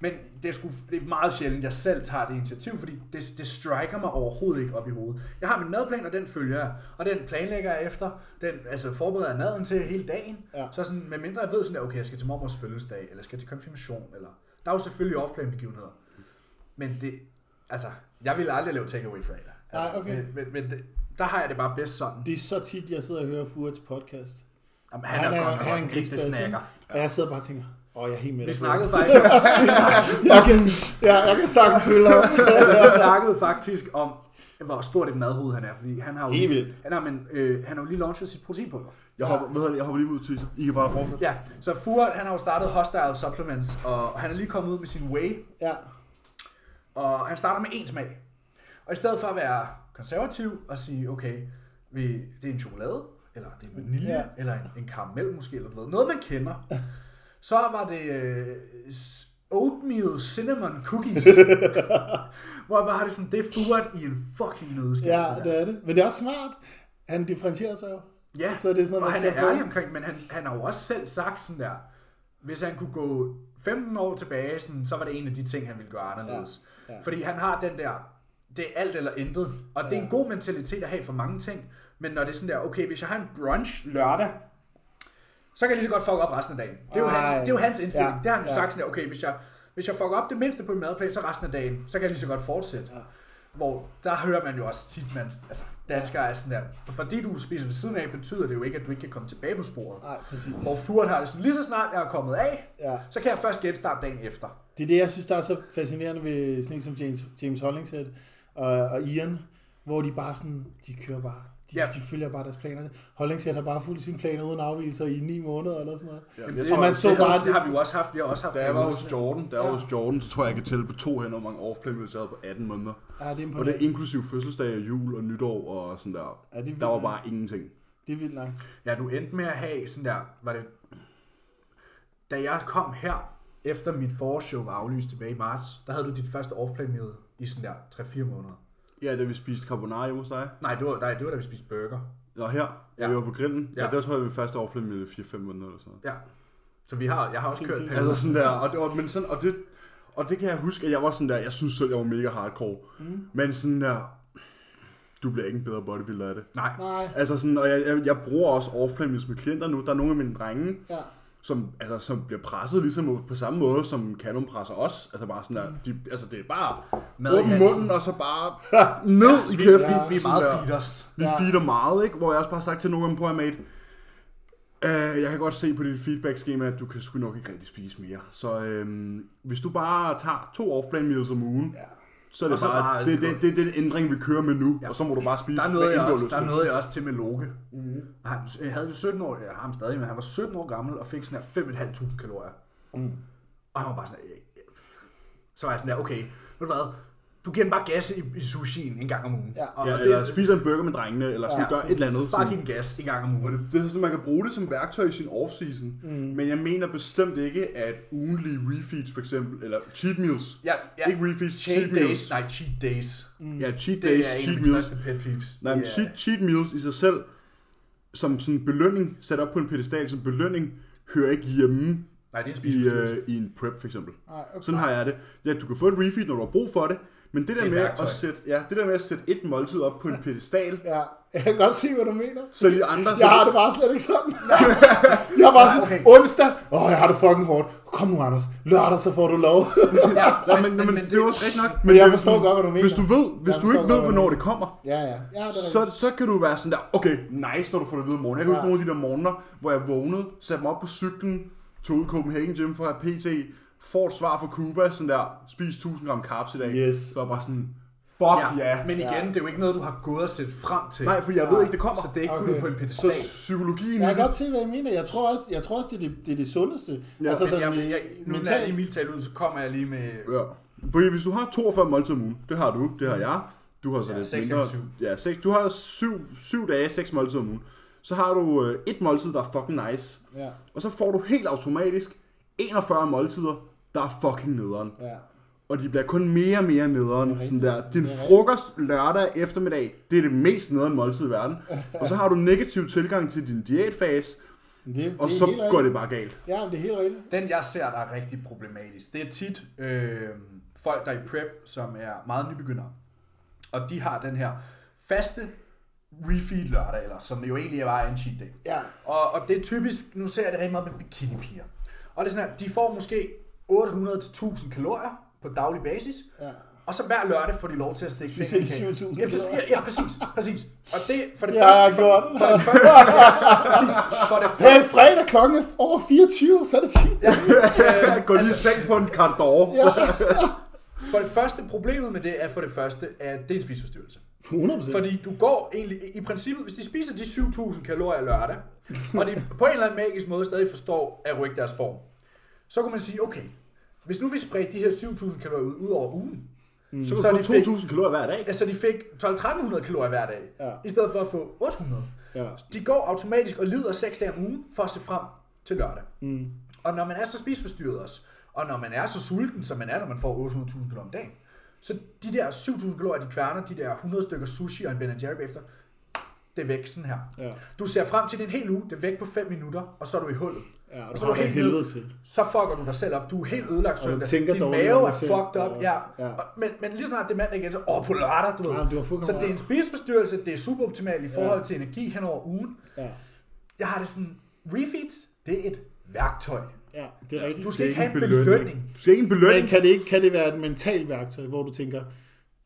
Speaker 1: Men det er, sgu, det er meget sjældent, jeg selv tager det initiativ, fordi det, det striker mig overhovedet ikke op i hovedet. Jeg har min madplan, og den følger jeg. Og den planlægger jeg efter. Den altså, forbereder jeg maden til hele dagen.
Speaker 3: Ja.
Speaker 1: Så sådan, med mindre jeg ved sådan, at okay, jeg skal til mormors fødselsdag, eller jeg skal til konfirmation, eller... Der er jo selvfølgelig off-plan begivenheder. Men det... Altså, jeg ville aldrig lave takeaway fredag.
Speaker 3: Nej,
Speaker 1: Altså,
Speaker 3: okay.
Speaker 1: Men, men, men det, der har jeg det bare bedst sådan.
Speaker 3: Det er så tit, jeg sidder og hører Furets podcast.
Speaker 1: Jamen, han, han er, er godt nok også en rigtig
Speaker 3: grisbasse,
Speaker 1: snakker.
Speaker 3: ikke? Og jeg sidder bare og tænker, åh, jeg er helt med
Speaker 1: Vi
Speaker 3: dig.
Speaker 1: snakkede faktisk,
Speaker 3: Jeg kan, ja, jeg kan sagtens følge ham.
Speaker 1: vi snakkede faktisk om, hvor stort et madhoved han er, fordi han har jo,
Speaker 3: Helt vildt.
Speaker 1: han har, men, øh, han har jo lige launchet sit proteinpulver.
Speaker 4: Jeg hopper, hvad hedder det, jeg hopper lige ud til I kan bare fortsætte.
Speaker 1: Ja, så Furet, han har jo startet Hostile Supplements, og han er lige kommet ud med sin whey,
Speaker 3: Ja,
Speaker 1: og han starter med én smag. Og i stedet for at være konservativ og sige, okay, vi, det er en chokolade, eller det er en vanilje,
Speaker 3: Ja.
Speaker 1: ja. eller en, en karamel måske, eller du ved, noget man kender, så var det øh, s- oatmeal cinnamon cookies. Hvor jeg bare har det sådan, det er furet i en fucking nødskal.
Speaker 3: Ja,
Speaker 1: det der.
Speaker 3: det er det. Men det er også smart. Han differentierer sig jo.
Speaker 1: Ja,
Speaker 3: Så er det sådan noget,
Speaker 1: og
Speaker 3: man
Speaker 1: han er
Speaker 3: skal få.
Speaker 1: ærlig omkring, men han, han har jo også selv sagt sådan der, hvis han kunne gå 15 år tilbage, sådan, så var det en af de ting, han ville gøre anderledes. Ja. Ja. Fordi han har den der, det er alt eller intet, og det er en god mentalitet at have for mange ting, men når det er sådan der, okay, hvis jeg har en brunch lørdag, så kan jeg lige så godt fuck op resten af dagen. Det er jo, hans,
Speaker 3: Ej.
Speaker 1: det er jo hans indstilling.
Speaker 3: Ja,
Speaker 1: Ja. Det har han jo
Speaker 3: ja.
Speaker 1: sagt sådan der, okay, hvis jeg, hvis jeg fucker op det mindste på min madplan, så resten af dagen, så kan jeg lige så godt fortsætte. Ja. Hvor der hører man jo også tit, man, altså danskere er sådan der, fordi du spiser ved siden af, betyder det jo ikke, at du ikke kan komme tilbage på sporet.
Speaker 3: Nej, præcis.
Speaker 1: Hvor Furt har det sådan, lige så snart jeg er kommet af,
Speaker 3: Ja.
Speaker 1: så kan jeg først genstarte dagen efter.
Speaker 3: Det er det, jeg synes, der er så fascinerende ved sådan en som James, James Hollingshead og, og Ian, hvor de bare sådan, de kører bare. De,
Speaker 1: Ja.
Speaker 3: ja. de følger bare deres planer. Hollingshead har bare fuldt sine planer uden afvielser i ni måneder eller sådan noget. Ja.
Speaker 2: Jamen,
Speaker 1: det,
Speaker 2: jeg
Speaker 1: det,
Speaker 2: tror,
Speaker 3: man så
Speaker 1: det,
Speaker 3: bare,
Speaker 1: det, har vi jo også haft. Vi har også haft
Speaker 2: Da jeg
Speaker 1: det
Speaker 2: var
Speaker 1: ude.
Speaker 2: hos Jordan, da jeg var hos Jordan, så tror jeg, jeg kan tælle på to hænder, hvor mange off-play jeg havde på 18 måneder.
Speaker 3: Ja, det er
Speaker 2: Og det er
Speaker 3: imponerende.
Speaker 2: inklusiv fødselsdag og jul og nytår og sådan der.
Speaker 3: Ja, det er
Speaker 2: der var
Speaker 3: vildt.
Speaker 2: bare ingenting.
Speaker 3: Det er vildt nok.
Speaker 1: Ja, du endte med at have sådan der, var det, da jeg kom her, efter mit forårsshow var aflyst tilbage i marts, der havde du dit første off meal i sådan der 3-4 måneder.
Speaker 2: Ja, da vi spiste carbonara hjemme hos dig.
Speaker 1: Nej, det var, nej, det var da vi spiste burger.
Speaker 2: Nå, her. Ja. Vi var på grillen. Ja,
Speaker 1: Ja.
Speaker 2: ja der tror jeg, vi første off-play i 4-5 måneder eller sådan noget.
Speaker 1: Ja. Så vi har, jeg har også kørt
Speaker 3: Sindssygt.
Speaker 1: perioder.
Speaker 2: Altså sådan der, og, det- og, men sådan, og, det, og det kan jeg huske, at jeg var sådan der, jeg synes selv, jeg var mega hardcore. Mm. Men sådan der, du bliver ikke en bedre bodybuilder af det.
Speaker 1: Nej.
Speaker 3: Nej,
Speaker 2: Altså sådan, og jeg, jeg, jeg bruger også off-play med klienter nu. Der er nogle af mine drenge,
Speaker 3: ja.
Speaker 2: som, altså, som bliver presset ligesom på samme måde, som Canon presser os. Altså bare sådan der, de, altså det er bare
Speaker 1: Mm. Mad
Speaker 2: Mad
Speaker 1: i
Speaker 2: åben
Speaker 1: halsen.
Speaker 2: munden, og så bare ned i kæften.
Speaker 1: Vi, vi er
Speaker 2: Sådan
Speaker 1: meget
Speaker 2: der.
Speaker 1: feeders.
Speaker 2: Vi
Speaker 3: Ja.
Speaker 2: feeder meget, ikke? Hvor jeg også bare har sagt til nogle gange på, at mate, øh, jeg kan godt se på dit feedback-schema, at du kan sgu nok ikke rigtig spise mere. Så øh, hvis du bare tager to off-plan meals om ugen, ja. så er
Speaker 1: Og
Speaker 2: det
Speaker 1: så
Speaker 2: bare,
Speaker 1: bare-
Speaker 2: det, det, det, det, er den ændring, vi kører med nu,
Speaker 1: Ja.
Speaker 2: ja. og så må du bare spise,
Speaker 1: Der
Speaker 2: hvad
Speaker 1: nåede,
Speaker 2: end
Speaker 1: jeg
Speaker 2: du har
Speaker 1: også,
Speaker 2: lyst
Speaker 1: der
Speaker 2: til.
Speaker 1: nåede jeg også til med Loke. Mm. Han øh, havde en 17 år, jeg har ham stadig, men han var 17 år gammel og fik sådan her 5.500 kalorier. Mm. Og han var bare sådan her, øh, øh. så var jeg sådan her, okay, ved du hvad, du giver den bare gas i, i sushien en gang om ugen.
Speaker 3: Ja.
Speaker 1: og,
Speaker 2: Ja,
Speaker 1: og
Speaker 2: eller spiser en burger med drengene, eller sådan,
Speaker 1: ja,
Speaker 2: ja, gør et eller andet.
Speaker 1: Bare
Speaker 2: sådan.
Speaker 1: giv den gas en gang om
Speaker 2: Og
Speaker 1: ugen.
Speaker 2: det, det er sådan, at man kan bruge det som værktøj i sin off-season. Mm. Men jeg mener bestemt ikke, at ugenlige refeeds for eksempel, eller cheat meals.
Speaker 1: Ja, ja.
Speaker 2: Ikke refeeds, cheat,
Speaker 1: Cheat
Speaker 2: cheat
Speaker 1: days,
Speaker 2: meals.
Speaker 1: nej, cheat days.
Speaker 2: Nej. Ja, cheat
Speaker 1: Det
Speaker 2: days,
Speaker 1: er en af
Speaker 2: cheat
Speaker 1: mine
Speaker 2: meals.
Speaker 1: største pet peeves.
Speaker 2: Nej, men
Speaker 1: Det er-
Speaker 2: cheat, cheat meals i sig selv, som sådan en belønning, sat op på en pedestal som belønning, hører ikke hjemme
Speaker 1: Nej, det er en
Speaker 2: i,
Speaker 1: spiseforstyrrelse.
Speaker 2: øh, i en prep for eksempel.
Speaker 3: Nej, okay.
Speaker 2: Sådan har jeg det. Ja, du kan få et refeed, når du har brug for det, men det
Speaker 1: er
Speaker 2: der
Speaker 1: et
Speaker 2: med
Speaker 1: værktøj.
Speaker 2: at sætte, ja, det der med at sætte et måltid op på en pedestal,
Speaker 3: Ja, jeg kan godt se, hvad du mener.
Speaker 2: så de andre... så
Speaker 3: Jeg
Speaker 2: de-
Speaker 3: har det bare slet ikke sådan. Jeg er bare sådan,
Speaker 1: Nej, okay.
Speaker 3: onsdag, åh, jeg har det fucking hårdt. Kom nu, Anders. Lørdag, så får du lov.
Speaker 2: Ja, men, men, men, det er jo også rigtigt nok. Men,
Speaker 3: jeg
Speaker 2: det er
Speaker 3: forstår
Speaker 2: sådan,
Speaker 3: godt, hvad du mener.
Speaker 2: Hvis du ved, hvis
Speaker 3: Jeg
Speaker 2: du
Speaker 3: forstår
Speaker 2: ikke ved,
Speaker 3: godt, hvad du
Speaker 2: hvornår
Speaker 3: mener.
Speaker 2: det kommer,
Speaker 3: ja, ja. ja det er
Speaker 2: så,
Speaker 3: rigtigt.
Speaker 2: så kan du være sådan der, okay, nice, når du får det at vide i morgen. Jeg kan huske
Speaker 3: Ja.
Speaker 2: nogle af de der morgener, hvor jeg vågnede, satte mig op på cyklen, tog ud i Copenhagen Gym for at have PT, får et svar fra Cuba, sådan der, spis 1000 gram carbs i dag.
Speaker 3: Yes.
Speaker 2: Så var jeg bare sådan, fuck ja.
Speaker 1: Ja,
Speaker 2: Yeah.
Speaker 1: men igen, det er jo ikke noget, du har gået og set frem til.
Speaker 2: Nej, for jeg ved ikke, det kommer.
Speaker 1: Så det er ikke okay. kun
Speaker 3: Okay.
Speaker 1: på en
Speaker 2: Så
Speaker 1: pedestal.
Speaker 2: psykologien... i
Speaker 3: Jeg kan
Speaker 2: det-
Speaker 3: godt se, hvad jeg mener. Jeg tror også, jeg tror også det, er det, det er det sundeste. Ja, altså
Speaker 1: Men
Speaker 3: sådan
Speaker 1: jeg, jeg, nu når jeg
Speaker 3: mentalt.
Speaker 1: lige mildt talt ud, så kommer jeg lige med...
Speaker 2: Ja. Fordi hvis du har 42 måltider om ugen, det har du, det har jeg, du har så
Speaker 1: Ja,
Speaker 2: lidt
Speaker 1: seks
Speaker 2: mindre.
Speaker 1: gange syv.
Speaker 2: Ja, seks, du har 7, 7 dage, 6 måltider om ugen. Så har du øh, et måltid, der er fucking nice.
Speaker 3: Ja,
Speaker 2: Og så får du helt automatisk 41 måltider, der er fucking nederen.
Speaker 3: ja.
Speaker 2: Og de bliver kun mere og mere nederen. Sådan der. Din
Speaker 3: Det er rigtigt.
Speaker 2: frokost lørdag eftermiddag, det er det mest nederen måltid i verden. Og så har du negativ tilgang til din diætfase,
Speaker 3: Men Det, det
Speaker 2: og
Speaker 3: er
Speaker 2: så
Speaker 3: helt
Speaker 2: går
Speaker 3: rigtigt.
Speaker 2: det bare galt.
Speaker 3: Ja, men det er helt rigtigt.
Speaker 1: Den, jeg ser, der er rigtig problematisk, det er tit øh, folk, der er i prep, som er meget nybegyndere. Og de har den her faste refeed lørdag, eller som jo egentlig er bare en cheat day.
Speaker 3: Ja.
Speaker 1: Og, og det er typisk, nu ser jeg det rigtig meget med bikinipiger. Og det er sådan her, de får måske 800-1000 kalorier på daglig basis,
Speaker 3: Ja.
Speaker 1: og så hver lørdag får de lov til at stikke
Speaker 3: Specielt de
Speaker 1: fingerkage.
Speaker 3: 7.000
Speaker 1: Jamen, så- Ja, ja, præcis, præcis. Og det, for det
Speaker 3: Ja,
Speaker 1: første...
Speaker 3: jeg har gjort
Speaker 1: for,
Speaker 3: den.
Speaker 1: for, det første- præcis, for det
Speaker 3: Hey,
Speaker 1: første...
Speaker 3: fredag klokken er over 24, så er det 10. Ja.
Speaker 2: Gå lige i
Speaker 3: Altså-
Speaker 2: seng på en kart ja.
Speaker 1: altså, For det første, problemet med det er for det første, at det er en spiseforstyrrelse.
Speaker 3: 100 procent.
Speaker 1: Fordi du går egentlig, i princippet, hvis de spiser de 7.000 kalorier lørdag, og de på en eller anden magisk måde stadig forstår at rykke deres form, så kunne man sige, okay, hvis nu vi spredte de her 7.000 kalorier ud, ud over ugen, mm.
Speaker 2: Så kan du få 2.000 kalorier hver dag.
Speaker 1: Altså, de fik 12-1300 kalorier hver dag,
Speaker 3: Ja.
Speaker 1: i stedet for at få 800.
Speaker 3: Ja.
Speaker 1: De går automatisk og lider 6 dage om ugen for at se frem til lørdag. Mm. Og når man er så spiseforstyrret også, Og når man er så sulten, som man er, når man får 800.000 kalorier om dagen, så de der 7.000 kalorier, de kværner, de der 100 stykker sushi og en Ben Jerry efter, det er væk sådan her.
Speaker 3: Ja.
Speaker 1: Du ser frem til din hel uge, det er væk på 5 minutter, og så er du i hullet.
Speaker 3: Ja, og
Speaker 1: Og
Speaker 3: du
Speaker 1: så
Speaker 3: har
Speaker 1: er du
Speaker 3: det af
Speaker 1: helt
Speaker 3: helvede
Speaker 1: nede.
Speaker 3: til.
Speaker 1: Så fucker du dig selv op. Du er helt ødelagt
Speaker 3: du
Speaker 1: søndag.
Speaker 3: tænker
Speaker 1: Din
Speaker 3: dårligt
Speaker 1: mave
Speaker 3: om
Speaker 1: er
Speaker 3: dig selv,
Speaker 1: fucked up.
Speaker 3: og-
Speaker 1: Ja.
Speaker 3: ja.
Speaker 1: Og- Men, men lige snart det er mandag igen, så åh, på lørdag, du ved.
Speaker 3: Ja, du har fuldkommen
Speaker 1: så det er en
Speaker 3: ret.
Speaker 1: spiseforstyrrelse, det er suboptimalt i forhold til energi hen over ugen.
Speaker 3: Ja,
Speaker 1: Jeg har det sådan, refeeds, det er et værktøj.
Speaker 3: ja det er rigtigt.
Speaker 1: Du skal ikke
Speaker 2: ikke
Speaker 1: have en
Speaker 2: en belønning.
Speaker 1: belønning.
Speaker 2: Du skal ikke en belønning.
Speaker 3: Men kan det, ikke, kan det være et mentalt værktøj, hvor du tænker,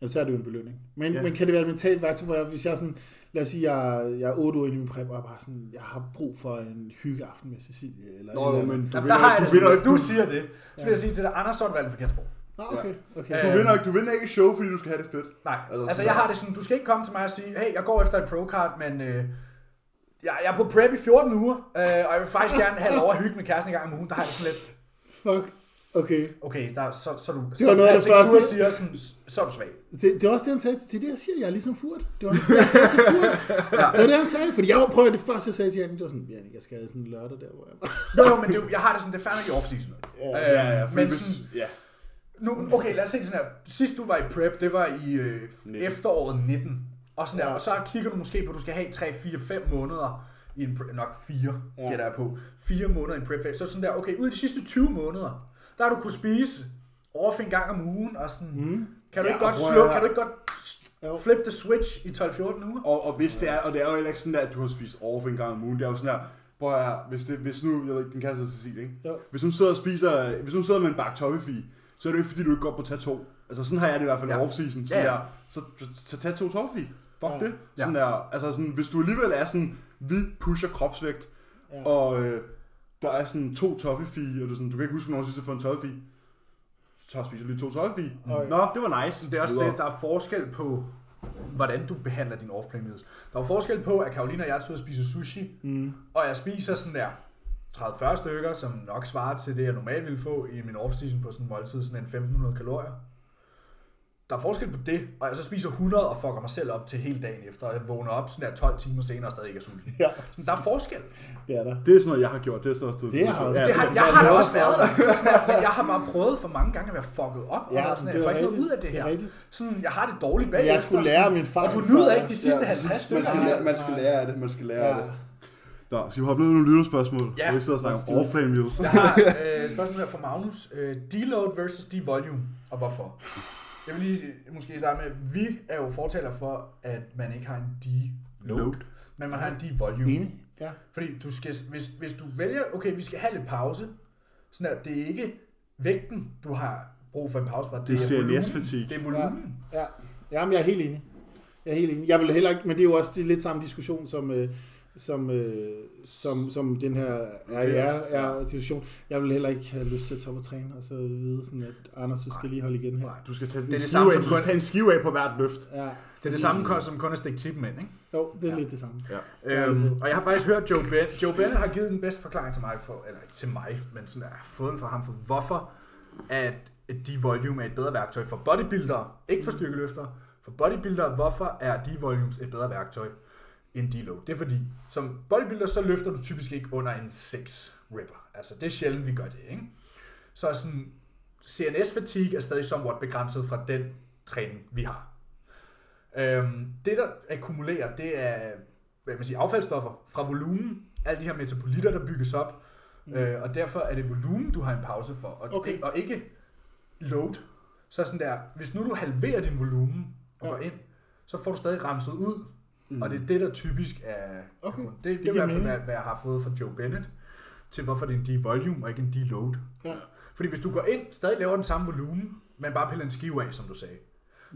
Speaker 3: ja, så er det jo en belønning. Men, ja. men kan det være et mentalt værktøj, hvor jeg, hvis jeg er sådan, lad os sige, jeg, jeg er otte uger inde i min prep, og jeg er bare sådan, jeg har brug for en hyggeaften med Cecilie. Eller
Speaker 4: Nå,
Speaker 3: et eller
Speaker 4: jo,
Speaker 3: andet.
Speaker 4: men du
Speaker 1: Jamen,
Speaker 4: vinder,
Speaker 1: der har jeg altså
Speaker 4: du
Speaker 1: det
Speaker 4: vinder,
Speaker 1: sådan, hvis
Speaker 4: ikke-
Speaker 1: du siger det, så vil jeg sige til dig, Anders, så har du valgt en forkert sprog.
Speaker 3: Nå, okay, okay.
Speaker 1: Ja.
Speaker 4: du, vinder, ikke- du vinder ikke et show, fordi du skal have det fedt.
Speaker 1: Nej,
Speaker 4: Altså,
Speaker 1: altså jeg har det sådan, du skal ikke komme til mig og sige, hey, jeg går efter et pro-card, men øh, jeg, jeg er på prep i 14 uger, øh, og jeg vil faktisk gerne have lov at hygge med kæresten en gang om ugen. Der har jeg det sådan lidt,
Speaker 3: Fuck. Okay.
Speaker 1: okay, der, så, så, er du,
Speaker 3: Det var noget af det
Speaker 1: Patrick Tua
Speaker 3: første.
Speaker 1: siger sådan, så er du svag.
Speaker 3: Det, det er også det, han sagde. Det er det, jeg siger. Jeg er ligesom Furt. Det var også det, han sagde til Furt. Det var det, han sagde. Fordi jeg var prøvet det første, jeg sagde til Janik. Det var sådan, Janik, jeg skal have sådan en lørdag der, hvor jeg var.
Speaker 1: Jo, jo, men det, er jo- jeg har det sådan, det er fandme i off-season. Øh,
Speaker 4: Ja, ja, fordi
Speaker 1: men
Speaker 4: hvis,
Speaker 1: sådan,
Speaker 4: ja.
Speaker 1: nu, okay, lad os se det sådan her. Sidst du var i prep, det var i øh, efteråret 19. Og, sådan der, og så kigger du måske på, at du skal have 3, 4, 5 måneder i en pre- nok 4, ja. gætter jeg på. 4 måneder i en prep phase. Så sådan der, okay, ud af de sidste 20 måneder, der har du kunne spise over en gang om ugen, og sådan, mm. kan du
Speaker 4: Ja,
Speaker 1: ikke godt
Speaker 4: prøv at
Speaker 1: slå,
Speaker 4: høre.
Speaker 1: kan du ikke godt
Speaker 3: Jo.
Speaker 1: flip the switch i 12-14 uger?
Speaker 4: Og, og hvis det er, og det er jo heller ikke sådan der, at du har spist off en gang om ugen, det er jo sådan der, prøv at høre, hvis, det, hvis nu, jeg ved ikke, din kæreste hedder Cecilie, ikke?
Speaker 3: Jo.
Speaker 4: Hvis hun sidder og spiser, hvis hun sidder med en bakke toffefi, så er det jo ikke fordi, du ikke går på tato. Altså sådan har jeg det i hvert fald
Speaker 1: Ja.
Speaker 4: ja. off-season, sådan
Speaker 1: Ja,
Speaker 4: ja.
Speaker 1: ja.
Speaker 4: der, så, så, så tag to toffefi. Fuck
Speaker 3: Ja.
Speaker 4: ja. det. Sådan der, altså sådan, hvis du alligevel er sådan, vi pusher kropsvægt,
Speaker 3: Ja.
Speaker 4: ja. og øh, der er sådan to toffefi, og du, sådan, du kan ikke huske, hvornår du sidst har fået en toffefi. Så spiser jeg lige to toffefi.
Speaker 3: Okay.
Speaker 4: Nå, det var nice.
Speaker 1: Det er også
Speaker 4: Videre.
Speaker 1: det, der er forskel på, hvordan du behandler din off meals. Der er jo forskel på, at Karoline og jeg tager og spiser sushi, mm. og jeg spiser sådan der 30-40 stykker, som nok svarer til det, jeg normalt ville få i min off-season på sådan en måltid, sådan en 1500 kalorier. Der er forskel på det, og jeg så spiser 100 og fucker mig selv op til hele dagen efter, og jeg vågner op sådan der 12 timer senere og stadig ikke er sulten.
Speaker 3: Ja,
Speaker 1: Sådan, der er forskel.
Speaker 3: Det er der.
Speaker 4: det er sådan noget, jeg har gjort. Det er sådan noget, du-
Speaker 3: Det har jeg også.
Speaker 4: Ja,
Speaker 1: Det har, jeg har da også været der. Sådan, at Jeg har bare prøvet for mange gange at være fucket op, og
Speaker 3: Ja,
Speaker 1: ja, sådan, at
Speaker 3: men
Speaker 1: jeg
Speaker 3: det
Speaker 1: får
Speaker 3: er
Speaker 1: ikke noget ud
Speaker 3: rigtigt.
Speaker 1: af det
Speaker 3: Det er
Speaker 1: her.
Speaker 3: rigtigt.
Speaker 1: sådan, jeg har det dårligt bag.
Speaker 3: Jeg skulle lære af min far.
Speaker 1: Og du nyder
Speaker 3: før-
Speaker 1: ikke de sidste ja, 50
Speaker 4: Man
Speaker 1: stykker.
Speaker 4: skal, lære, man skal lære af det, man skal lære ja. af det. Nå, skal vi hoppe ned i nogle lytterspørgsmål?
Speaker 1: Ja.
Speaker 4: Ja. Vi sidder og snakker
Speaker 3: Lad
Speaker 4: om
Speaker 3: os
Speaker 4: off-plan meals.
Speaker 1: Jeg har øh, et spørgsmål her fra Magnus. Øh, deload versus devolume, og hvorfor? Jeg vil lige øh, måske starte med, vi er jo fortaler for, at man ikke har en deload,
Speaker 4: Load.
Speaker 1: men man har en devolume.
Speaker 3: Enig. Ja.
Speaker 1: Fordi du skal, hvis, hvis du vælger, okay, vi skal have lidt pause, sådan at det er ikke vægten, du har brug for en pause fra. Det, er
Speaker 4: CNS
Speaker 1: volumen.
Speaker 4: fatigue.
Speaker 1: Det er volumen.
Speaker 3: Mm. Ja, jamen jeg er helt enig. Jeg er helt enig. Jeg vil heller ikke, men det er jo også det er lidt samme diskussion som øh, som, øh, som, som den her RR-diskussion. Jeg vil heller ikke have lyst til at tage op og træne, og så vide sådan, at Anders, du skal lige holde igen her.
Speaker 4: Du skal tage,
Speaker 1: Det er det
Speaker 4: en
Speaker 1: samme
Speaker 4: skive
Speaker 1: som
Speaker 4: af, du skal
Speaker 1: kun-
Speaker 4: tage en skive af på hvert løft.
Speaker 3: Ja,
Speaker 1: Det er det samme som kun at stikke tippen ind, ikke?
Speaker 3: Jo, det er ja. lidt det samme.
Speaker 4: Ja.
Speaker 1: Øhm, og jeg har faktisk hørt Joe Bennett. Joe Bennett har givet den bedste forklaring til mig, for, eller ikke til mig, men sådan, jeg har fået den fra ham, for hvorfor at D-volume er et bedre værktøj for bodybuildere, ikke for styrkeløftere, for bodybuildere, hvorfor er D-volumes et bedre værktøj end D-load? Det er fordi, som bodybuilder, så løfter du typisk ikke under en 6 ripper. Altså, det er sjældent, vi gør det, ikke? Så sådan, CNS-fatigue er stadig somewhat begrænset fra den træning, vi har. Øhm, det, der akkumulerer, det er hvad kan man sige, affaldsstoffer fra volumen, alle de her metabolitter, der bygges op, mm. øh, og derfor er det volumen, du har en pause for, og,
Speaker 3: Okay.
Speaker 1: og ikke load. Så sådan der, hvis nu du halverer din volumen og
Speaker 3: Ja.
Speaker 1: går ind, så får du stadig renset ud, mm. og det er det, der typisk er...
Speaker 3: Okay.
Speaker 1: Det, det, det er i
Speaker 3: giver
Speaker 1: hvert fald,
Speaker 3: mening.
Speaker 1: hvad, hvad jeg har fået fra Joe Bennett, til hvorfor det er en D-volume og ikke en D-load.
Speaker 3: Ja.
Speaker 1: Fordi hvis du går ind, stadig laver den samme volumen, men bare piller en skive af, som du sagde,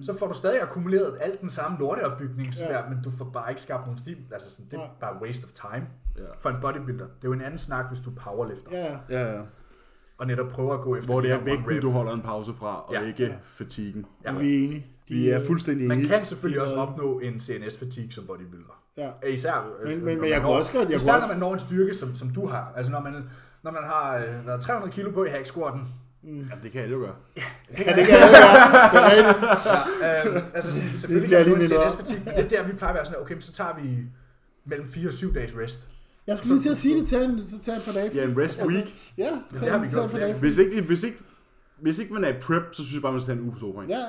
Speaker 1: så får du stadig akkumuleret alt den samme lorteopbygning, ja.
Speaker 3: Ja.
Speaker 1: der, men du får bare ikke skabt nogen stil. Altså sådan, det er
Speaker 3: Nej.
Speaker 1: bare waste of time
Speaker 4: Ja.
Speaker 1: for en bodybuilder. Det er jo en anden snak, hvis du er powerlifter, ja.
Speaker 3: Ja, ja.
Speaker 4: Ja, ja.
Speaker 1: og netop prøver at gå efter
Speaker 4: Hvor det
Speaker 1: de
Speaker 4: er
Speaker 1: her
Speaker 4: vægten,
Speaker 1: one
Speaker 4: du
Speaker 1: rep.
Speaker 4: holder en pause fra, og
Speaker 1: Ja.
Speaker 4: ikke fatiguen.
Speaker 1: Ja.
Speaker 3: Vi er enige. De,
Speaker 2: Vi er fuldstændig
Speaker 1: Man
Speaker 2: enige.
Speaker 1: kan selvfølgelig også opnå en CNS-fatigue som bodybuilder.
Speaker 3: Ja.
Speaker 1: Især, øh,
Speaker 3: men-
Speaker 1: når
Speaker 3: men
Speaker 1: man
Speaker 3: jeg kunne
Speaker 1: når-
Speaker 3: også godt- jeg
Speaker 1: især
Speaker 3: kunne
Speaker 1: når man når en styrke, som, som du har. Altså når man, når man har øh, der er 300 kilo på i hack squatten,
Speaker 4: Ja, det kan jeg jo gøre.
Speaker 3: Ja, det kan alle være. Det er rigtigt.
Speaker 1: øhm, altså s-
Speaker 3: Det
Speaker 1: selvfølgelig
Speaker 3: bliver
Speaker 1: kan
Speaker 3: lige
Speaker 1: man
Speaker 3: mindet
Speaker 1: se
Speaker 3: om.
Speaker 1: næste parti, men det er der, vi plejer at være sådan, okay, men så tager vi mellem 4 og 7 dages rest.
Speaker 3: Jeg skulle lige til at sige det, tag, en, så tag et par dage. Altså,
Speaker 4: Ja, en rest week.
Speaker 3: ja, tag,
Speaker 1: det har vi
Speaker 3: en- tag
Speaker 1: gjort
Speaker 3: et par
Speaker 1: flere
Speaker 3: dage.
Speaker 4: Hvis ikke, hvis ikke, hvis ikke man er i prep, så synes jeg bare, man skal tage en uge på sofaen.
Speaker 3: Ja,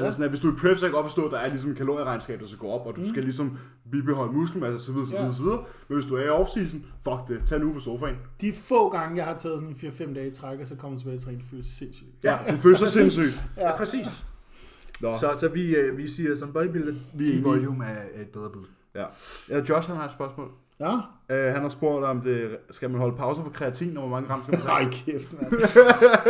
Speaker 1: Ja.
Speaker 4: Altså sådan, at hvis du er i prep, så kan jeg godt forstå, at der er ligesom en kalorieregnskab, der skal gå op, og du mm. skal ligesom bibeholde muskelmasse, så videre, så
Speaker 3: Ja.
Speaker 4: videre, så videre. Men hvis du er i off-season, fuck det, tag nu på sofaen.
Speaker 3: de få gange, jeg har taget sådan 4-5 dage i træk, og så kommer tilbage i træning, det føles sindssygt.
Speaker 4: Ja, det føles så sindssygt.
Speaker 1: ja, præcis.
Speaker 2: Nå.
Speaker 1: Så, så vi, øh, vi siger, som bodybuilder,
Speaker 2: Vi er
Speaker 1: vi
Speaker 2: enige.
Speaker 1: volume er er et bedre bud.
Speaker 2: Ja.
Speaker 4: Ja, Josh, han har et spørgsmål.
Speaker 3: Ja,
Speaker 2: Øh, han har spurgt om det...
Speaker 4: Skal man holde pause for kreatin, og hvor mange gram skal man tage?
Speaker 3: nej kæft, mand.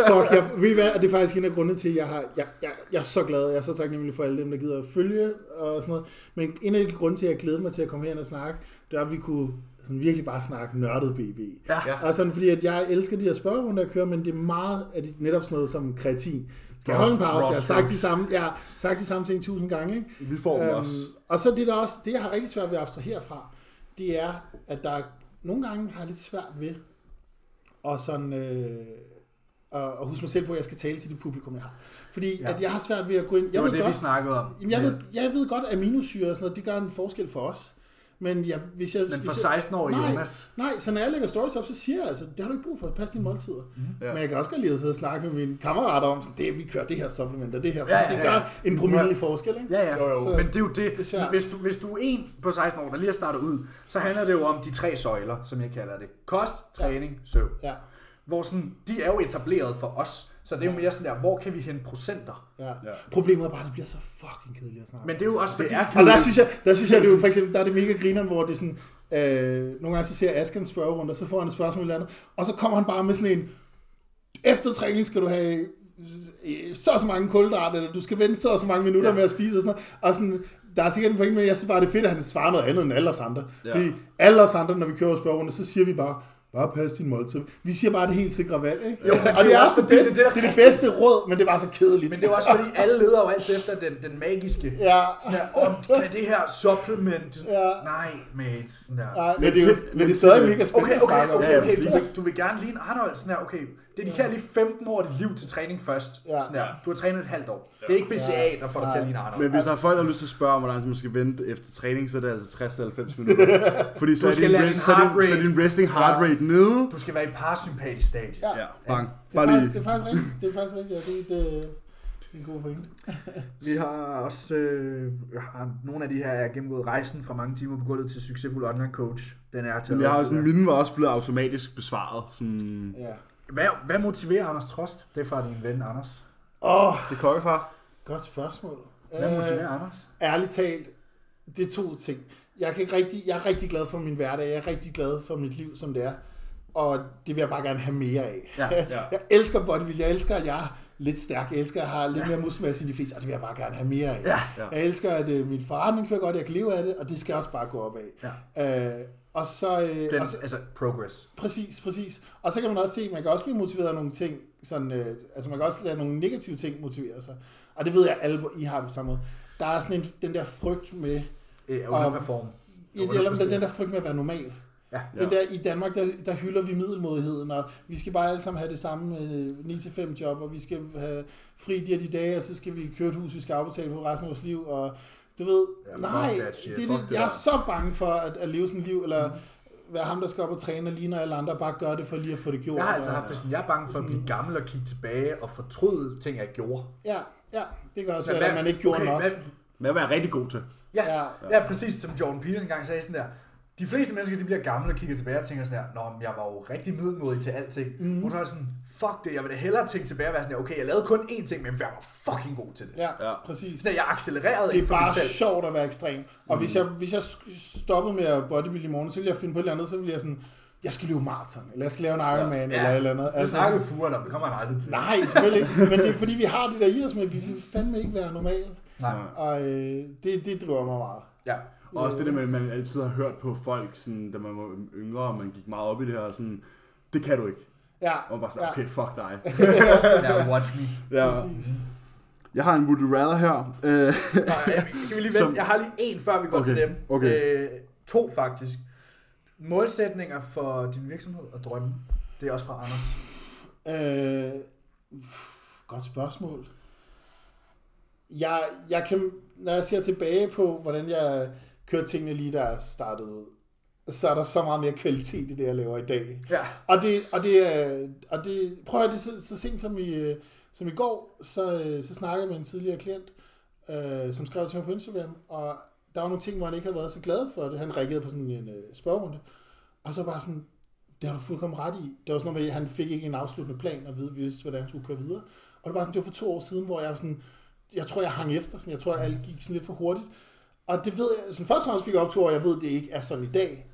Speaker 3: Fuck, jeg, ved I hvad, og det er faktisk en af grundene til, at jeg, har, jeg, jeg, jeg er så glad, og jeg er så taknemmelig for alle dem, der gider at følge og sådan noget. Men en af de grunde til, at jeg glædede mig til at komme herind og snakke, det var, at vi kunne sådan virkelig bare snakke nørdet BB.
Speaker 1: Ja.
Speaker 4: Ja.
Speaker 3: Og sådan, fordi at jeg elsker de her spørgerunder, jeg kører, men det er meget af de, netop sådan noget som kreatin. Skal jeg holde en pause? Jeg har sagt de samme, jeg har sagt de samme ting tusind gange, ikke?
Speaker 4: Vi får øhm, også.
Speaker 3: Øhm, og så det, der også, det, jeg har rigtig svært ved at abstrahere fra, det er, at der er, nogle gange har jeg lidt svært ved og sådan, øh, at, at huske mig selv på, at jeg skal tale til det publikum, jeg har. Fordi ja.
Speaker 1: Ja.
Speaker 3: at jeg har svært ved at gå ind...
Speaker 1: Det
Speaker 3: Jeg
Speaker 1: var
Speaker 3: ved
Speaker 1: det, vi
Speaker 3: godt,
Speaker 1: snakkede om.
Speaker 3: jamen, jeg, ved, jeg ved godt, at aminosyre og sådan noget, det gør en forskel for os. Men jeg, hvis jeg...
Speaker 1: Men
Speaker 3: hvis
Speaker 1: for
Speaker 3: jeg,
Speaker 1: 16-årige
Speaker 3: Nej.
Speaker 1: Jonas,
Speaker 3: Nej, så når jeg lægger stories op, så siger jeg altså, det har du ikke brug for, pas dine måltider.
Speaker 1: Mhm.
Speaker 3: Mm.
Speaker 4: Ja.
Speaker 3: Men jeg kan også godt lide at sidde og snakke med mine kammerater om, sådan, det, vi kører det her supplement og det her, fordi
Speaker 1: Ja, ja,
Speaker 3: det
Speaker 1: ja.
Speaker 3: gør en promille i forskel, ikke?
Speaker 1: Ja, ja. Jo, jo.
Speaker 3: Så-
Speaker 1: Men det er jo det.
Speaker 3: er svært.
Speaker 1: hvis, du, hvis du er en på 16 år, der lige har startet ud, så handler det jo om de tre søjler, som jeg kalder det. Kost, træning, søvn.
Speaker 3: Ja,
Speaker 1: Hvor sådan, de er jo etableret for os, så det er jo mere sådan der, hvor kan vi hente procenter?
Speaker 3: ja. ja. Problemet er bare, at det bliver så fucking kedeligt at snakke.
Speaker 1: Men det er jo også fordi... Det
Speaker 3: Og der synes jeg, der synes jeg det er jo for eksempel, der er det mega grineren, hvor det er sådan, øh, nogle gange så ser Asger en spørgerunde, og så får han et spørgsmål eller andet, og så kommer han bare med sådan en, efter træning skal du have øh, så og så mange kulhydrater, eller du skal vente så og så mange minutter ja. med at spise, og sådan noget. Og sådan, der er sikkert en pointe, men jeg synes bare, det er fedt, at han svarer noget andet end alle os andre. Ja. Fordi alle os andre, når vi kører spørgerunde, så siger vi bare, bare pas din måltid. Vi siger bare det helt sikre valg, ikke? Jo, og det
Speaker 1: jo
Speaker 3: er
Speaker 1: også
Speaker 3: også det
Speaker 1: fordi, det
Speaker 3: bedste,
Speaker 1: er det, der
Speaker 3: det, er det bedste råd, men det var så kedeligt.
Speaker 1: Men det er jo også fordi, alle leder jo alt efter den, den magiske.
Speaker 3: Ja.
Speaker 1: Sådan der, om, kan det her supplement? Sådan,
Speaker 3: Ja.
Speaker 1: Nej, mate. Sådan der.
Speaker 3: Nej, men,
Speaker 4: Men
Speaker 3: det, er jo,
Speaker 4: til-
Speaker 3: men
Speaker 4: men
Speaker 3: det er stadig
Speaker 4: til-
Speaker 3: mega
Speaker 1: Okay,
Speaker 3: spændende
Speaker 1: okay,
Speaker 3: at snakke
Speaker 1: okay,
Speaker 3: om.
Speaker 1: okay,
Speaker 4: Ja,
Speaker 1: okay. Du,
Speaker 4: præcis.
Speaker 1: vil, du vil gerne lige en Arnold, sådan her, okay, det er de her lige 15 år af dit liv til træning først,
Speaker 3: Ja.
Speaker 1: sådan her. du har trænet et halvt år. Det er ikke BCA, der får dig til at ligne Arnold.
Speaker 4: Men hvis der er folk, der har lyst til at spørge om, hvordan man skal vente efter træning, så er det altså 60-90 minutter. Fordi så er,
Speaker 1: skal
Speaker 4: din
Speaker 1: lade
Speaker 4: rest,
Speaker 1: din
Speaker 4: så, er
Speaker 1: heart
Speaker 4: din, så er
Speaker 1: rate-
Speaker 4: din resting heart rate nede.
Speaker 1: Du skal være i parasympatisk stadie.
Speaker 3: Ja.
Speaker 4: Ja, bang.
Speaker 3: Det
Speaker 4: Bare
Speaker 3: er, faktisk, det
Speaker 4: lige.
Speaker 3: er faktisk rigtigt. Det er faktisk rigtigt. Ja, det, det, det er en god pointe.
Speaker 1: Vi har også øh, har nogle af de her er gennemgået rejsen fra mange timer på gulvet til succesfuld online coach. Den er til
Speaker 4: Men jeg har sådan, mine var også blevet automatisk besvaret. Sådan,
Speaker 3: Ja.
Speaker 1: hvad, hvad motiverer Anders Trost? Det er fra din ven Anders.
Speaker 3: Åh,
Speaker 4: det er kokkefar.
Speaker 3: godt spørgsmål.
Speaker 1: Hvad
Speaker 3: Øh,
Speaker 1: motiverer Anders?
Speaker 3: ærligt talt, det er to ting. Jeg, kan ikke rigtig, jeg er rigtig glad for min hverdag. Jeg er rigtig glad for mit liv, som det er. Og det vil jeg bare gerne have mere af.
Speaker 1: Ja,
Speaker 4: ja.
Speaker 3: Jeg elsker bodybuilding. Jeg elsker, at jeg er lidt stærk. Jeg elsker, at jeg har lidt mere muskelmasse end de fleste. Og det vil jeg bare gerne have mere af.
Speaker 1: Ja.
Speaker 4: Ja.
Speaker 3: Jeg elsker, at øh, min forretning kører godt. Jeg kan leve af det. Og det skal også bare gå opad. Ja. Øh, og så... Øh,
Speaker 1: Den,
Speaker 3: og så
Speaker 1: altså progress.
Speaker 3: Præcis, præcis. Og så kan man også se, at man kan også blive motiveret af nogle ting, sådan, øh, altså man kan også lade nogle negative ting motivere sig. Og det ved jeg, alle I har det på samme måde. Der er sådan en, den der frygt med,
Speaker 1: Øh, underperform.
Speaker 3: eller den, den der frygt med at være normal.
Speaker 1: Ja.
Speaker 3: Den der, I Danmark, der, der hylder vi middelmodigheden, og vi skal bare alle sammen have det samme øh, 9-5 job, og vi skal have fri de og de dage, og så skal vi køre et hus, vi skal afbetale på resten af vores liv, og du ved,
Speaker 1: Ja,
Speaker 3: ja,
Speaker 1: fuck
Speaker 3: nej,
Speaker 1: that shit,
Speaker 3: det, det,
Speaker 1: fuck det
Speaker 3: jeg er
Speaker 1: der.
Speaker 3: så bange for at, at leve sådan et liv, eller mm. være ham, der skal op og træne og ligner alle andre, og bare gøre det for lige at få det gjort.
Speaker 1: Jeg har altså
Speaker 3: og-
Speaker 1: haft det sådan, jeg er bange for at blive gammel og kigge tilbage og fortryde ting, jeg gjorde.
Speaker 3: Ja, ja, det gør også, at man ikke gjorde okay, nok.
Speaker 1: Hvad,
Speaker 4: Hvad var jeg rigtig god til?
Speaker 1: Ja, ja. ja, præcis som Jordan Peterson engang sagde sådan der. De fleste mennesker, de bliver gamle og kigger tilbage og tænker sådan her, Nå, men jeg var jo rigtig middelmodig til alting.
Speaker 3: Mhm.
Speaker 1: Mm. Og så er jeg sådan, fuck det, jeg vil da hellere tænke tilbage og være sådan her, okay, jeg lavede kun én ting, men jeg var fucking god til det.
Speaker 3: Ja, ja,
Speaker 4: Ja.
Speaker 3: præcis.
Speaker 1: Sådan, at jeg accelererede
Speaker 3: Det er
Speaker 1: inden for
Speaker 3: bare
Speaker 1: mig selv.
Speaker 3: sjovt at være ekstrem. Og mm. hvis, jeg, hvis jeg sk- stoppede med at bodybuild i morgen, så ville jeg finde på et eller andet, så ville jeg sådan, jeg skal løbe maraton, eller jeg skal lave en Ironman, ja. eller et eller andet. Altså,
Speaker 1: det snakkede
Speaker 3: sådan-
Speaker 1: Fure om, det kommer han aldrig til.
Speaker 3: Nej, selvfølgelig ikke. Men det er fordi, vi har det der i os med, at vi vil fandme ikke være normale.
Speaker 1: Nej.
Speaker 3: Og øh, det, det driver mig meget.
Speaker 1: Ja.
Speaker 4: Og også det der med, at man altid har hørt på folk, sådan, da man var yngre, og man gik meget op i det her, og sådan, det kan du ikke.
Speaker 3: Ja,
Speaker 4: Og man bare sådan,
Speaker 3: ja,
Speaker 4: okay, fuck dig.
Speaker 1: ja, watch me.
Speaker 4: Ja.
Speaker 3: præcis.
Speaker 2: Jeg har en Would You Rather her. Øh,
Speaker 1: Nå, ja, vi- kan vi lige vente? Jeg har lige en, før vi går
Speaker 4: Okay,
Speaker 1: til dem.
Speaker 2: okay.
Speaker 1: Øh, to faktisk. Målsætninger for din virksomhed og drømme. Det er også fra Anders.
Speaker 3: Øh, pff, godt spørgsmål. Jeg, jeg kan, når jeg ser tilbage på, hvordan jeg kørte tingene lige, der startede ud, så er der så meget mere kvalitet i det, jeg laver i dag.
Speaker 1: Ja.
Speaker 3: Og det, og det, er- og det prøver jeg det så, så sent som i, øh, som i går, så, øh, så snakkede jeg med en tidligere klient, øh, som skrev til mig på Instagram, og der var nogle ting, hvor han ikke havde været så glad for det. Han reagerede på sådan en øh, spørgerunde, og så bare sådan, det har du fuldkommen ret i. Det var sådan noget med, at han fik ikke en afsluttende plan, og vide, vidste, hvordan han skulle køre videre. Og det var sådan, det var for to år siden, hvor jeg var sådan, jeg tror, jeg hang efter, sådan, jeg tror, alt gik sådan lidt for hurtigt. Og det ved jeg, sådan først og fremmest fik jeg optur, og jeg ved, det ikke er sådan i dag.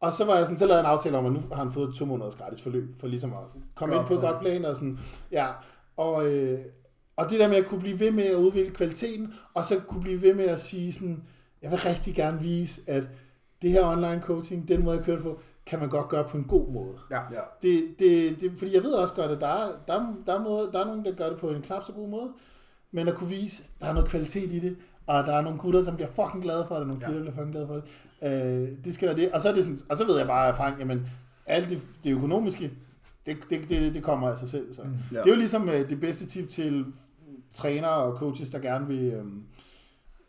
Speaker 3: Og så var jeg sådan, så lavede jeg en aftale om, at nu har han fået to måneders gratis forløb, for ligesom at komme ind på et godt plan og sådan, ja. Og, øh, og det der med at kunne blive ved med at udvikle kvaliteten, og så kunne blive ved med at sige sådan, jeg vil rigtig gerne vise, at det her online coaching, den måde jeg kører det på, kan man godt gøre på en god måde.
Speaker 1: Ja.
Speaker 4: Ja.
Speaker 3: Det, det, det, fordi jeg ved også godt, at der er, der, er, der, er måde, der er nogen, der gør det på en knap så god måde, men at kunne vise, at der er noget kvalitet i det, og der er nogle gutter, som bliver fucking glade for det, og nogle
Speaker 1: Ja.
Speaker 3: fyre, der bliver fucking glade for det. Øh, det skal være det. Og så, er det sådan, og så ved jeg bare af erfaring, jamen, alt det, det økonomiske, det, det, det, det kommer af sig selv. Så. Mm.
Speaker 4: Ja.
Speaker 3: Det er jo ligesom øh, det bedste tip til trænere og coaches, der gerne vil, øh,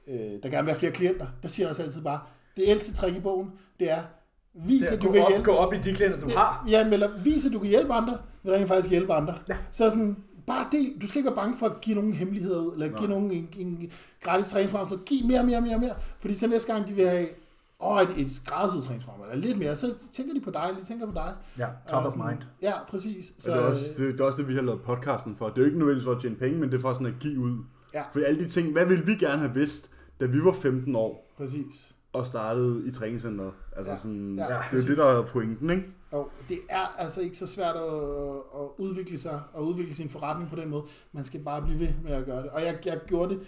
Speaker 3: øh, der gerne vil have flere klienter. Der siger jeg også altid bare, det ældste trick i bogen, det er, vis,
Speaker 1: Det er,
Speaker 3: at du kan
Speaker 1: op,
Speaker 3: hjælpe.
Speaker 1: gå op i de klienter, du har.
Speaker 3: Ja, men eller vis, at du kan hjælpe andre, vil rent faktisk hjælpe andre. Ja. Så sådan, bare del. Du skal ikke være bange for at give nogen hemmeligheder ud, eller Nej. give nogen en, en gratis træningsprogram, så giv mere, mere, mere, mere. Fordi så næste gang, de vil have åh, et, et skræddersyet træningsprogram, eller lidt mere, så tænker de på dig, de tænker på dig.
Speaker 1: Ja, top
Speaker 3: Og
Speaker 1: of
Speaker 3: sådan-
Speaker 1: mind.
Speaker 3: Ja, præcis.
Speaker 4: Så, øh, det, er også, det, det er også det, vi har lavet podcasten for. Det er jo ikke nødvendigvis for at tjene penge, men det er for sådan at give ud.
Speaker 3: Ja.
Speaker 4: For alle de ting, hvad ville vi gerne have vidst, da vi var 15 år
Speaker 3: øh, præcis.
Speaker 4: og startede i træningscenteret? Altså
Speaker 3: Ja.
Speaker 4: ja. sådan,
Speaker 3: Ja,
Speaker 4: ja. det er jo
Speaker 1: præcis.
Speaker 4: det, der er pointen, ikke?
Speaker 3: Og det er altså ikke så svært at, at udvikle sig og udvikle sin forretning på den måde. Man skal bare blive ved med at gøre det. Og jeg, jeg gjorde det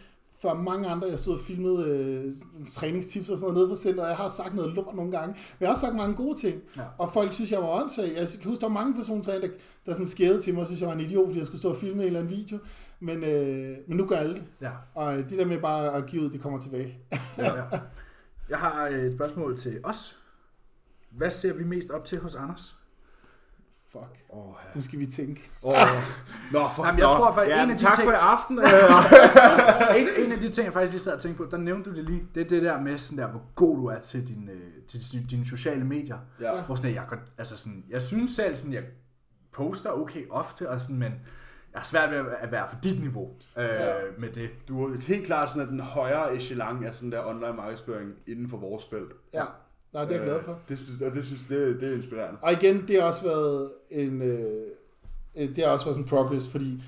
Speaker 3: for mange andre. Jeg stod og filmede øh, træningstips og sådan noget nede på centret, og jeg har sagt noget lort nogle gange. Men jeg har også sagt mange gode ting.
Speaker 1: Ja.
Speaker 3: Og folk synes, jeg var åndssvag. Jeg kan huske, der var mange persontræner, der, der sådan skævede til mig og synes, jeg var en idiot, fordi jeg skulle stå og filme en eller anden video. Men, øh, men nu gør alle det.
Speaker 1: Ja.
Speaker 3: Og øh, det der med bare at give ud, det kommer tilbage.
Speaker 1: Ja. ja. Jeg har et spørgsmål til os. Hvad ser vi mest op til hos Anders?
Speaker 3: Fuck.
Speaker 4: Åh, ja.
Speaker 3: Nu skal vi tænke.
Speaker 4: Åh, Nå, for,
Speaker 1: Jamen, jeg
Speaker 4: nå.
Speaker 1: tror, for
Speaker 4: ja,
Speaker 1: en af de
Speaker 4: tak
Speaker 1: ting-
Speaker 4: for i aften. Øh,
Speaker 1: En, en af de ting, jeg faktisk lige sad og tænkte på, der nævnte du det lige, det er det der med, sådan der, hvor god du er til, din, øh, til din- dine sociale medier.
Speaker 4: Ja.
Speaker 1: Hvor sådan, at jeg, kan, altså sådan, jeg synes selv, sådan, jeg poster okay ofte, og sådan, men jeg er svært ved at- at være på dit niveau øh, ja. med det.
Speaker 4: du er helt klart sådan, at den højere echelon er sådan der online markedsføring inden for vores felt.
Speaker 3: Ja, Nej, det er jeg glad for.
Speaker 4: Øh, Det synes, og det synes det, det er inspirerende.
Speaker 3: Og igen, det har også været en, øh, øh, det har også været sådan en progress, fordi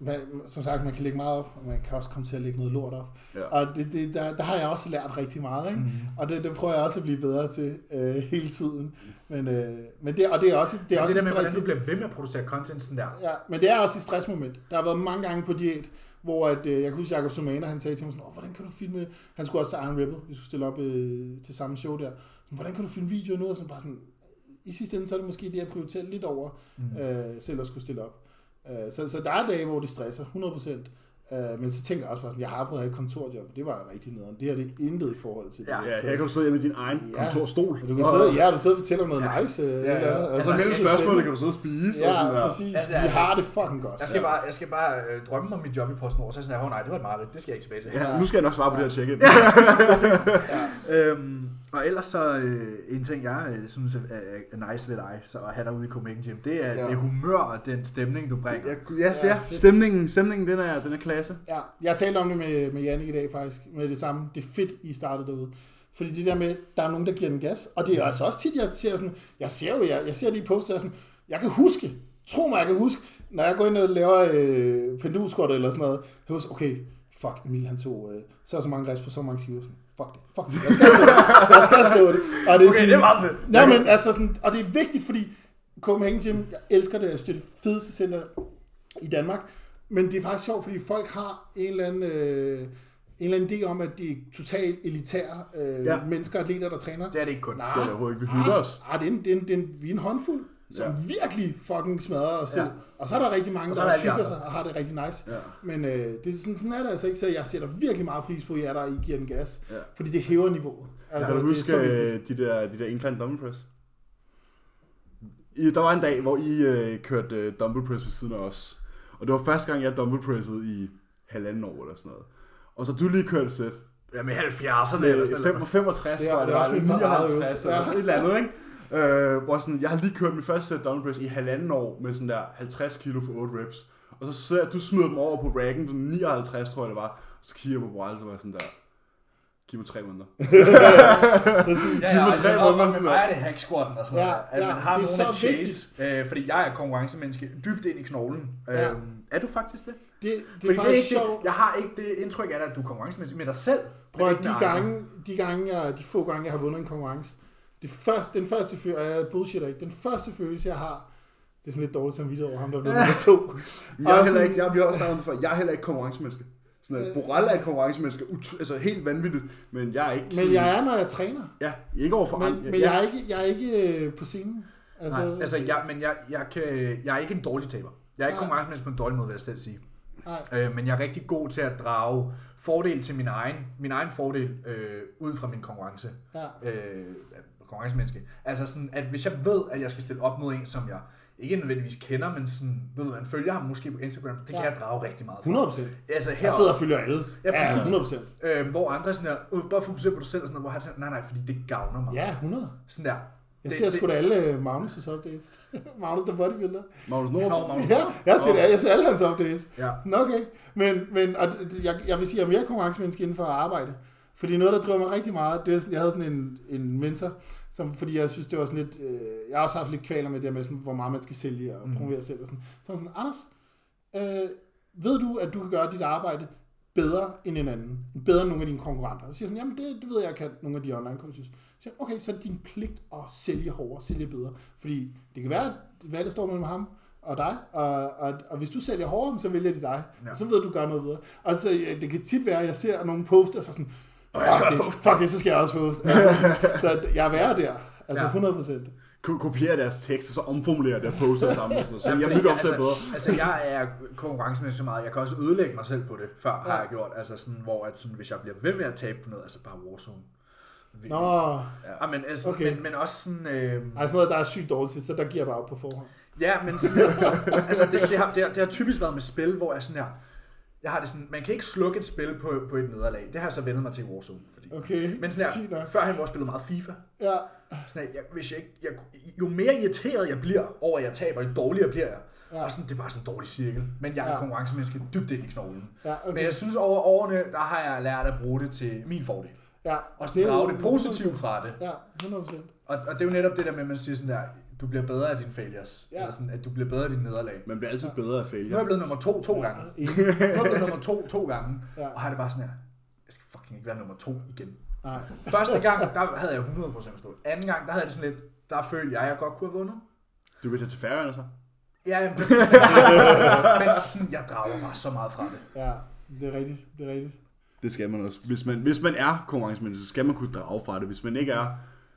Speaker 3: man, som sagt, man kan lægge meget op, og man kan også komme til at lægge noget lort op.
Speaker 4: Ja.
Speaker 3: Og det, det, der, der har jeg også lært rigtig meget, ikke? Mm.
Speaker 1: Mhm.
Speaker 3: Og det, det prøver jeg også at blive bedre til øh, hele tiden. Men, øh, men det, og det er også, det er
Speaker 1: Det,
Speaker 3: også
Speaker 1: det der med,
Speaker 3: et
Speaker 1: hvordan
Speaker 3: rigtig-
Speaker 1: du bliver ved med at producere content sådan der.
Speaker 3: Ja, men det er også et stressmoment. Der har været mange gange på diæt, hvor at, øh, jeg kan huske, Jacob Sumaner, han sagde til mig sådan, Åh, hvordan kan du filme, han skulle også til Iron Rebel, vi skulle stille op øh, til samme show der, sådan, hvordan kan du filme videoer nu, og sådan bare sådan, i sidste ende, så er det måske det, jeg prioriterer lidt over, mm. øh, selv at skulle stille op. Øh, så, så der er dage, hvor det stresser, 100%, øh, men så tænker jeg også bare sådan, jeg har prøvet at have et kontorjob, og det var rigtig nederen, det her det er intet i forhold til det.
Speaker 1: Ja,
Speaker 4: Ja,
Speaker 3: så,
Speaker 4: her kan du sidde hjemme i din egen
Speaker 3: Ja.
Speaker 4: kontorstol.
Speaker 3: og du kan sidde, ja, du sidder og fortæller om noget ja. nice. Øh,
Speaker 4: Ja,
Speaker 3: eller
Speaker 4: ja.
Speaker 3: andet,
Speaker 4: Og så
Speaker 1: Altså,
Speaker 4: mellem
Speaker 1: det er
Speaker 4: spørgsmålene kan du sidde og spise. og sådan
Speaker 3: Ja,
Speaker 4: der.
Speaker 3: præcis.
Speaker 1: Altså,
Speaker 3: Vi
Speaker 1: altså-
Speaker 3: har det fucking godt.
Speaker 1: Jeg skal, bare, jeg skal bare øh, drømme om mit job i PostNord, så er jeg sådan her, "Åh, nej, det var et mareridt, det skal jeg ikke tilbage til.
Speaker 4: Ja, nu skal jeg nok svare på det her tjekke.
Speaker 1: Øhm, og ellers så øh, en ting, jeg øh, synes er, er, er nice ved dig, så at have dig ude i Copenhagen Gym, det er ja.
Speaker 4: Ja.
Speaker 1: det humør og den stemning, du bringer.
Speaker 4: Ja, ja, ja.
Speaker 3: fedt.
Speaker 4: Stemningen, stemningen den, er, den er klasse.
Speaker 3: Ja, jeg talte om det med, med Jannik i dag faktisk, med det samme. Det er fedt, I startede derude. Fordi det der med, der er nogen, der giver den gas. Og det er altså også tit, jeg ser sådan, jeg ser jo, jeg, jeg ser de poster, jeg er sådan, jeg kan huske, tro mig, jeg kan huske, når jeg går ind og laver øh, pendulskot eller sådan noget, jeg husker, okay, fuck, Emil han tog øh, så og så mange reps på så mange timer. Sådan, Fuck det, fuck det, jeg skal slå det, jeg skal slå det. Og det er
Speaker 1: Okay, det er meget fedt.
Speaker 3: Nej, men altså sådan, og det er vigtigt, fordi Copenhagen Gym, jeg elsker det, jeg støtter det fedeste center i Danmark, men det er faktisk sjovt, fordi folk har en eller anden, øh, en eller anden idé om, at det er totalt elitære øh, ja.
Speaker 4: Ja.
Speaker 3: mennesker, atleter, der træner.
Speaker 1: Det er det ikke kun.
Speaker 4: Det er da overhovedet ikke, vi hygger os.
Speaker 3: Ah, det er en, det er en, det er en, vi er en håndfuld, som ja.
Speaker 4: Ja.
Speaker 3: virkelig fucking smadrer os selv. Ja.
Speaker 4: Ja.
Speaker 3: Og så er der rigtig mange,
Speaker 1: Og så
Speaker 3: der
Speaker 1: er der
Speaker 3: også
Speaker 1: alle de
Speaker 3: hygger sig
Speaker 1: andre.
Speaker 3: og har det rigtig nice.
Speaker 4: Ja.
Speaker 3: Men øh, det er sådan, sådan er det altså ikke, så jeg sætter virkelig meget pris på jer, der I giver den gas.
Speaker 4: Ja.
Speaker 3: Fordi det hæver niveauet. Altså,
Speaker 4: Kan du
Speaker 3: det er
Speaker 4: huske
Speaker 3: så vigtigt.
Speaker 4: øh, de der, de der incline dumbbell press? I, der var en dag, hvor I øh, kørte øh, dumbbell press ved siden af os. Og det var første gang, jeg dumbbell pressede i halvanden år eller sådan noget. Og så du lige kørte et sæt.
Speaker 1: Ja, med 70'erne eller
Speaker 4: med
Speaker 1: sådan noget.
Speaker 4: 65,
Speaker 3: Det er-
Speaker 4: tror jeg,
Speaker 3: det er
Speaker 4: det Øh, var,
Speaker 3: også
Speaker 4: eller
Speaker 3: min parade,
Speaker 4: 59,
Speaker 3: øvelse.
Speaker 4: eller
Speaker 3: Ja.
Speaker 4: sådan et eller andet, ikke? Øh, hvor sådan, jeg har lige kørt min første sæt dumbbell press i halvanden år med sådan der 50 kilo for 8 reps. Og så ser jeg, du smider dem over på racken, sådan 59, tror jeg det var. Og så kigger jeg på Wild, så var jeg sådan der, giv mig tre måneder.
Speaker 1: Ja,
Speaker 4: Giv
Speaker 1: ja,
Speaker 4: mig
Speaker 1: altså,
Speaker 4: tre
Speaker 1: og-
Speaker 4: måneder,
Speaker 1: og med
Speaker 4: sådan
Speaker 1: mig er det hack squatten og sådan
Speaker 3: Ja,
Speaker 1: ja, At
Speaker 3: ja,
Speaker 1: man har
Speaker 3: det er
Speaker 1: nogen at
Speaker 3: så
Speaker 1: chase. Øh, fordi jeg er konkurrencemenneske dybt ind i knoglen.
Speaker 3: Ja.
Speaker 1: Øh, er du faktisk det?
Speaker 3: Det, det
Speaker 1: Fordi
Speaker 3: er
Speaker 1: det er
Speaker 3: faktisk
Speaker 1: ikke
Speaker 3: sjovt.
Speaker 1: det, jeg har ikke det indtryk af dig, at du er konkurrencemenneske med dig selv. men
Speaker 3: Prøv at
Speaker 1: ikke med
Speaker 3: de
Speaker 1: andre.
Speaker 3: gange, de gange jeg, de få gange, jeg har vundet en konkurrence, det første, den første følelse, og jeg bullshitter ikke, den første følelse, jeg har, det er sådan lidt dårligt samvittighed over ham, der blev nummer to.
Speaker 4: Men jeg er
Speaker 3: Og
Speaker 4: heller
Speaker 3: sådan-
Speaker 4: ikke, jeg, vi har også snakket om det før, jeg er heller ikke konkurrencemenneske. Sådan at Boral er et konkurrencemenneske, ut- altså helt vanvittigt, men jeg er ikke
Speaker 3: Men jeg er, når jeg træner.
Speaker 4: ja, ikke overfor
Speaker 3: Men,
Speaker 4: andre.
Speaker 3: men jeg, er ikke, jeg er ikke øh, på scenen. Altså,
Speaker 1: Nej, altså, jeg, men jeg, jeg, kan, jeg er ikke en dårlig taber. Jeg er ikke
Speaker 3: Nej.
Speaker 1: konkurrencemenneske på en dårlig måde, vil jeg selv sige.
Speaker 3: nej.
Speaker 1: Øh, men jeg er rigtig god til at drage fordel til min egen, min egen fordel øh, ud fra min konkurrence.
Speaker 3: Ja.
Speaker 1: Øh, konkurrencemenneske. Altså sådan, at hvis jeg ved, at jeg skal stille op mod en, som jeg ikke nødvendigvis kender, men sådan, ved man følger ham måske på Instagram, det kan
Speaker 3: Ja.
Speaker 1: jeg drage rigtig meget. fra.
Speaker 3: 100 procent.
Speaker 1: Altså her,
Speaker 3: Jeg sidder og følger alle.
Speaker 1: Ja,
Speaker 3: Ja,
Speaker 1: præcis.
Speaker 3: 100 procent.
Speaker 1: øh, hvor andre sådan der, øh, bare fokuser på dig selv, og sådan noget, hvor han sådan, nej, nej, fordi det gavner mig.
Speaker 3: Ja, 100.
Speaker 1: Sådan der.
Speaker 3: Jeg
Speaker 1: Det-
Speaker 3: ser
Speaker 1: det-
Speaker 3: sgu da alle øh, Magnus' updates. Magnus, der bodybuilder.
Speaker 4: Magnus
Speaker 1: Nå,
Speaker 4: Nordrup,
Speaker 1: Magnus.
Speaker 3: Ja, jeg ser, det, jeg ser alle hans updates.
Speaker 1: Ja.
Speaker 3: Nå, okay. Men, men og det- det- jeg, jeg vil sige, at jeg er mere konkurrencemenneske inden for at arbejde. Fordi noget, der driver mig rigtig meget, det er, sådan- jeg havde sådan en, en mentor, som, fordi jeg synes, det var sådan lidt, øh, jeg har også haft lidt kvaler med det der med, sådan, hvor meget man skal sælge og promovere selv og sådan. Så var han sådan, Anders, øh, ved du, at du kan gøre dit arbejde bedre end en anden? Bedre end nogle af dine konkurrenter? Så siger jeg sådan, jamen det, det ved jeg, jeg kan, nogle af de online coaches. Så siger jeg, okay, så er det din pligt at sælge hårdere, sælge bedre. Fordi det kan være, at hvad der står mellem ham og dig, og, og, og hvis du sælger hårdere, så vælger de dig. Ja. Og så ved du, at du gør noget bedre. Og så, ja, det kan tit være, at jeg ser nogle poster, og så sådan,
Speaker 1: jeg skal også
Speaker 3: "Fuck det-
Speaker 1: poste."
Speaker 3: fuck det, så skal jeg også poste. Altså, sådan, så jeg er værre der. Altså
Speaker 1: Ja.
Speaker 3: 100 procent.
Speaker 4: ko- kopierer deres tekst, og så omformulerer deres poster sammen. Og sådan noget. Så jeg
Speaker 1: fordi
Speaker 4: ved det ofte er bedre.
Speaker 1: altså, altså, jeg er konkurrencen så meget, jeg kan også ødelægge mig selv på det, før har jeg gjort. Altså sådan, hvor at, sådan, hvis jeg bliver ved med at tabe på noget, altså bare Warzone.
Speaker 3: Nå,
Speaker 1: Ja, men, altså,
Speaker 3: Okay.
Speaker 1: okay. men, men også sådan... Øh,
Speaker 3: ej, sådan noget, der er sygt dårligt til, så der giver jeg bare op på forhånd.
Speaker 1: ja, men sådan, altså, det, det, har, det, har, det har typisk været med spil, hvor jeg sådan her... Jeg har det sådan, man kan ikke slukke et spil på, på et nederlag. Det har jeg så vendet mig til i Warzone. Fordi.
Speaker 3: Okay,
Speaker 1: Men sådan
Speaker 3: sygt
Speaker 1: her,
Speaker 3: nok.
Speaker 1: førhen hvor jeg spillede meget FIFA,
Speaker 3: Ja,
Speaker 1: sådan her, jeg, hvis jeg, ikke- jeg, jo mere irriteret jeg bliver over, at jeg taber, jo dårligere bliver jeg.
Speaker 3: Ja.
Speaker 1: Ja. Og sådan, det er bare sådan en dårlig cirkel. Men jeg er
Speaker 3: Ja.
Speaker 1: ja. konkurrencemenneske dybt ind i knoglen.
Speaker 3: ja, okay.
Speaker 1: Men jeg synes over årene, der har jeg lært at bruge det til min fordel.
Speaker 3: ja,
Speaker 1: Og sådan
Speaker 3: er
Speaker 1: drage
Speaker 3: jo-
Speaker 1: det positivt fra det.
Speaker 3: Ja, 100 procent.
Speaker 1: Og, og det er jo netop det der med, at man siger sådan der, du bliver bedre af dine failures.
Speaker 3: Ja.
Speaker 1: Ja. Eller sådan, at du bliver bedre af dine nederlag.
Speaker 4: Man bliver altid bedre af
Speaker 1: Nu er
Speaker 4: failure.
Speaker 1: jeg blevet nummer to to gange. Nu er jeg blevet nummer to to gange.
Speaker 3: Ja.
Speaker 1: Og har det bare sådan her, jeg skal fucking ikke være nummer to igen.
Speaker 3: Nej,
Speaker 1: Første gang, der havde jeg 100% stået. Anden gang, der havde det sådan lidt, der følte jeg, at jeg godt kunne have vundet.
Speaker 4: Du vil tage til færøerne så?
Speaker 1: Ja, jamen, præcis. men sådan, jeg drager bare så meget fra det.
Speaker 3: ja, det er rigtigt, det er rigtigt.
Speaker 4: Det skal man også. Hvis man, hvis man er konkurrencemenneske, så skal man kunne drage fra det. Hvis man ikke er,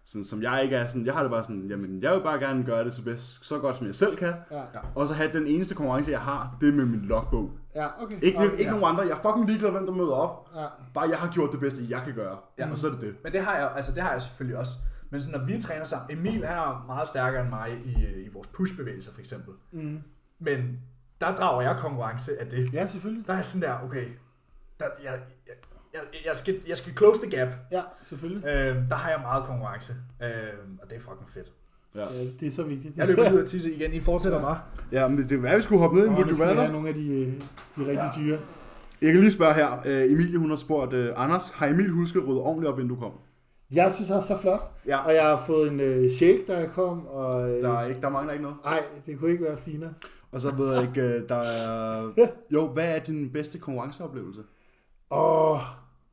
Speaker 4: sådan, som jeg ikke er, sådan, jeg har det bare sådan, jamen jeg vil bare gerne gøre det så, bedst, så godt, som jeg selv kan.
Speaker 3: Ja,
Speaker 4: Og så have den eneste konkurrence, jeg har, det er med min logbog.
Speaker 3: ja okay.
Speaker 4: Ikke,
Speaker 3: okay.
Speaker 4: ikke nogen andre. Jeg er fucking ligeglad, hvem der møder op.
Speaker 3: Ja,
Speaker 4: Bare jeg har gjort det bedste, jeg kan gøre.
Speaker 1: Ja.
Speaker 4: Og så er det det.
Speaker 1: Men det har jeg, altså det har jeg selvfølgelig også. Men sådan, når vi træner sammen, Emil han er meget stærkere end mig i, øh, i vores pushbevægelser for eksempel. Mm. Men der drager jeg konkurrence af det.
Speaker 3: ja selvfølgelig.
Speaker 1: Der er sådan der, okay, der, jeg, jeg, jeg, jeg, skal, jeg skal close the gap.
Speaker 3: Ja, selvfølgelig.
Speaker 1: Øh, der har jeg meget konkurrence, øh, og det er fucking fedt.
Speaker 4: Ja.
Speaker 3: Ja, det er så vigtigt.
Speaker 1: Jeg løber ud og tisse igen, I fortsætter bare.
Speaker 2: Ja, men det, det er værd, vi skulle hoppe ned i en
Speaker 3: Og nu
Speaker 2: Would You
Speaker 3: skal vi
Speaker 2: Rather.
Speaker 3: have nogle af de, øh, de rigtig dyre.
Speaker 2: Jeg kan lige spørge her. Øh, Emilie, hun har spurgt, øh, Anders, har Emil husket at rydde ordentligt op, inden du kom?
Speaker 3: Jeg synes også så flot.
Speaker 2: Ja.
Speaker 3: Og jeg har fået en øh, shake, der jeg kom. Og, øh,
Speaker 4: Der, er ikke, der mangler ikke noget.
Speaker 3: Ej, det kunne ikke være finere.
Speaker 4: Og så ved jeg ikke, øh, der er... Jo, hvad er din bedste konkurrenceoplevelse?
Speaker 3: Og,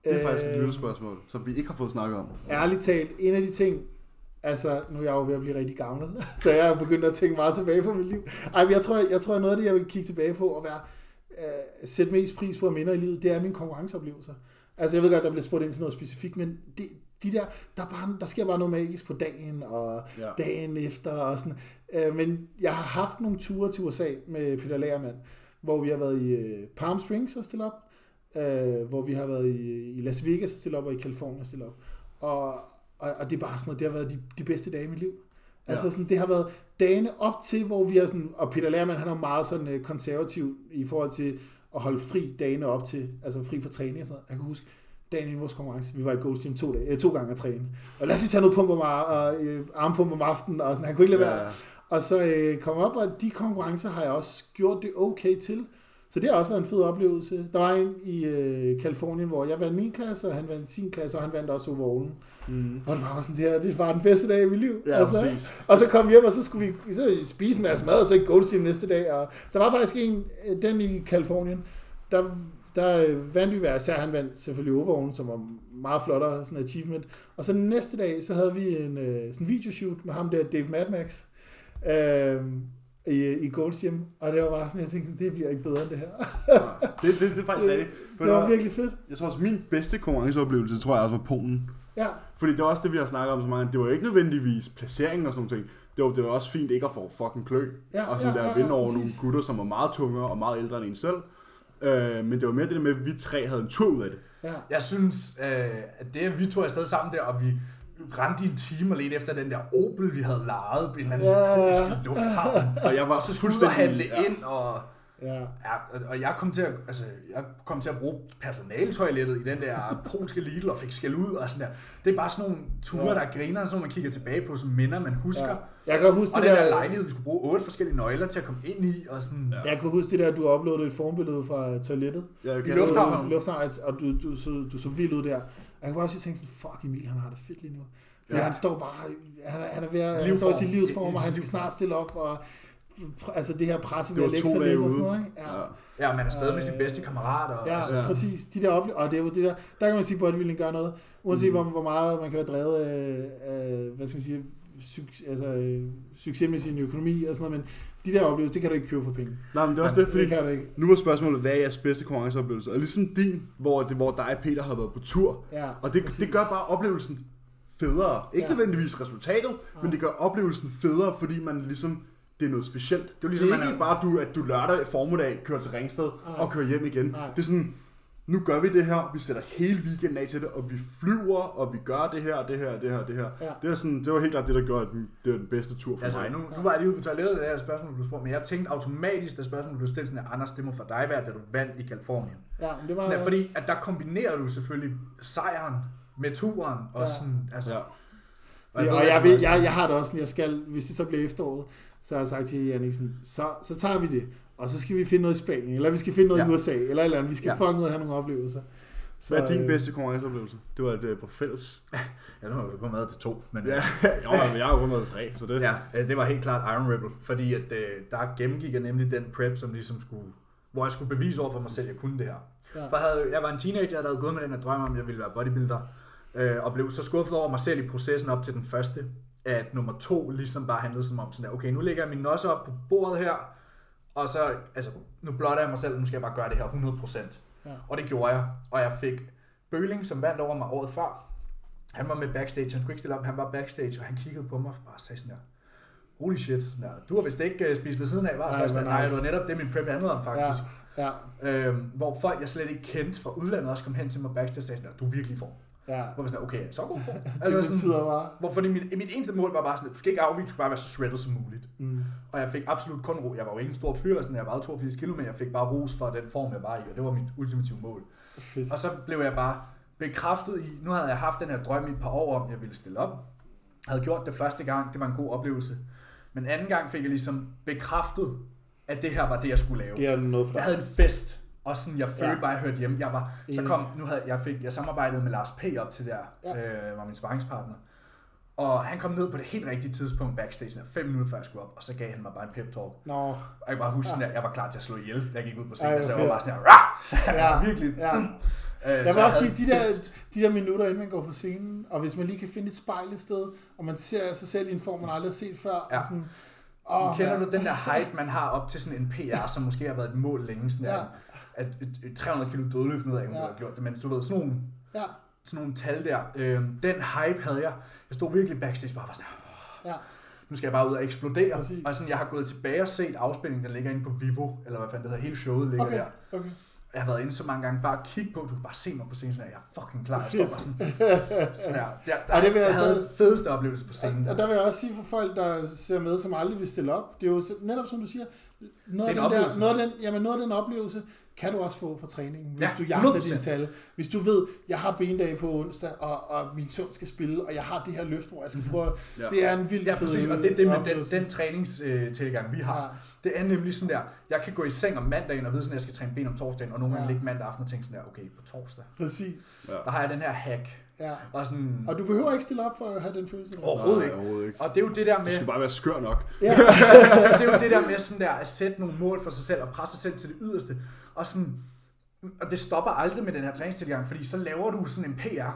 Speaker 4: Det er faktisk et
Speaker 3: øh,
Speaker 4: lytterspørgsmål, som vi ikke har fået snakket om.
Speaker 3: ærligt talt, en af de ting, altså nu er jeg jo ved at blive rigtig gammel, så jeg er begyndt at tænke meget tilbage på mit liv. Ej, men jeg tror, jeg tror noget af det, jeg vil kigge tilbage på og være, øh, sætte mest pris på og minder i livet, det er mine konkurrenceoplevelser. Altså jeg ved godt, der bliver spurgt ind til noget specifikt, men det, de der, der, er bare, der sker bare noget magisk på dagen og ja.
Speaker 4: Ja.
Speaker 3: dagen efter og sådan. Øh, men jeg har haft nogle ture til USA med Peter Lagermand, hvor vi har været i øh, Palm Springs og stille op, øh, hvor vi har været i, i Las Vegas og stille op, og i Kalifornien og stille op. Og, og, og det er bare sådan noget, det har været de, de bedste dage i mit liv. Altså sådan, det har været dagene op til, hvor vi har sådan, og Peter Lerman, han er jo meget sådan øh, konservativ i forhold til at holde fri dagene op til, altså fri for træning og sådan noget. Jeg kan huske, dagen i vores konkurrence, vi var i Ghost Team to, dage, øh, to gange at træne. Og lad os lige tage noget pump om, ar- og, øh, armpump om aftenen, og sådan, han kunne ikke lade være.
Speaker 4: Ja, ja.
Speaker 3: Og så øh, kom op, og de konkurrencer har jeg også gjort det okay til. Så det har også været en fed oplevelse. Der var en i øh, Kalifornien, hvor jeg vandt min klasse, og han vandt sin klasse, og han vandt også ovalen. Mm. Og det var bare sådan, det her, det var den bedste dag i mit liv.
Speaker 4: Mhm. Ja,
Speaker 3: altså,
Speaker 4: præcis.
Speaker 3: og så kom vi hjem, og så skulle vi så spise en masse mad, og så ikke Gold Team næste dag. Og der var faktisk en, øh, den i Kalifornien, der, der øh, vandt vi hver især. Han vandt selvfølgelig overvågen, som var meget flottere, sådan en achievement. Og så næste dag, så havde vi en øh, sådan videoshoot med ham der, Dave Mad Max, øh, i, i Gold Team. Og det var bare sådan, jeg tænkte, det bliver ikke bedre end det her.
Speaker 4: Det, det, det er faktisk rigtigt.
Speaker 3: det var virkelig fedt.
Speaker 4: Jeg tror også, min bedste konkurrenceoplevelse, tror jeg også var Polen.
Speaker 3: Ja,
Speaker 4: Fordi det var også det, vi har snakket om så mange. Det var ikke nødvendigvis placeringen og sådan noget. Det var, det var også fint ikke at få fucking klø.
Speaker 3: Ja,
Speaker 4: og sådan
Speaker 3: ja,
Speaker 4: der
Speaker 3: ja, ja,
Speaker 4: vinde over nogle
Speaker 3: præcis.
Speaker 4: gutter, som var meget tungere og meget ældre end en selv. Øh, men det var mere det der med, at vi tre havde en tur ud af det.
Speaker 3: ja.
Speaker 1: Jeg synes, øh, at det, at vi tog afsted sammen der, og vi rendte i en time og ledte efter den der Opel, vi havde lejet på en eller anden
Speaker 3: Ja.
Speaker 1: yeah. lufthavn.
Speaker 4: Og jeg var
Speaker 1: Og så skulle vi ud og handle
Speaker 4: ja.
Speaker 1: ind, og,
Speaker 3: ja.
Speaker 1: ja, og- og jeg, kom til at, altså, jeg kom til at bruge personaltoilettet i den der polske Lidl, og fik skæld ud og sådan der. Det er bare sådan nogle ture,
Speaker 3: Ja.
Speaker 1: der griner, som man kigger tilbage på, som minder, man husker.
Speaker 3: ja.
Speaker 1: Ja.
Speaker 3: Jeg kan huske
Speaker 1: Og
Speaker 3: det
Speaker 1: den
Speaker 3: der...
Speaker 1: der lejlighed, vi skulle bruge otte forskellige nøgler til at komme ind i, og sådan... Ja.
Speaker 3: Jeg kan huske det der, du uploadede et formbillede fra toilettet.
Speaker 4: Ja, jeg
Speaker 1: I
Speaker 4: kan
Speaker 1: lufthavnen.
Speaker 3: Lufthavn, altså, og du, du, så, du så vild ud der. Og Jeg kunne også tænke sådan, fuck Emil, han har det fedt lige nu. Ja. Han står bare, han er, han er ved at, han står i
Speaker 1: Livsform.
Speaker 3: sin livsform, og han skal snart stille op, og pr- altså det her pres ved
Speaker 4: var
Speaker 3: at lægge
Speaker 4: to
Speaker 3: sig
Speaker 4: dage
Speaker 3: lidt og sådan
Speaker 4: ude.
Speaker 3: noget, ikke? Ja,
Speaker 4: Ja.
Speaker 1: ja, man er stadig med sine bedste kammerater. Og,
Speaker 3: ja,
Speaker 1: altså,
Speaker 3: ja.
Speaker 4: Ja.
Speaker 3: præcis. De der oplevelser, og det er jo det der, der kan man sige, at bodybuilding gør noget, uanset mm. hvor, hvor meget man kan være drevet af, af hvad skal man sige, suc- altså, øh, succes med sin økonomi og sådan noget, men de der oplevelser, det kan du ikke købe for penge.
Speaker 4: Nej, men det er også det, fordi
Speaker 3: Det kan du ikke.
Speaker 4: nu var spørgsmålet, hvad er jeres bedste konkurrenceoplevelse? Og ligesom din, hvor, det, hvor dig og Peter har været på tur.
Speaker 3: Ja,
Speaker 4: og det,
Speaker 3: præcis.
Speaker 4: det gør bare oplevelsen federe. Ikke
Speaker 3: Ja.
Speaker 4: ja. nødvendigvis resultatet, ja. men det gør oplevelsen federe, fordi man ligesom, det er noget specielt. Det er,
Speaker 1: ligesom,
Speaker 4: ligesom, det er
Speaker 1: man
Speaker 4: ikke
Speaker 1: er-
Speaker 4: bare, du, at du lørdag formiddag kører til Ringsted
Speaker 3: Nej.
Speaker 4: og kører hjem igen.
Speaker 3: Nej.
Speaker 4: Det er sådan, nu gør vi det her, vi sætter hele weekenden af til det, og vi flyver, og vi gør det her, det her, det her, det her.
Speaker 3: Ja.
Speaker 4: Det, er sådan, det var helt klart det, der gjorde, at den, det var den bedste tur for
Speaker 1: Altså,
Speaker 4: mig.
Speaker 1: nu, nu var jeg lige ude på toilettet, da det her spørgsmål blev spurgt, men jeg tænkte automatisk, da spørgsmålet blev stillet, sådan, at Anders, det må for dig være, da du vandt i Kalifornien.
Speaker 3: Ja, men det var
Speaker 1: Sådan,
Speaker 3: også...
Speaker 1: at, fordi at der kombinerer du selvfølgelig sejren med turen, og
Speaker 3: Ja.
Speaker 1: sådan, altså,
Speaker 4: Ja.
Speaker 1: ja.
Speaker 3: Det, og jeg, ved, jeg, jeg har det også sådan, jeg skal, hvis det så bliver efteråret, så har jeg sagt til Jannik sådan, så, så tager vi det, og så skal vi finde noget i Spanien, eller vi skal finde noget ja. i
Speaker 1: Ja.
Speaker 3: USA, eller et eller andet. vi skal ja.
Speaker 1: Ja.
Speaker 3: fucking ud og have nogle oplevelser. Så,
Speaker 4: Hvad er din
Speaker 3: øh,
Speaker 4: bedste konkurrenceoplevelse? Det var et øh, på fælles.
Speaker 1: Ja, nu har vi kun været til to, men
Speaker 4: Ja, jo, men jeg har kun været tre, så det...
Speaker 1: ja, øh, det var helt klart Iron Rebel, fordi at, øh, der gennemgik jeg nemlig den prep, som ligesom skulle, hvor jeg skulle bevise over for mig selv, at jeg kunne det her.
Speaker 3: Ja.
Speaker 1: Ja. For jeg, havde, jeg var en teenager, der havde gået med den her drøm om, at jeg ville være bodybuilder, øh, og blev så skuffet over mig selv i processen op til den første, at nummer to ligesom bare handlede som om sådan der, okay, nu lægger jeg min nos op på bordet her, og så, altså, nu blotter jeg mig selv, nu skal jeg bare gøre det her 100%.
Speaker 3: Ja.
Speaker 1: Ja. Og det gjorde jeg, og jeg fik Bøling, som vandt over mig året før, han var med backstage, han skulle ikke stille op, han var backstage, og han kiggede på mig og bare sagde sådan der, holy shit, sådan der, du har vist ikke øh, spist ved siden af, var
Speaker 3: Ej,
Speaker 1: Ej, sådan,
Speaker 3: hvor
Speaker 1: der, nej,
Speaker 3: nice."
Speaker 1: det var netop det, min prep handlede om
Speaker 3: Ja,
Speaker 1: faktisk.
Speaker 3: ja,
Speaker 1: Ja. Øhm, hvor folk, jeg slet ikke kendte fra udlandet, også kom hen til mig backstage og sagde sådan der, du er virkelig i form. Hvor
Speaker 3: ja.
Speaker 1: jeg var sådan der, okay, så god form. Altså
Speaker 3: Det
Speaker 1: sådan-
Speaker 3: betyder bare...
Speaker 1: hvor fordi mit, mit eneste mål var bare sådan, at du skal ikke afvige, du skal bare være så shredded som muligt. Mm. Og jeg fik absolut kun ro. Jeg var jo ikke en stor fyr, og sådan, jeg vejede 82 kilo, men jeg fik bare ros for den form, jeg var i, og det var mit ultimative mål.
Speaker 3: Fedt.
Speaker 1: Og så blev jeg bare bekræftet i, nu havde jeg haft den her drøm i et par år om, jeg ville stille op. Jeg havde gjort det første gang, det var en god oplevelse. Men anden gang fik jeg ligesom bekræftet, at det her var det, jeg skulle lave.
Speaker 3: Det er noget for
Speaker 1: Jeg
Speaker 3: dig.
Speaker 1: havde en fest, og sådan, jeg følte
Speaker 3: Ja.
Speaker 1: ja. bare, at jeg hørte hjemme. Jeg var, så
Speaker 3: Enig.
Speaker 1: kom, nu havde, jeg, fik, jeg samarbejdede med Lars P. op til der, ja. øh, var min sparringspartner. Og han kom ned på det helt rigtige tidspunkt backstage, sådan fem minutter før jeg skulle op, og så gav han mig bare en pep talk.
Speaker 3: Nå,
Speaker 1: Og jeg kan bare huske, sådan, at jeg var klar til at slå ihjel, da jeg gik ud på scenen,
Speaker 3: Ej,
Speaker 1: Ej, så jeg
Speaker 3: hvor
Speaker 1: var bare sådan her, Rah! så jeg
Speaker 3: Ja,
Speaker 1: var virkelig.
Speaker 3: ja.
Speaker 1: mm. Øh,
Speaker 3: Jeg
Speaker 1: så
Speaker 3: vil også
Speaker 1: havde
Speaker 3: sige, de der,
Speaker 1: fest.
Speaker 3: de der minutter, inden man går på scenen, og hvis man lige kan finde et spejl et sted, og man ser sig selv i en form, man aldrig har set før,
Speaker 1: Ja.
Speaker 3: og sådan, åh,
Speaker 1: Kender
Speaker 3: mand.
Speaker 1: du den der hype, man har op til sådan en PR, som måske har været et mål længe, sådan
Speaker 3: Ja.
Speaker 1: ja. at, at, at 300 kilo dødløft, nu ved jeg ikke, om
Speaker 3: Ja.
Speaker 1: ja. har gjort det, men du ved, sådan nogle
Speaker 3: Ja,
Speaker 1: sådan nogle tal der. Øhm, den hype havde jeg. Jeg stod virkelig backstage bare og var sådan, "Åh,
Speaker 3: ja,
Speaker 1: nu skal jeg bare ud og eksplodere.
Speaker 3: Præcis.
Speaker 1: Og sådan, jeg har gået tilbage og set afspændingen, der ligger inde på Vivo, eller hvad fanden det hedder, hele showet ligger
Speaker 3: okay,
Speaker 1: der.
Speaker 3: okay.
Speaker 1: Jeg har været inde så mange gange, bare at kigge på, du kan bare se mig på scenen, sådan, at jeg er fucking klar. Jeg står
Speaker 3: Fedt.
Speaker 1: bare sådan, sådan der. Der, der,
Speaker 3: Ej, det vil jeg
Speaker 1: jeg havde
Speaker 3: så-
Speaker 1: den fedeste oplevelse på scenen. Der.
Speaker 3: Og der vil jeg også sige for folk, der ser med, som aldrig vil stille op, det er jo netop som du siger, noget,
Speaker 1: Det er
Speaker 3: af
Speaker 1: en
Speaker 3: den, der,
Speaker 1: oplevelse.
Speaker 3: noget, af den, jamen noget af den oplevelse, kan du også få fra træningen, hvis
Speaker 1: Ja,
Speaker 3: ja, du jagter
Speaker 1: 100%.
Speaker 3: dine tal. Hvis du ved, jeg har bendag på onsdag, og, og min søn skal spille, og jeg har det her løft, hvor jeg skal prøve. Ja.
Speaker 4: Ja.
Speaker 3: Det er en vild
Speaker 1: Mhm. Ja,
Speaker 3: fed
Speaker 1: præcis, og det er det med den,
Speaker 3: oplevelse.
Speaker 1: den træningstilgang, vi har. Det er nemlig sådan der, jeg kan gå i seng om mandagen og vide sådan, at jeg skal træne ben om torsdagen, og nogle gange
Speaker 3: Ja.
Speaker 1: ligge mandag aften og tænke sådan der, okay, på torsdag,
Speaker 3: Præcis.
Speaker 4: Ja.
Speaker 1: der har jeg den her hack.
Speaker 3: Ja.
Speaker 1: Og sådan,
Speaker 3: Og du behøver ikke stille op for at have den følelse.
Speaker 1: overhovedet ikke.
Speaker 4: overhovedet ikke.
Speaker 1: Og det er jo det der
Speaker 4: Du
Speaker 1: med,
Speaker 4: skal bare være skør nok.
Speaker 3: Ja.
Speaker 1: Og det er jo det der med sådan der, at sætte nogle mål for sig selv og presse sig selv til det yderste. Og, sådan, og det stopper aldrig med den her træningstilgang, fordi så laver du sådan en PR.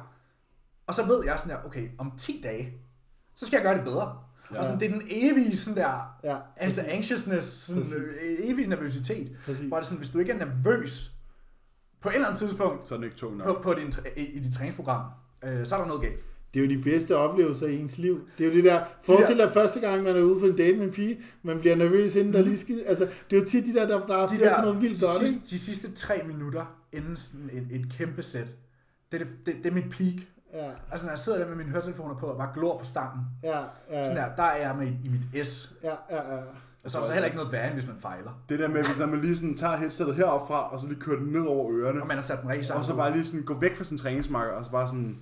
Speaker 1: Og så ved jeg sådan der, okay, om 10 dage, så skal jeg gøre det bedre. Ja. Og sådan, det er den evige sådan der,
Speaker 3: Ja,
Speaker 1: altså
Speaker 3: præcis.
Speaker 1: anxiousness, sådan
Speaker 3: Præcis.
Speaker 1: øh, evig nervøsitet.
Speaker 3: Præcis.
Speaker 1: Hvor det sådan, hvis du ikke er nervøs på et eller andet tidspunkt
Speaker 4: Så er det ikke tung nok.
Speaker 1: på, på din, træ- i, i dit træningsprogram, øh, så er der noget galt.
Speaker 3: Det er jo de bedste oplevelser i ens liv. Det er jo det der, forestil dig første gang, man er ude på en date med en pige, man bliver nervøs inden der lige skide. Altså, det er jo tit de der, der, der er
Speaker 1: Mhm. de
Speaker 3: flere
Speaker 1: der,
Speaker 3: til noget vildt
Speaker 1: de,
Speaker 3: godt, ikke?
Speaker 1: sidste, de sidste tre minutter inden sådan et, et kæmpe sæt, det, er det, det, det er mit peak.
Speaker 3: Ja,
Speaker 1: Altså når jeg sidder der med mine høretelefoner på og bare glor på stangen,
Speaker 3: ja, ja,
Speaker 1: sådan
Speaker 3: ja,
Speaker 1: der, der er jeg med i mit S.
Speaker 3: ja, ja, ja.
Speaker 1: Og så er der så heller ikke noget værre, end hvis man fejler.
Speaker 4: Det der med, hvis når man lige sådan tager headsetet heroppe fra, og så lige kører det ned over ørerne,
Speaker 1: Og man har sat den rigtig sammen.
Speaker 4: og så bare lige sådan gå væk fra sin træningsmarker, og så bare sådan,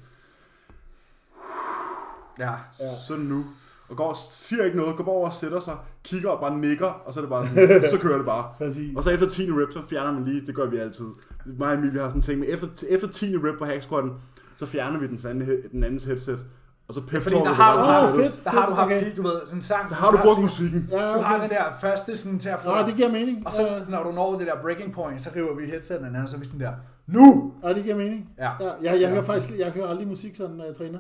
Speaker 1: Ja.
Speaker 3: Ja.
Speaker 4: sådan nu, og går og siger ikke noget, går bare over og sætter sig, kigger og bare nikker, og så er det bare sådan, så kører det bare.
Speaker 3: Præcis.
Speaker 4: Og så efter 10. rep, så fjerner man lige, det gør vi altid. Mig og Emilie har sådan en ting, men efter, efter 10. rep på hacksquatten, så fjerner vi den, anden, he- den andens headset, og så pep
Speaker 1: Fordi der har,
Speaker 4: har,
Speaker 1: du,
Speaker 3: Åh,
Speaker 1: har,
Speaker 3: fedt,
Speaker 1: der har
Speaker 3: fedt,
Speaker 1: du haft
Speaker 3: okay.
Speaker 1: lige, du ved, sådan en sang.
Speaker 4: så har du brugt musikken.
Speaker 3: Ja,
Speaker 1: Du har
Speaker 3: okay.
Speaker 1: den der første sådan til at få.
Speaker 3: Nå, det giver mening.
Speaker 1: Og så
Speaker 3: Ja,
Speaker 1: når du når det der breaking point, så river vi headseten af, og så er vi sådan der, nu!
Speaker 3: Ja, det giver mening.
Speaker 1: Ja.
Speaker 3: Ja, jeg, jeg hører faktisk, jeg hører aldrig musik sådan, når jeg træner.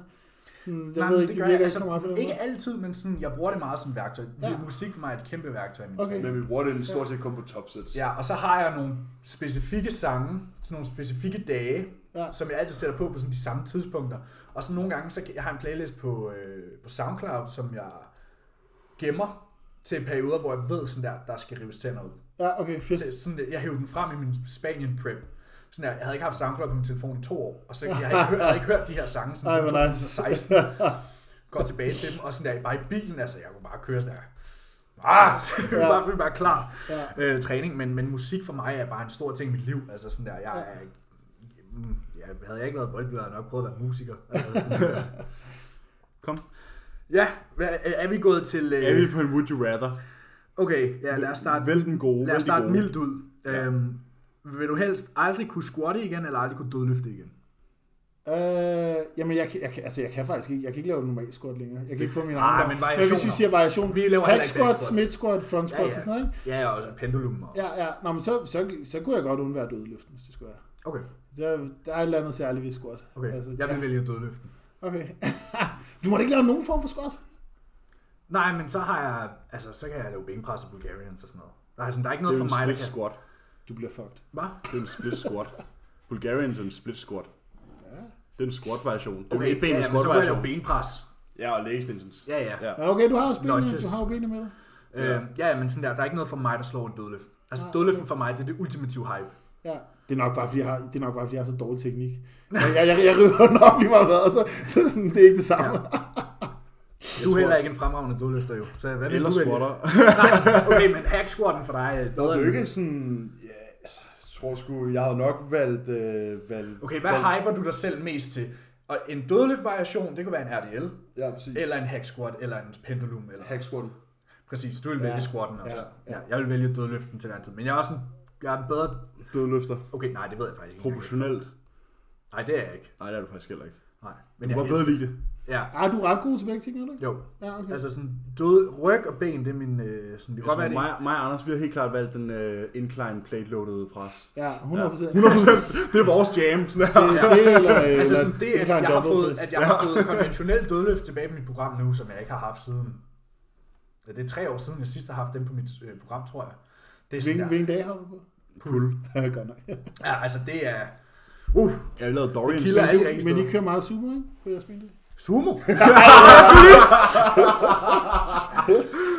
Speaker 3: Sådan, jeg
Speaker 1: Nej,
Speaker 3: ved
Speaker 1: men
Speaker 3: ikke, det,
Speaker 1: gør
Speaker 3: virker
Speaker 1: jeg altså
Speaker 3: ikke så meget på den
Speaker 1: Ikke
Speaker 3: måde.
Speaker 1: altid, men sådan, jeg bruger det meget som værktøj.
Speaker 3: Ja.
Speaker 1: Ja. Musik for mig er et kæmpe værktøj i min
Speaker 3: Okay.
Speaker 1: træning.
Speaker 4: Men vi bruger den stort set kun på topsets.
Speaker 1: Ja, og så har jeg nogle specifikke sange, sådan nogle specifikke dage,
Speaker 3: Ja.
Speaker 1: ja. som jeg altid sætter på på sådan de samme tidspunkter. Og så nogle gange, så kan- jeg har en playlist på, øh, på SoundCloud, som jeg gemmer til perioder, hvor jeg ved sådan der, der skal rives tænder ud.
Speaker 3: Ja, okay, fedt.
Speaker 1: Så sådan, der- jeg hævde den frem i min Spanien prep. Sådan der, jeg havde ikke haft SoundCloud på min telefon i to år, og så jeg havde ikke, hørt, jeg havde ikke hørt de her sange sådan,
Speaker 3: Ej,
Speaker 1: siden
Speaker 3: hvor nice.
Speaker 1: 2016. Går tilbage til dem, og sådan der, bare i bilen, altså jeg kunne bare køre sådan der. Ah, jeg
Speaker 3: Ja.
Speaker 1: var bare, bare klar
Speaker 3: Ja.
Speaker 1: øh, træning, men, men musik for mig er bare en stor ting i mit liv. Altså sådan der, jeg, er ikke- mm, jeg, havde jeg ikke været boldspiller, havde jeg nok prøvet at være musiker. Altså, sådan der.
Speaker 4: Kom.
Speaker 1: ja, hvad, er er vi gået til... Øh,
Speaker 4: Er vi på en would you rather?
Speaker 1: Okay, ja, lad os starte
Speaker 4: Vælg den
Speaker 1: Lad
Speaker 4: gode.
Speaker 1: os
Speaker 4: vælg de
Speaker 1: starte
Speaker 4: gode.
Speaker 1: mildt ud. Ja. Øhm, vil du helst aldrig kunne squatte igen, eller aldrig kunne dødløfte igen?
Speaker 3: Øh, jamen, jeg, kan- jeg, kan- altså, jeg kan faktisk ikke, jeg kan ikke lave en normal squat længere. Jeg kan ikke få min
Speaker 1: Nej,
Speaker 3: arm.
Speaker 1: men
Speaker 3: men hvis vi
Speaker 1: variationer.
Speaker 3: siger variation,
Speaker 1: Vi laver heller
Speaker 3: hack
Speaker 1: ikke
Speaker 3: squat,
Speaker 1: back squats.
Speaker 3: smid squat, front
Speaker 1: Ja,
Speaker 3: squat ja, ja. og
Speaker 1: ja.
Speaker 3: sådan noget, ikke?
Speaker 1: Ja, og også pendulum. Og...
Speaker 3: Ja, ja. Nå, men så, så, så kunne jeg godt undvære dødløften, hvis det skulle være.
Speaker 1: Okay,
Speaker 3: Der, der er et eller andet særligt ved squat.
Speaker 1: okay.
Speaker 3: Altså,
Speaker 1: jeg vil
Speaker 3: ja.
Speaker 1: vælge dødløften.
Speaker 3: Okay. du må da ikke lave nogen form for squat.
Speaker 1: Nej, men så har jeg, altså, så kan jeg lave benpres og Bulgarians og sådan noget. Der er, sådan, der er ikke
Speaker 4: Det er
Speaker 1: noget
Speaker 4: jo
Speaker 1: for
Speaker 4: en
Speaker 1: mig, der
Speaker 4: split
Speaker 1: kan.
Speaker 4: squat.
Speaker 3: Du bliver fucked.
Speaker 1: Hvad?
Speaker 4: Det er en split squat. Bulgarians er en split squat. Det er en squat-version. Det er
Speaker 1: Okay,
Speaker 4: en
Speaker 1: ja,
Speaker 4: etbenet
Speaker 1: ja, men så kan jeg
Speaker 4: squat-version.
Speaker 1: lave benpres.
Speaker 4: Ja, og leg extensions.
Speaker 1: Ja, ja.
Speaker 4: altså. Ja.
Speaker 3: Men okay, du har jo benene,
Speaker 1: Notches.
Speaker 3: du har jo benene med dig.
Speaker 1: Ja. Øhm, ja, ja, men sådan der, der er ikke noget for mig, der slår en dødløft.
Speaker 3: Ah,
Speaker 1: Altså, dødløften for mig, det er det ultimative hype.
Speaker 3: Ja. Det er nok bare, fordi jeg har, det er nok bare, fordi jeg har så dårlig teknik. Jeg, jeg, jeg, jeg river den op i mig, og så, så sådan, det er ikke det samme.
Speaker 1: Ja.
Speaker 3: Ja.
Speaker 1: Du er heller ikke en fremragende dødløfter, jo. Så hvad vil
Speaker 4: Eller
Speaker 1: du vælge?
Speaker 4: squatter.
Speaker 1: Nej, okay, men hack squatten for dig er
Speaker 2: Der
Speaker 1: bedre.
Speaker 2: er
Speaker 1: end-
Speaker 2: jo ikke sådan... Ja, altså, jeg tror sgu, jeg havde nok valgt... Øh, valgt
Speaker 1: Okay, hvad hyper du dig selv mest til? Og en dødelig variation, det kunne være en RDL,
Speaker 2: Ja, præcis.
Speaker 1: eller en hack squat, eller en pendulum, eller...
Speaker 2: Hack squatten.
Speaker 1: Præcis, du vil vælge
Speaker 3: Ja,
Speaker 1: squatten også.
Speaker 3: ja,
Speaker 1: Ja, ja. jeg vil vælge dødløften til hver en tid, men jeg er også en, jeg er en bedre...
Speaker 2: Dødløfter.
Speaker 1: Okay, nej, det ved jeg faktisk ikke. engang.
Speaker 4: Proportionelt.
Speaker 1: Nej, det er jeg ikke.
Speaker 4: Nej, det er du faktisk heller ikke.
Speaker 1: Nej,
Speaker 4: Du
Speaker 1: men jeg
Speaker 4: kan bedre
Speaker 1: elsker...
Speaker 4: lide det.
Speaker 1: Ja,
Speaker 3: Ah, du er ret god til begge ting, er du ikke?
Speaker 1: jo.
Speaker 3: Ja, okay.
Speaker 1: Altså sådan død, ryg og ben, det er min... Øh, sådan, det
Speaker 4: Jeg
Speaker 1: kan godt
Speaker 4: tror,
Speaker 1: være, det
Speaker 4: mig, mig og Anders, vi har helt klart valgt den uh, incline plate loaded pres.
Speaker 3: Ja, 100 procent.
Speaker 4: 100%, det er vores jam. Sådan her.
Speaker 3: Det, det, eller,
Speaker 1: ikke- Altså
Speaker 3: eller
Speaker 1: sådan det, at
Speaker 3: en
Speaker 1: jeg har
Speaker 3: double
Speaker 1: fået,
Speaker 3: press.
Speaker 1: at jeg har fået konventionel dødløft tilbage på mit program nu, som jeg ikke har haft siden... Ja, det er tre år siden, jeg sidst har haft den på mit øh, program, tror jeg. Det er sådan
Speaker 3: Hvilken,
Speaker 1: der-
Speaker 3: hvilken dag har du på?
Speaker 4: Pull.
Speaker 3: Ja, godt nok.
Speaker 1: Ja, altså det er... Uh,
Speaker 4: Jeg har lavet Dorian.
Speaker 1: Det kilder. er ikke rigtig
Speaker 3: Men I
Speaker 1: sted.
Speaker 3: kører meget super, ikke? På jeres bendag?
Speaker 1: sumo.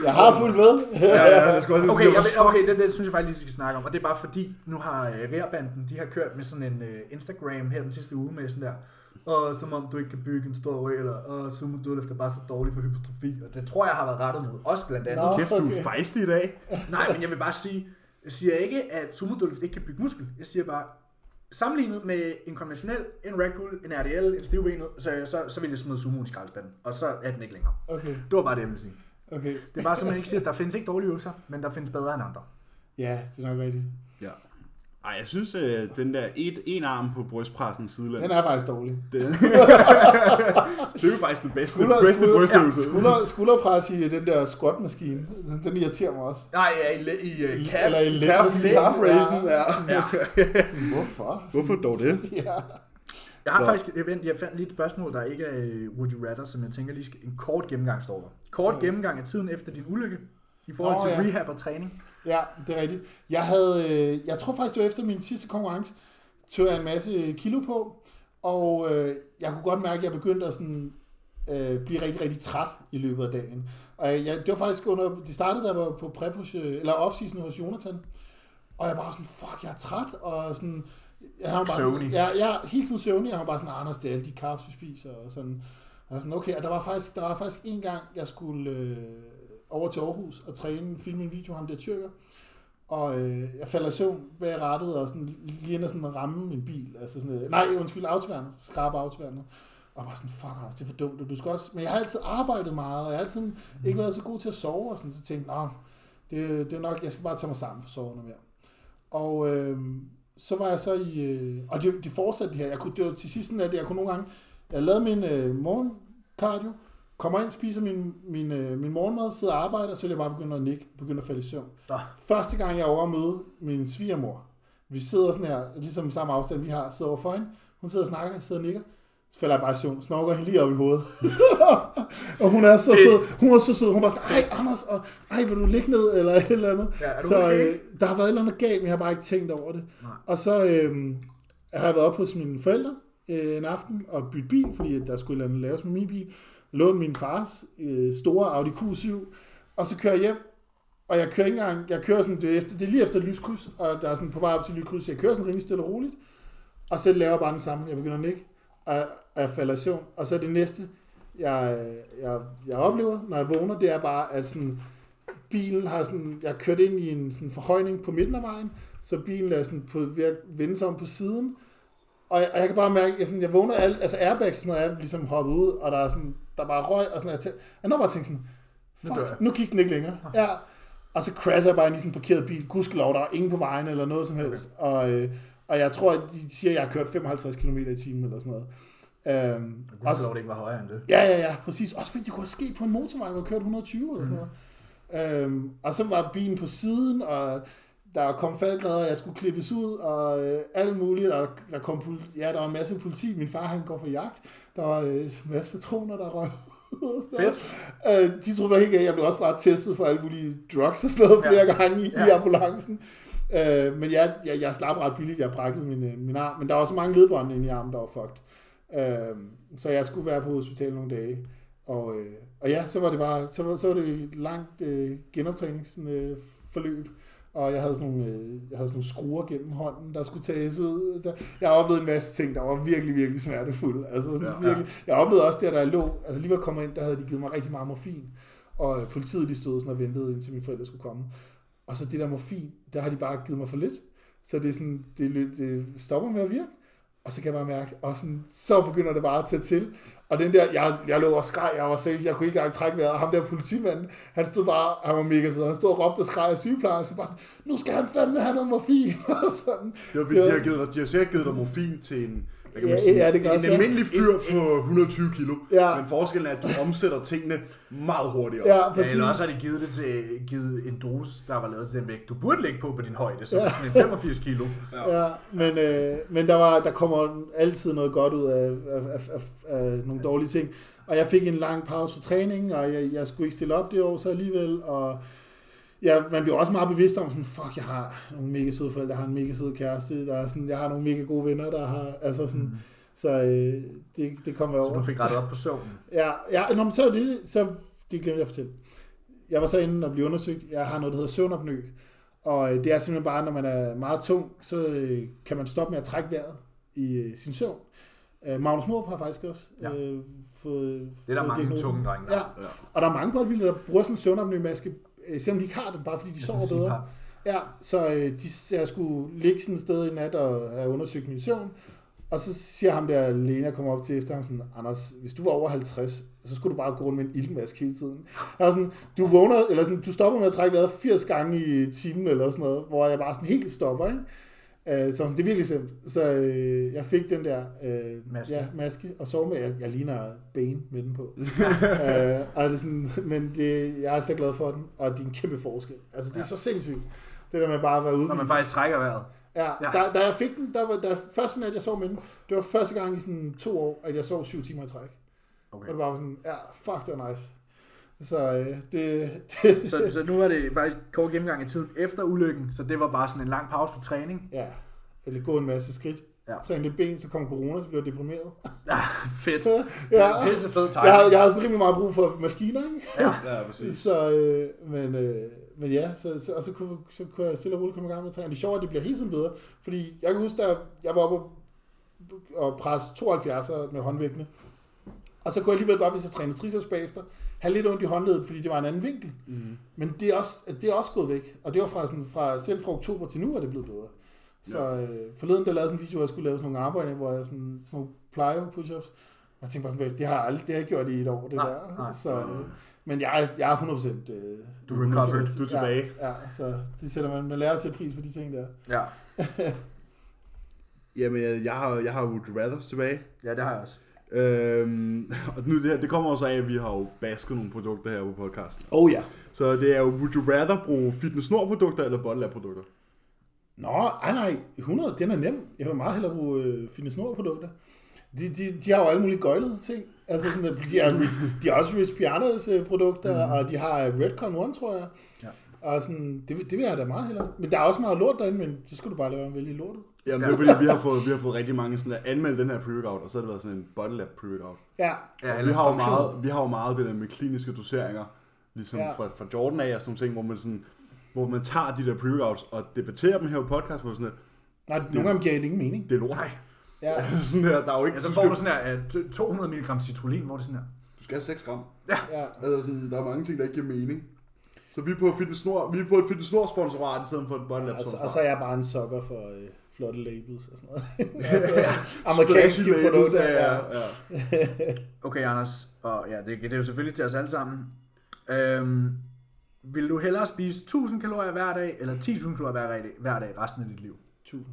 Speaker 3: Jeg har fulgt med.
Speaker 4: Ja, ja, det skulle også
Speaker 1: Okay, jeg, ved- okay det, det, synes jeg faktisk lige, vi skal snakke om. Og det er bare fordi, nu har uh, Reerbanden, de har kørt med sådan en uh, Instagram her den sidste uge med sådan der, og som om du ikke kan bygge en stor røg, eller og sumo dødløft er bare så dårlig for hypertrofi. Og det tror jeg har været rettet mod os blandt andet.
Speaker 3: Nå.
Speaker 1: No.
Speaker 4: Kæft, du er fejstig i dag.
Speaker 1: Nej, men jeg vil bare sige, Jeg siger ikke, at sumodølft ikke kan bygge muskel. Jeg siger bare, sammenlignet med en konventionel, en rack pull, en RDL, en stivbenet, så, så, så vil jeg smide sumoen i skraldespanden, og så er den ikke længere.
Speaker 3: Okay,
Speaker 1: Det var bare det, jeg ville sige.
Speaker 3: okay.
Speaker 1: Det er bare sådan, man ikke siger, at der findes ikke dårlige øvelser, men der findes bedre end andre.
Speaker 3: Ja, det er nok rigtigt.
Speaker 4: Ja. Ej, jeg synes, øh, den der et, en arm på brystpressen sidelæns,
Speaker 3: Den er faktisk dårlig.
Speaker 4: det er jo faktisk den bedste,
Speaker 3: Skulder-
Speaker 4: bedste
Speaker 3: skulder-
Speaker 4: brystøvelse.
Speaker 3: Skulder, skulderpres i den der squat-maskine, den irriterer mig også.
Speaker 1: Nej, ja, i, i, øh, i, i
Speaker 3: Eller i
Speaker 1: Ja,
Speaker 3: lænden.
Speaker 1: fordi half
Speaker 3: racen.
Speaker 2: ja.
Speaker 1: Ja.
Speaker 3: Hvorfor?
Speaker 2: Hvorfor dog det?
Speaker 3: Ja.
Speaker 1: Jeg har faktisk et event, jeg fandt lige et spørgsmål, der ikke er øh, Would You Rather, som jeg tænker lige skal, en kort gennemgang står der. Kort gennemgang af tiden efter din ulykke, i forhold
Speaker 3: Nå,
Speaker 1: til
Speaker 3: ja.
Speaker 1: rehab og træning.
Speaker 3: ja, det er rigtigt. Jeg havde, øh, jeg tror faktisk, det var efter min sidste konkurrence, tog jeg en masse kilo på, og øh, jeg kunne godt mærke, at jeg begyndte at sådan, øh, blive rigtig, rigtig træt i løbet af dagen. Og jeg, det var faktisk under, det startede, da jeg var på prep hos, øh, eller off-season hos Jonathan, og jeg var sådan, fuck, jeg er træt, og sådan, jeg har jo bare
Speaker 1: Søvnig.
Speaker 3: Sådan, jeg, jeg, er hele tiden søvnig, jeg har bare sådan, Anders, det er alle de carbs, du spiser, og sådan, og sådan, okay, og der var faktisk, der var faktisk en gang, jeg skulle øh, over til Aarhus og træne, filme en video af ham der tyrker, og øh, jeg falder i søvn bag rattet og sådan, lige ender sådan at ramme en bil. Altså sådan, øh, nej, undskyld, autoværnet, skarpe autoværnet. Og bare sådan, fuck Anders, det er for dumt, og du skal også... Men jeg har altid arbejdet meget, og jeg har altid ikke været så god til at sove, og sådan, så tænkte jeg, "Nå, det, det er nok, jeg skal bare tage mig sammen for at sove noget mere. Og øh, så var jeg så i... Øh, og det, det fortsatte det her. Jeg kunne, det var til sidst sådan, at jeg kunne nogle gange... Jeg lavede min øh, morgenkardio, kommer ind, spiser min, min, øh, min morgenmad, sidder og arbejder, så vil jeg bare begynde at nikke, begynde at falde i søvn.
Speaker 1: Nå.
Speaker 3: Første gang, jeg er over at møde min svigermor, vi sidder sådan her, ligesom i samme afstand, vi har, sidder overfor hende, hun sidder og snakker, sidder og nikker, så falder jeg bare i søvn, snorker hende lige op i hovedet. og hun er så sød, hun er så sød, hun var sådan, ej Anders, og, ej vil du ligge ned, eller et eller andet.
Speaker 1: Ja, er du
Speaker 3: så
Speaker 1: okay?
Speaker 3: øh, der har været et eller andet galt, men jeg har bare ikke tænkt over det.
Speaker 1: Nej.
Speaker 3: Og så øh, har jeg været op hos mine forældre øh, en aften og bytte bil, fordi at der skulle et eller andet laves med min bil. Lån min fars øh, store Audi Q7, og så kører jeg hjem, og jeg kører ikke engang, jeg kører sådan, det er, efter, det er lige efter et lyskryds, og der er sådan på vej op til et lyskryds, så jeg kører sådan rimelig stille og roligt, og så laver jeg bare den samme, jeg begynder at nikke, og, og jeg falder i søvn, og så det næste, jeg, jeg, jeg oplever, når jeg vågner, det er bare, at sådan, bilen har sådan, jeg kørt ind i en sådan forhøjning på midten af vejen, så bilen er sådan på, ved at vende sig om på siden, og jeg, og jeg kan bare mærke, at jeg, sådan, jeg vågner, alt, altså airbags sådan noget, er ligesom hoppet ud, og der er sådan, der er bare røg, og sådan, jeg, tæ- jeg når bare at tænke sådan,
Speaker 1: Nu dør jeg.
Speaker 3: fuck, nu gik den ikke længere. Ja. Og så crasher jeg bare ind i sådan en parkeret bil, gudskelov, der er ingen på vejen eller noget som helst, og, øh, og jeg tror, at de siger, at jeg har kørt 55 km i timen eller sådan noget. Øhm,
Speaker 1: Gud, også... det ikke var højere end det.
Speaker 3: Ja, ja, ja, præcis. Også fordi det kunne have sket på en motorvej, hvor jeg kørte 120 eller sådan noget.
Speaker 1: Mm.
Speaker 3: Øhm, og så var bilen på siden, og der kom faldgrader, og jeg skulle klippes ud, og øh, alt muligt. Og der, kom, pol- ja, der var en masse politi. Min far, han går på jagt. Der var øh, en masse patroner, der røg ud og sådan noget. Øh, de troede mig ikke af. Jeg blev også bare testet for alle mulige drugs og sådan noget
Speaker 1: Ja.
Speaker 3: ja. flere gange i, ja. i
Speaker 1: Ja.
Speaker 3: ambulancen. Øh, men jeg, jeg, jeg slap ret billigt. Jeg brækkede min, øh, min arm. Men der var så mange ledbånd inde i armen, der var fucked. Øh, så jeg skulle være på hospitalet nogle dage. Og, øh, og ja, så var det bare, så var, så var det et langt øh, genoptræningsforløb. Øh, forløb. og jeg havde, sådan nogle, øh, jeg havde sådan nogle skruer gennem hånden, der skulle tages ud. Der, jeg oplevede en masse ting, der var virkelig, virkelig smertefulde. Altså sådan
Speaker 4: Ja,
Speaker 3: ja,
Speaker 4: ja.
Speaker 3: virkelig. Jeg oplevede også der, da jeg lå, altså lige ved at komme ind, der havde de givet mig rigtig meget morfin. Og øh, politiet, de stod sådan og ventede, indtil mine forældre skulle komme. Og så det der morfin, der har de bare givet mig for lidt. Så det, er sådan, det, lø- det stopper med at virke. Og så kan jeg bare mærke, og sådan, så begynder det bare at tage til. Og den der, jeg, jeg lå og skreg, jeg var selv, jeg kunne ikke engang trække vejret. Og ham der politimanden, han stod bare, han var mega sød, han stod og råbte og skreg af sygeplejerske, bare sådan, nu skal han fandme have noget morfin, og sådan.
Speaker 4: Det var, fordi, de har givet dig, de har sikkert givet dig morfin til en, hvad kan man
Speaker 3: Ja,
Speaker 4: sige,
Speaker 3: ja, det kan
Speaker 4: en
Speaker 3: også være.
Speaker 4: almindelig fyr på 120 kilo.
Speaker 3: Ja.
Speaker 4: Men forskellen er, at du omsætter tingene meget hurtigere.
Speaker 3: Ja,
Speaker 1: Ja,
Speaker 3: præcis.
Speaker 1: eller også har de givet, det til, givet en dose, der var lavet til den vægt, du burde lægge på på din højde, som ja. sådan en 85 kilo.
Speaker 3: Ja, men, øh, men der, var, der kommer altid noget godt ud af, af, af, af, af nogle dårlige ting. Og jeg fik en lang pause for træningen, og jeg, jeg skulle ikke stille op det år så alligevel. Og ja, man bliver også meget bevidst om, sådan, fuck, jeg har nogle mega søde forældre, jeg har en mega sød kæreste, der er sådan, jeg har nogle mega gode venner, der har... Altså sådan, mm. Så øh, det, det kommer jeg
Speaker 1: Så
Speaker 3: over.
Speaker 1: du fik rettet op på søvnen.
Speaker 3: Ja, ja når man så er det, så det glemte jeg at fortælle. Jeg var så inde og blev undersøgt. Jeg har noget, der hedder søvnopnø. Og øh, det er simpelthen bare, når man er meget tung, så øh, kan man stoppe med at trække vejret i øh, sin søvn. Øh, Magnus Morup har faktisk også
Speaker 1: Ja.
Speaker 3: øh, fået
Speaker 1: Det er der
Speaker 3: fået
Speaker 1: mange
Speaker 3: diagnosen.
Speaker 1: tunge drenge, der
Speaker 3: Ja. Og der er mange bodybuildere, der bruger sådan en søvnopnømaske, øh, selvom de ikke har den, bare fordi de sover
Speaker 1: sådan
Speaker 3: bedre.
Speaker 1: har.
Speaker 3: Ja, så øh, de, jeg skulle ligge sådan et sted i nat og have undersøgt min søvn. Og så siger ham der, Lena kommer op til efter ham sådan, Anders, hvis du var over 50, så skulle du bare gå rundt med en ildmask hele tiden. Og sådan, du vågner, eller sådan, du stopper med at trække vejret 80 gange i timen eller sådan noget, hvor jeg bare sådan helt stopper, ikke? Øh, Så sådan, det er virkelig simpelt. Så øh, jeg fik den der øh,
Speaker 1: Maske.
Speaker 3: maske. Ja, maske og sov med. Jeg, jeg ligner Bane med den på. øh, og det er sådan, men det, jeg er så glad for den, og det er en kæmpe forskel. Altså, det er ja. så sindssygt. Det der med bare at være ude.
Speaker 1: Når man faktisk trækker vejret.
Speaker 3: Ja,
Speaker 1: Ja.
Speaker 3: ja. Da, da jeg fik den, der var der, første nat, jeg sov med den, det var første gang i sådan to år, at jeg sov syv timer i træk. Okay. Og det var bare sådan, ja, fuck, det var nice. Så øh, det, det,
Speaker 1: Så, så nu er det faktisk kort gennemgang af tiden efter ulykken, så det var bare sådan en lang pause for træning.
Speaker 3: ja, eller gå en masse skridt.
Speaker 1: Ja.
Speaker 3: Ja. Træne lidt ben, så kom corona, så blev jeg deprimeret.
Speaker 1: Ah, fedt.
Speaker 3: ja,
Speaker 1: Pisse fed
Speaker 3: jeg havde,
Speaker 1: timing.
Speaker 3: jeg havde sådan rimelig meget brug for maskiner, ikke?
Speaker 4: Ja, præcis.
Speaker 3: Så, øh, men, øh, men ja, så, så, og så kunne, så kunne jeg stille og roligt komme i gang med at træne. Det sjove er, at det bliver hele tiden bedre, fordi jeg kan huske, da jeg var oppe og- og presse 72'er med håndvægtene, og så kunne jeg alligevel godt, hvis jeg trænede triceps bagefter, have lidt ondt i håndledet, fordi det var en anden vinkel.
Speaker 1: Mhm.
Speaker 3: Mm. Men det er, også, altså, det er også gået væk, og det var fra, sådan, fra selv fra oktober til nu, er det blevet bedre. Så øh, forleden, der lavede jeg sådan en video, hvor jeg skulle lave sådan nogle arbejde, hvor jeg sådan, sådan nogle plyo push-ups, og jeg tænkte bare sådan, det har jeg aldrig, det har jeg ikke gjort i et år, det
Speaker 1: Nej,
Speaker 3: der.
Speaker 1: nej.
Speaker 3: Så, øh, men jeg, er- jeg er 100%... Øh,
Speaker 1: Du er recovered.
Speaker 4: Du er tilbage.
Speaker 3: Ja, ja så det sætter man, man lærer at sætte pris på de ting der.
Speaker 1: Ja.
Speaker 2: Jamen, jeg, jeg har, jeg har Would Rather tilbage.
Speaker 1: ja, det har jeg også.
Speaker 2: Øhm,
Speaker 4: Og nu det her, det kommer også af, at vi har jo basket nogle produkter her på podcasten.
Speaker 3: Oh ja.
Speaker 4: Så det er jo, would you rather bruge fitness Nord produkter eller bottle produkter?
Speaker 3: Nå, ej, nej, 100, den er nem. Jeg vil meget hellere bruge øh, Fitness Nord-produkter. De, de, de har jo alle mulige gøjlede ting. Altså sådan, at de, er, Rich- de har også Rich Pianos øh, produkter, mm. og de har øh, Redcon One, tror jeg.
Speaker 1: Ja.
Speaker 3: Og sådan, det, vil- det vil jeg da meget hellere. Men der er også meget lort derinde, men så skulle du bare lave en vælge lortet.
Speaker 4: Jamen, det er fordi, vi har fået, vi har fået rigtig mange sådan at anmelde den her pre-workout, og så har det været sådan en bottle lab pre-workout.
Speaker 3: Ja,
Speaker 1: Ja,
Speaker 4: Og vi
Speaker 1: eller
Speaker 4: har, jo
Speaker 1: funktion.
Speaker 4: meget, vi har jo meget det der med kliniske doseringer, ligesom ja.
Speaker 3: Ja.
Speaker 4: fra, fra Jordan af og sådan nogle ting, hvor man, sådan, hvor man tager de der pre-workouts og debatterer dem her på podcast, hvor sådan, at
Speaker 3: nej, nogle gange giver det ingen mening.
Speaker 4: det er lort. Altså,
Speaker 1: Nej.
Speaker 3: Ja,
Speaker 4: sådan her, der er jo ikke...
Speaker 1: Ja, så får du sådan her øh, t- 200 mg citrullin, hvor det er sådan her.
Speaker 4: du skal have 6 gram.
Speaker 3: ja.
Speaker 4: Altså sådan, der er mange ting, der ikke giver mening. Så vi er på et fitness Nord, vi er på et fitness Nord sponsorat i stedet for et bottle lab
Speaker 3: Og så, og
Speaker 4: sponsorat.
Speaker 3: så er jeg bare en sokker for øh, flotte labels og sådan noget. altså, amerikanske
Speaker 4: Splashy labels,
Speaker 3: produkter.
Speaker 4: ja,
Speaker 3: Ja.
Speaker 4: ja.
Speaker 1: Okay, Anders. Og ja, det, det er jo selvfølgelig til os alle sammen. Øhm, vil du hellere spise 1000 kalorier hver dag, eller 10.000 kalorier hver dag, hver dag resten af dit liv?
Speaker 3: 1000.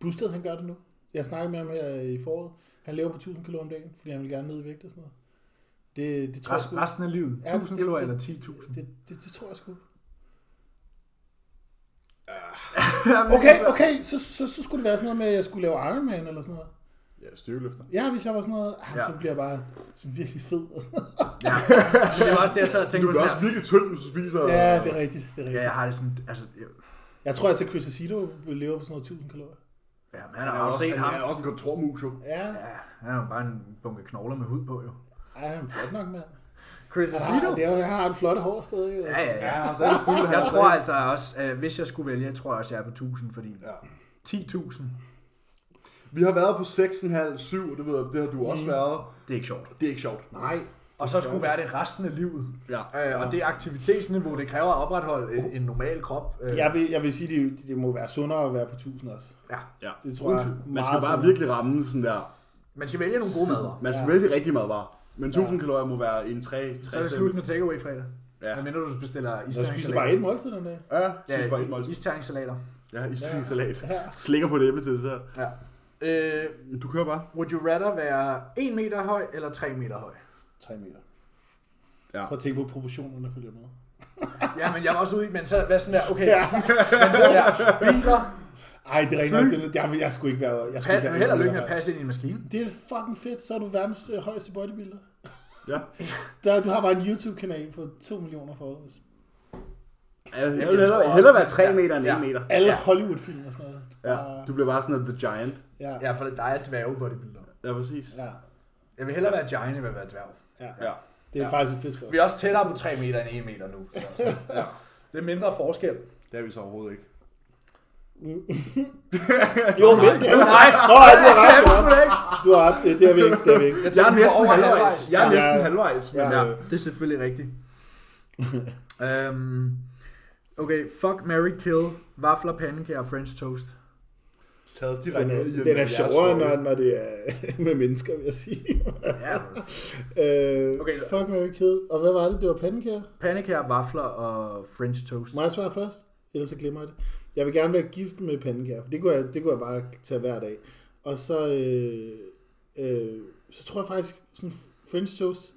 Speaker 3: Busted, han gør det nu. Jeg snakkede med ham her i foråret. Han lever på 1000 kilo om dagen, fordi han vil gerne ned i vægt og sådan noget. Det, det tror jeg
Speaker 1: Rest,
Speaker 3: sgu.
Speaker 1: resten af livet?
Speaker 3: Ja,
Speaker 1: 1000
Speaker 3: det-
Speaker 1: kalorier
Speaker 3: det-
Speaker 1: eller 10.000?
Speaker 3: Det, det, det tror jeg sgu.
Speaker 1: Jamen,
Speaker 3: Okay,
Speaker 1: altså,
Speaker 3: okay, så, så, så skulle det være sådan noget med, at jeg skulle lave Ironman eller sådan noget.
Speaker 4: Ja, styrkeløfter.
Speaker 3: Ja, hvis jeg var sådan noget, ah,
Speaker 1: Ja.
Speaker 3: så bliver jeg bare virkelig fed og sådan noget.
Speaker 1: Ja. Men det var også det, jeg sad og tænkte på
Speaker 4: Du bliver
Speaker 1: sådan
Speaker 4: også
Speaker 1: her.
Speaker 4: virkelig tynd, hvis du spiser...
Speaker 3: Ja, det er rigtigt, det er
Speaker 1: Øh, Ja,
Speaker 3: rigtigt.
Speaker 1: jeg har det sådan, altså, jeg-
Speaker 3: Jeg tror altså, at Chris Acedo lever på sådan noget 1000 kalorier.
Speaker 1: ja, man
Speaker 4: Han
Speaker 1: har
Speaker 4: er,
Speaker 1: jo
Speaker 4: også,
Speaker 1: set ham.
Speaker 4: han er også en kontormus, jo.
Speaker 3: Ja,
Speaker 1: Ja, han er jo bare en bunke knogler med hud på, jo.
Speaker 3: ej, han er flot nok, mand.
Speaker 1: Chris
Speaker 3: Han
Speaker 1: Aceto?
Speaker 3: har, det er, jo- han har et flot hår stadig. jo.
Speaker 1: Ja, ja, ja.
Speaker 4: Ja, så er det fyldt,
Speaker 1: Jeg tror altså også, øh, hvis jeg skulle vælge, jeg tror også, jeg er på 1000, fordi ja. 10.000,
Speaker 4: Vi har været på 6,5, 7, og det, ved jeg, det har du også mm. været.
Speaker 1: det er ikke sjovt.
Speaker 4: Det er ikke sjovt.
Speaker 3: Nej,
Speaker 1: Og så skulle være det resten af livet.
Speaker 4: Ja.
Speaker 1: Øh, og det aktivitetsniveau, det kræver at opretholde en, en normal krop. Øh,
Speaker 3: jeg vil, jeg vil sige, at det, det må være sundere at være på 1000 også.
Speaker 1: ja.
Speaker 4: ja.
Speaker 3: Det tror jeg
Speaker 4: Man skal
Speaker 3: meget
Speaker 4: bare
Speaker 3: sådan.
Speaker 4: virkelig ramme sådan der.
Speaker 1: Man skal vælge nogle gode madvarer.
Speaker 4: Man skal
Speaker 3: Ja.
Speaker 4: vælge de rigtige madvarer. Men 1000 kalorier må være en 3, 3
Speaker 1: Så er det slut med takeaway fredag.
Speaker 4: Ja.
Speaker 1: Ja. Men mindre du bestiller
Speaker 3: Jeg spiser bare et måltid den dag.
Speaker 4: Ja,
Speaker 1: Ja,
Speaker 4: det er bare et måltid.
Speaker 1: isterningssalater.
Speaker 4: Ja, isstillingsalat.
Speaker 3: Ja.
Speaker 4: Slikker på det æble til det så.
Speaker 1: Ja. Øh,
Speaker 4: Du kører bare.
Speaker 1: would you rather være 1 meter høj eller 3 meter høj?
Speaker 3: 3 meter.
Speaker 4: Ja.
Speaker 3: Prøv at tænke på proportionerne følger med.
Speaker 1: Ja, men jeg var også ude i, men så var sådan der, okay, men så der, biler,
Speaker 3: Ej, det er rigtig nok. det- Jeg, jeg, jeg skulle ikke være... Jeg skulle
Speaker 1: pa-
Speaker 3: ikke være
Speaker 1: held og
Speaker 3: en
Speaker 1: lykke med at
Speaker 3: meter høj.
Speaker 1: passe ind i en maskine.
Speaker 3: Det er fucking fedt. Så er du verdens øh, højeste bodybuilder.
Speaker 4: Ja.
Speaker 3: Der, du har bare en YouTube-kanal på 2 millioner followers.
Speaker 4: Jeg vil
Speaker 1: jeg
Speaker 4: hellere,
Speaker 1: tror også-
Speaker 4: hellere være 3 meter end
Speaker 1: Ja.
Speaker 4: 1 meter.
Speaker 3: Alle Hollywood-film og sådan noget.
Speaker 4: Ja.
Speaker 3: Bare-
Speaker 4: Du bliver bare sådan en The Giant.
Speaker 3: ja.
Speaker 1: Ja, for dig er dværge bodybuilder.
Speaker 4: Ja, præcis.
Speaker 3: ja.
Speaker 1: Jeg vil hellere være giant, end at være dværg.
Speaker 3: ja.
Speaker 4: Ja.
Speaker 3: Det er faktisk et fedt spørgsmål.
Speaker 1: Vi er også tættere på 3 meter end 1 meter nu. Så. Ja. Det er mindre forskel.
Speaker 4: Det er vi så overhovedet ikke.
Speaker 3: Jo, vent, det er vi.
Speaker 1: Nej,
Speaker 3: Nå, nej, du har ret.
Speaker 1: det må du ikke.
Speaker 3: Du har ret. Du har ret. Det, det er vi ikke. Det er vi ikke.
Speaker 1: Jeg,
Speaker 4: Jeg
Speaker 1: tænkte,
Speaker 4: er
Speaker 1: vi var
Speaker 4: næsten
Speaker 1: over
Speaker 4: halvvejs. Jeg er
Speaker 1: Ja.
Speaker 4: næsten
Speaker 3: Ja.
Speaker 4: halvvejs. Men,
Speaker 1: Ja,
Speaker 4: øh,
Speaker 1: det er selvfølgelig rigtigt. øhm, Okay, fuck, Mary kill, vafler, pandekager og french toast.
Speaker 4: Taget
Speaker 3: Den
Speaker 4: direkte
Speaker 3: er,
Speaker 4: ud i
Speaker 3: den er
Speaker 4: jeres
Speaker 3: sjovere,
Speaker 4: sorg.
Speaker 3: når, når det er med mennesker, vil jeg sige.
Speaker 1: Ja.
Speaker 3: øh,
Speaker 1: Okay,
Speaker 3: okay,
Speaker 1: så-
Speaker 3: fuck, Mary Kill. Og hvad var det? Det var pandekager?
Speaker 1: Pandekager, vafler og french toast.
Speaker 3: Må jeg svare først? Ellers så glemmer jeg det. Jeg vil gerne være gift med pandekager, for det kunne jeg, det kunne jeg bare tage hver dag. Og så, øh, øh, så tror jeg faktisk, sådan french toast,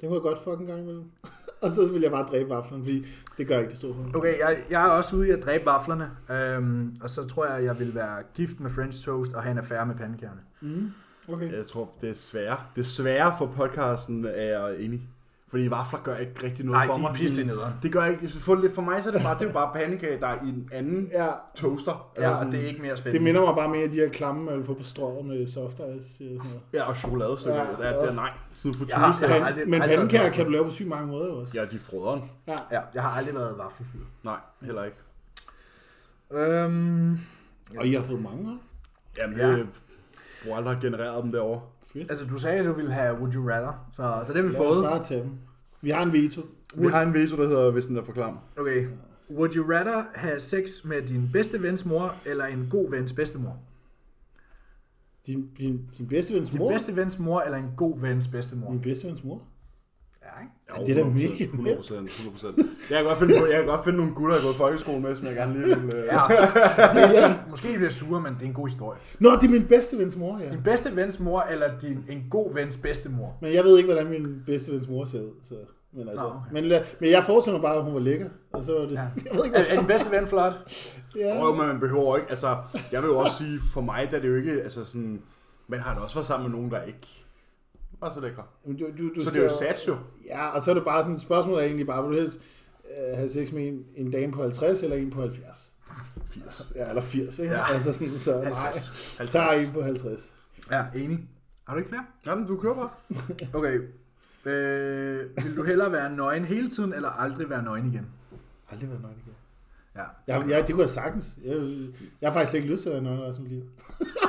Speaker 3: den kunne jeg godt fucking gang med. og så vil jeg bare dræbe vaflen, fordi det gør ikke det store for mig.
Speaker 1: Okay, jeg, jeg er også ude i at dræbe vaflerne, øhm, og så tror jeg, jeg vil være gift med french toast og have en affære med pandekagerne.
Speaker 3: Mm, okay.
Speaker 4: Jeg tror, det er svære. Det er svære for podcasten, er jeg enig. Fordi vafler gør ikke rigtig noget
Speaker 1: Nej,
Speaker 4: for
Speaker 1: de
Speaker 4: mig.
Speaker 1: er pisse
Speaker 4: Sådan,
Speaker 1: nederen.
Speaker 4: Det gør ikke. For, lidt- for mig så er det bare, det er jo bare pandekage, der er i en anden
Speaker 3: Ja,
Speaker 4: toaster.
Speaker 1: Ja,
Speaker 4: Altså
Speaker 1: og
Speaker 4: sådan-
Speaker 1: det er ikke mere spændende.
Speaker 3: det minder mig bare mere af de her klamme, man vil få på strøget med soft ice og sådan noget.
Speaker 4: Ja, og chokoladestykker.
Speaker 3: Ja,
Speaker 4: Ja, ja. Det
Speaker 3: ja.
Speaker 4: er nej. Sådan for
Speaker 1: Jeg har- jeg
Speaker 4: tydeligt.
Speaker 1: har
Speaker 3: Men-
Speaker 1: aldrig-
Speaker 3: Men
Speaker 1: aldrig-
Speaker 3: pandekager kan du lave på sygt mange måder jo også.
Speaker 4: Ja, de er frøderen.
Speaker 3: Ja.
Speaker 1: Ja, jeg har aldrig været vaffelfyr.
Speaker 4: Nej, heller ikke.
Speaker 1: Øhm,
Speaker 3: Og I har fået mange, hva'?
Speaker 4: Jamen,
Speaker 1: Ja.
Speaker 4: ja. jeg bruger aldrig at generere dem derovre.
Speaker 3: Fedt.
Speaker 1: altså, du sagde, at du ville have Would You Rather, så, så det har vi
Speaker 3: Lad os
Speaker 1: fået.
Speaker 3: bare tage dem. Vi har en veto.
Speaker 2: Vi har en veto, der hedder, hvis den er for klam.
Speaker 1: Okay. Would you rather have sex med din bedste vens mor, eller en god vens bedstemor?
Speaker 3: Din, din, din bedste vens
Speaker 1: Din
Speaker 3: mor?
Speaker 1: bedste vens mor, eller en god vens bedstemor?
Speaker 3: Min bedste vens mor?
Speaker 1: Ja, ikke?
Speaker 4: Ja,
Speaker 3: det er da
Speaker 4: 100%,
Speaker 3: mega
Speaker 4: 100%, 100%. Jeg kan godt finde, på, jeg kan godt finde nogle gutter, jeg har gået i folkeskolen med, som jeg gerne lige vil... Øh...
Speaker 1: Ja. Men, måske I bliver sure, men det er en god historie.
Speaker 3: Nå, det er min bedste vens mor, ja.
Speaker 1: Din bedste vens mor, eller din, en god vens bedstemor?
Speaker 3: Men jeg ved ikke, hvordan min bedste vens mor ser ud, så... Men, altså,
Speaker 1: Nå, okay.
Speaker 3: men, la- men jeg forestiller mig bare, at hun var lækker. Og så var det... Ja. Jeg ved ikke,
Speaker 1: Er,
Speaker 3: hvad...
Speaker 1: er din bedste ven flot?
Speaker 3: Ja.
Speaker 4: Jo, men man behøver ikke, altså, jeg vil jo også sige, for mig, der er det jo ikke, altså sådan, man har da også været sammen med nogen, der ikke var så lækre.
Speaker 3: Men Du, du, du
Speaker 4: Så det er jo
Speaker 3: skal-
Speaker 4: sats jo.
Speaker 3: Ja, og så er det bare sådan... Spørgsmålet er egentlig bare, vil du helst øh, have sex med en, en dame på 50 eller en på 70?
Speaker 4: 80.
Speaker 3: Ja, eller 80, ikke?
Speaker 4: Ja.
Speaker 3: Altså sådan, så... Nej,
Speaker 1: 50.
Speaker 3: jeg tager en på 50.
Speaker 1: Ja, enig. Har du ikke flere?
Speaker 4: Jamen, du kører bare.
Speaker 1: Okay. Øh, vil du hellere være nøgen hele tiden, eller aldrig være nøgen igen?
Speaker 3: Aldrig været nøgen igen.
Speaker 1: Ja.
Speaker 3: Jeg, jeg, det kunne jeg sagtens. Jeg, jeg har faktisk ikke lyst til at være nøgen resten af mit liv.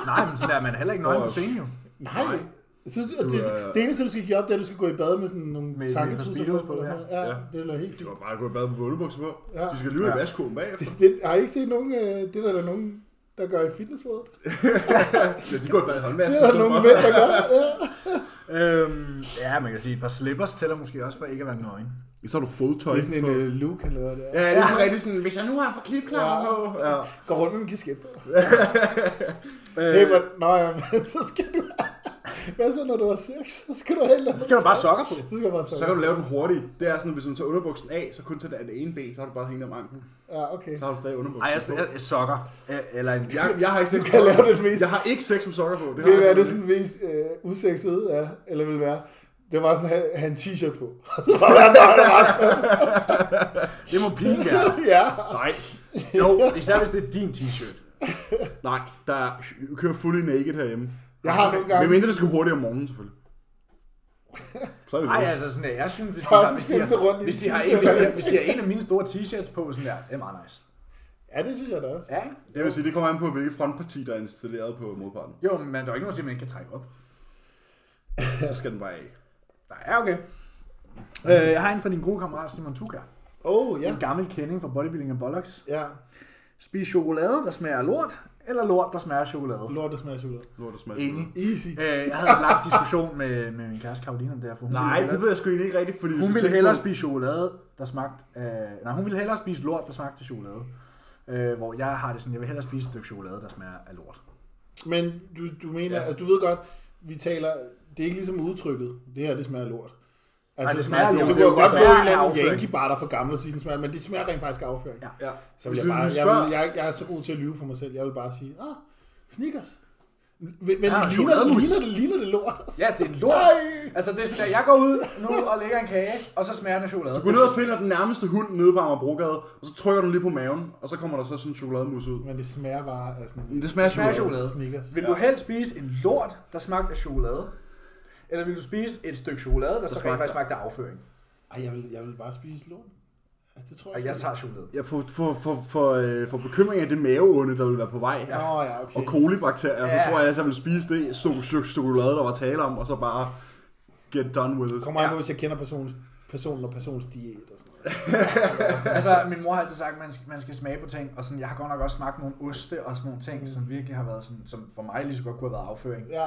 Speaker 1: Nej, men sådan er man heller ikke nøgen på scenen jo.
Speaker 3: Nej.
Speaker 4: Nej.
Speaker 3: Så, og det,
Speaker 4: er-
Speaker 3: det, eneste, du skal give op, det er, at du skal gå i bad med sådan nogle
Speaker 1: Med- med
Speaker 3: tanketrusser
Speaker 1: speedos
Speaker 3: på.
Speaker 1: på,
Speaker 3: Eller
Speaker 1: ja.
Speaker 3: sådan. noget. Ja,
Speaker 4: Ja.
Speaker 3: det er da helt
Speaker 4: Du
Speaker 3: fint.
Speaker 4: kan bare gå i bad med vådebukser på.
Speaker 3: Ja.
Speaker 4: De skal lige
Speaker 1: Ja.
Speaker 4: i vaskåben bagefter.
Speaker 3: Det, det, har I ikke set nogen, øh, det er der da nogen, der gør i fitnessrådet?
Speaker 4: Ja, de går i bad i
Speaker 3: Det
Speaker 4: håndvasken.
Speaker 3: er der nogen mænd, der gør. Ja.
Speaker 1: Øhm, ja, man kan sige, et par slippers tæller måske også for ikke at være nøgen.
Speaker 4: Så har du fodtøj.
Speaker 3: Det er sådan en øh, look, eller hvad det er.
Speaker 4: Ja, det er sådan rigtig sådan, hvis jeg nu har for klipklammer
Speaker 3: Ja.
Speaker 4: på. Ja.
Speaker 3: Går rundt med en kasket på.
Speaker 1: Øh,
Speaker 3: Hey, men, nå ja, men så skal du... Hvad så, når du har sex? Så skal du have et eller
Speaker 1: så
Speaker 3: andet
Speaker 1: skal du bare
Speaker 3: tøj.
Speaker 1: sokker på.
Speaker 3: Så skal du bare så.
Speaker 4: Så kan du lave den hurtigt. Det er sådan, hvis man tager underbuksen af, så kun til den ene ben, så har du bare hængt om anklen.
Speaker 3: Ja, okay.
Speaker 4: Så har du stadig underbuksen
Speaker 1: Ej, jeg,
Speaker 4: på.
Speaker 1: jeg, jeg sokker. Øh, Eller en
Speaker 4: Jeg, jeg har ikke sex
Speaker 3: Du kan
Speaker 4: med-
Speaker 3: lave det mest-
Speaker 4: Jeg har ikke sex med sokker på. har
Speaker 3: Det
Speaker 4: jeg
Speaker 3: vil være det
Speaker 4: simpelthen
Speaker 3: sådan mest øh, usexede, ja, eller vil være, det var sådan at have- have en t-shirt på. Og så var der bare,
Speaker 1: Det må pigen gerne.
Speaker 3: ja.
Speaker 4: ikke. Nej,
Speaker 1: Jo, især hvis det er din t-shirt.
Speaker 4: nej, der er, vi kører fully naked herhjemme.
Speaker 3: Jeg har nogle gange...
Speaker 4: Men mindre det skulle hurtigt om morgenen, selvfølgelig. Så er vi
Speaker 1: Ej,
Speaker 4: videre.
Speaker 1: altså sådan der, jeg synes, hvis de,
Speaker 3: Der er
Speaker 1: har,
Speaker 3: sådan
Speaker 1: hvis,
Speaker 3: en
Speaker 1: de har,
Speaker 3: femse rundt i
Speaker 1: hvis,
Speaker 3: en
Speaker 1: de har, en,
Speaker 3: t-shirt.
Speaker 1: hvis, de har, hvis de har en af mine store t-shirts på, sådan der, det er meget nice.
Speaker 3: Ja, det synes jeg da også.
Speaker 1: Ja, ikke?
Speaker 4: Det vil sige, det kommer an på, hvilke frontparti, der er installeret på modparten.
Speaker 1: Jo, men der er jo ikke noget, at sige, man ikke kan trække op.
Speaker 4: Så skal den bare af.
Speaker 1: Nej, ja, okay. Øh, jeg har en fra din gode kammerat, Simon Tuka.
Speaker 3: Oh, ja.
Speaker 1: En gammel kending fra Bodybuilding and Bollocks.
Speaker 3: Ja,
Speaker 1: Spis chokolade, der smager af lort, eller lort, der smager af chokolade.
Speaker 3: lort, der smager af chokolade.
Speaker 4: Lort og smalt.
Speaker 1: Enig.
Speaker 3: Easy.
Speaker 1: Øh, jeg havde en lang diskussion med, med min kæreste Karoline om det her, for hun
Speaker 4: Nej,
Speaker 1: ville
Speaker 4: det
Speaker 1: hellere,
Speaker 4: ved jeg sgu egentlig ikke rigtigt, fordi... hvis
Speaker 1: hun
Speaker 4: du
Speaker 1: ville
Speaker 4: tænker
Speaker 1: hellere
Speaker 4: på-
Speaker 1: spise chokolade, der smagte af, Nej, hun ville hellere spise lort, der smagte af chokolade. Øh, hvor jeg har det sådan, jeg vil hellere spise et stykke chokolade, der smager af lort.
Speaker 3: Men du, du mener, ja. altså du ved godt, vi taler, det er ikke ligesom udtrykket, det her, det smager af lort. Altså,
Speaker 1: det smager af
Speaker 3: du,
Speaker 1: lort.
Speaker 3: du kan jo
Speaker 1: Det
Speaker 3: godt få
Speaker 1: smager
Speaker 3: en
Speaker 1: af
Speaker 3: eller anden
Speaker 1: afføring.
Speaker 3: Yankee-bar, der er for gammel og sige, den smager, men det smager rent faktisk af afføring.
Speaker 1: Ja.
Speaker 4: Ja.
Speaker 3: Så vil
Speaker 4: Hvis
Speaker 3: jeg,
Speaker 4: du
Speaker 3: bare, jeg,
Speaker 4: spørger-
Speaker 3: vil, jeg, jeg er så god til at lyve for mig selv. Jeg vil bare sige, ah, sneakers. Men, men ligner,
Speaker 1: chokolademus.
Speaker 3: ligner, det, ligner det lort?
Speaker 1: Ja, det er en lort.
Speaker 3: Nej.
Speaker 1: Altså, det er sådan, at jeg går ud nu og lægger en kage, og så smager den af chokolade.
Speaker 4: Gå ned og finder den nærmeste hund nede på Amagerbrogade, og så trykker du den lige på maven, og så kommer der så sådan en chokolademus ud.
Speaker 3: Men det smager bare af sådan
Speaker 4: Men Det smager,
Speaker 1: Det smager af
Speaker 4: chokolade.
Speaker 1: chokolade.
Speaker 3: sneakers.
Speaker 1: Vil du helst spise en lort, der smagte af chokolade? Eller vil du spise et stykke chokolade, der, der så rent
Speaker 4: smagte-
Speaker 1: faktisk smagte af afføring?
Speaker 3: Ej, jeg vil, jeg vil bare spise lort. Ja, det tror jeg.
Speaker 1: Og
Speaker 3: sgu
Speaker 1: jeg
Speaker 3: ikke.
Speaker 1: tager chokolade.
Speaker 4: Jeg får, for, for, for, øh, for bekymring af det maveonde, der vil være på vej. Ja.
Speaker 3: Nå ja, okay.
Speaker 4: Og kolibakterier, ja.
Speaker 1: Ja.
Speaker 4: så tror jeg, at jeg vil spise det stykke stykke chokolade, der var tale om, og så bare get done with it.
Speaker 3: Kommer an på, hvis jeg kender personens personen og persons diæt og sådan noget.
Speaker 1: altså, min mor har altid sagt, at man skal, man skal smage på ting, og sådan, jeg har godt nok også smagt nogle oste og sådan nogle ting, som virkelig har været sådan, som for mig lige så godt kunne have været afføring.
Speaker 3: Ja,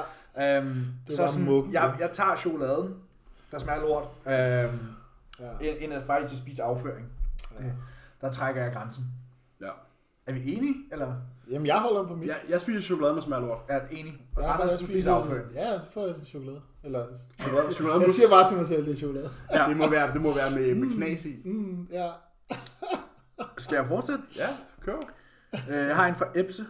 Speaker 1: Øhm,
Speaker 3: Det
Speaker 1: så
Speaker 3: var
Speaker 1: sådan,
Speaker 3: muggen,
Speaker 1: jeg,
Speaker 3: ja.
Speaker 1: jeg tager chokoladen, der smager lort, øhm,
Speaker 3: ja.
Speaker 1: ind, ind at faktisk at spise afføring.
Speaker 3: Ja.
Speaker 1: Ja. Der trækker jeg grænsen.
Speaker 4: Ja.
Speaker 1: Er vi enige? Eller
Speaker 3: Jamen, jeg holder om på mit.
Speaker 4: Jeg, jeg spiser chokolade, når smager lort.
Speaker 1: er det enige? Ja,
Speaker 3: Jeg holder
Speaker 1: Anders,
Speaker 3: også
Speaker 1: du
Speaker 3: spiser-
Speaker 1: spiser afføring.
Speaker 3: Ja, så får jeg lidt chokolade. Eller,
Speaker 4: Chokolade, chokolade
Speaker 3: jeg
Speaker 4: mus.
Speaker 3: siger bare til mig selv, det er chokolade.
Speaker 1: Ja.
Speaker 4: Det må være, det må være med, med knas i.
Speaker 3: Mm, ja.
Speaker 1: Skal jeg fortsætte?
Speaker 4: Ja, kør.
Speaker 1: Øh, jeg har en fra Epse.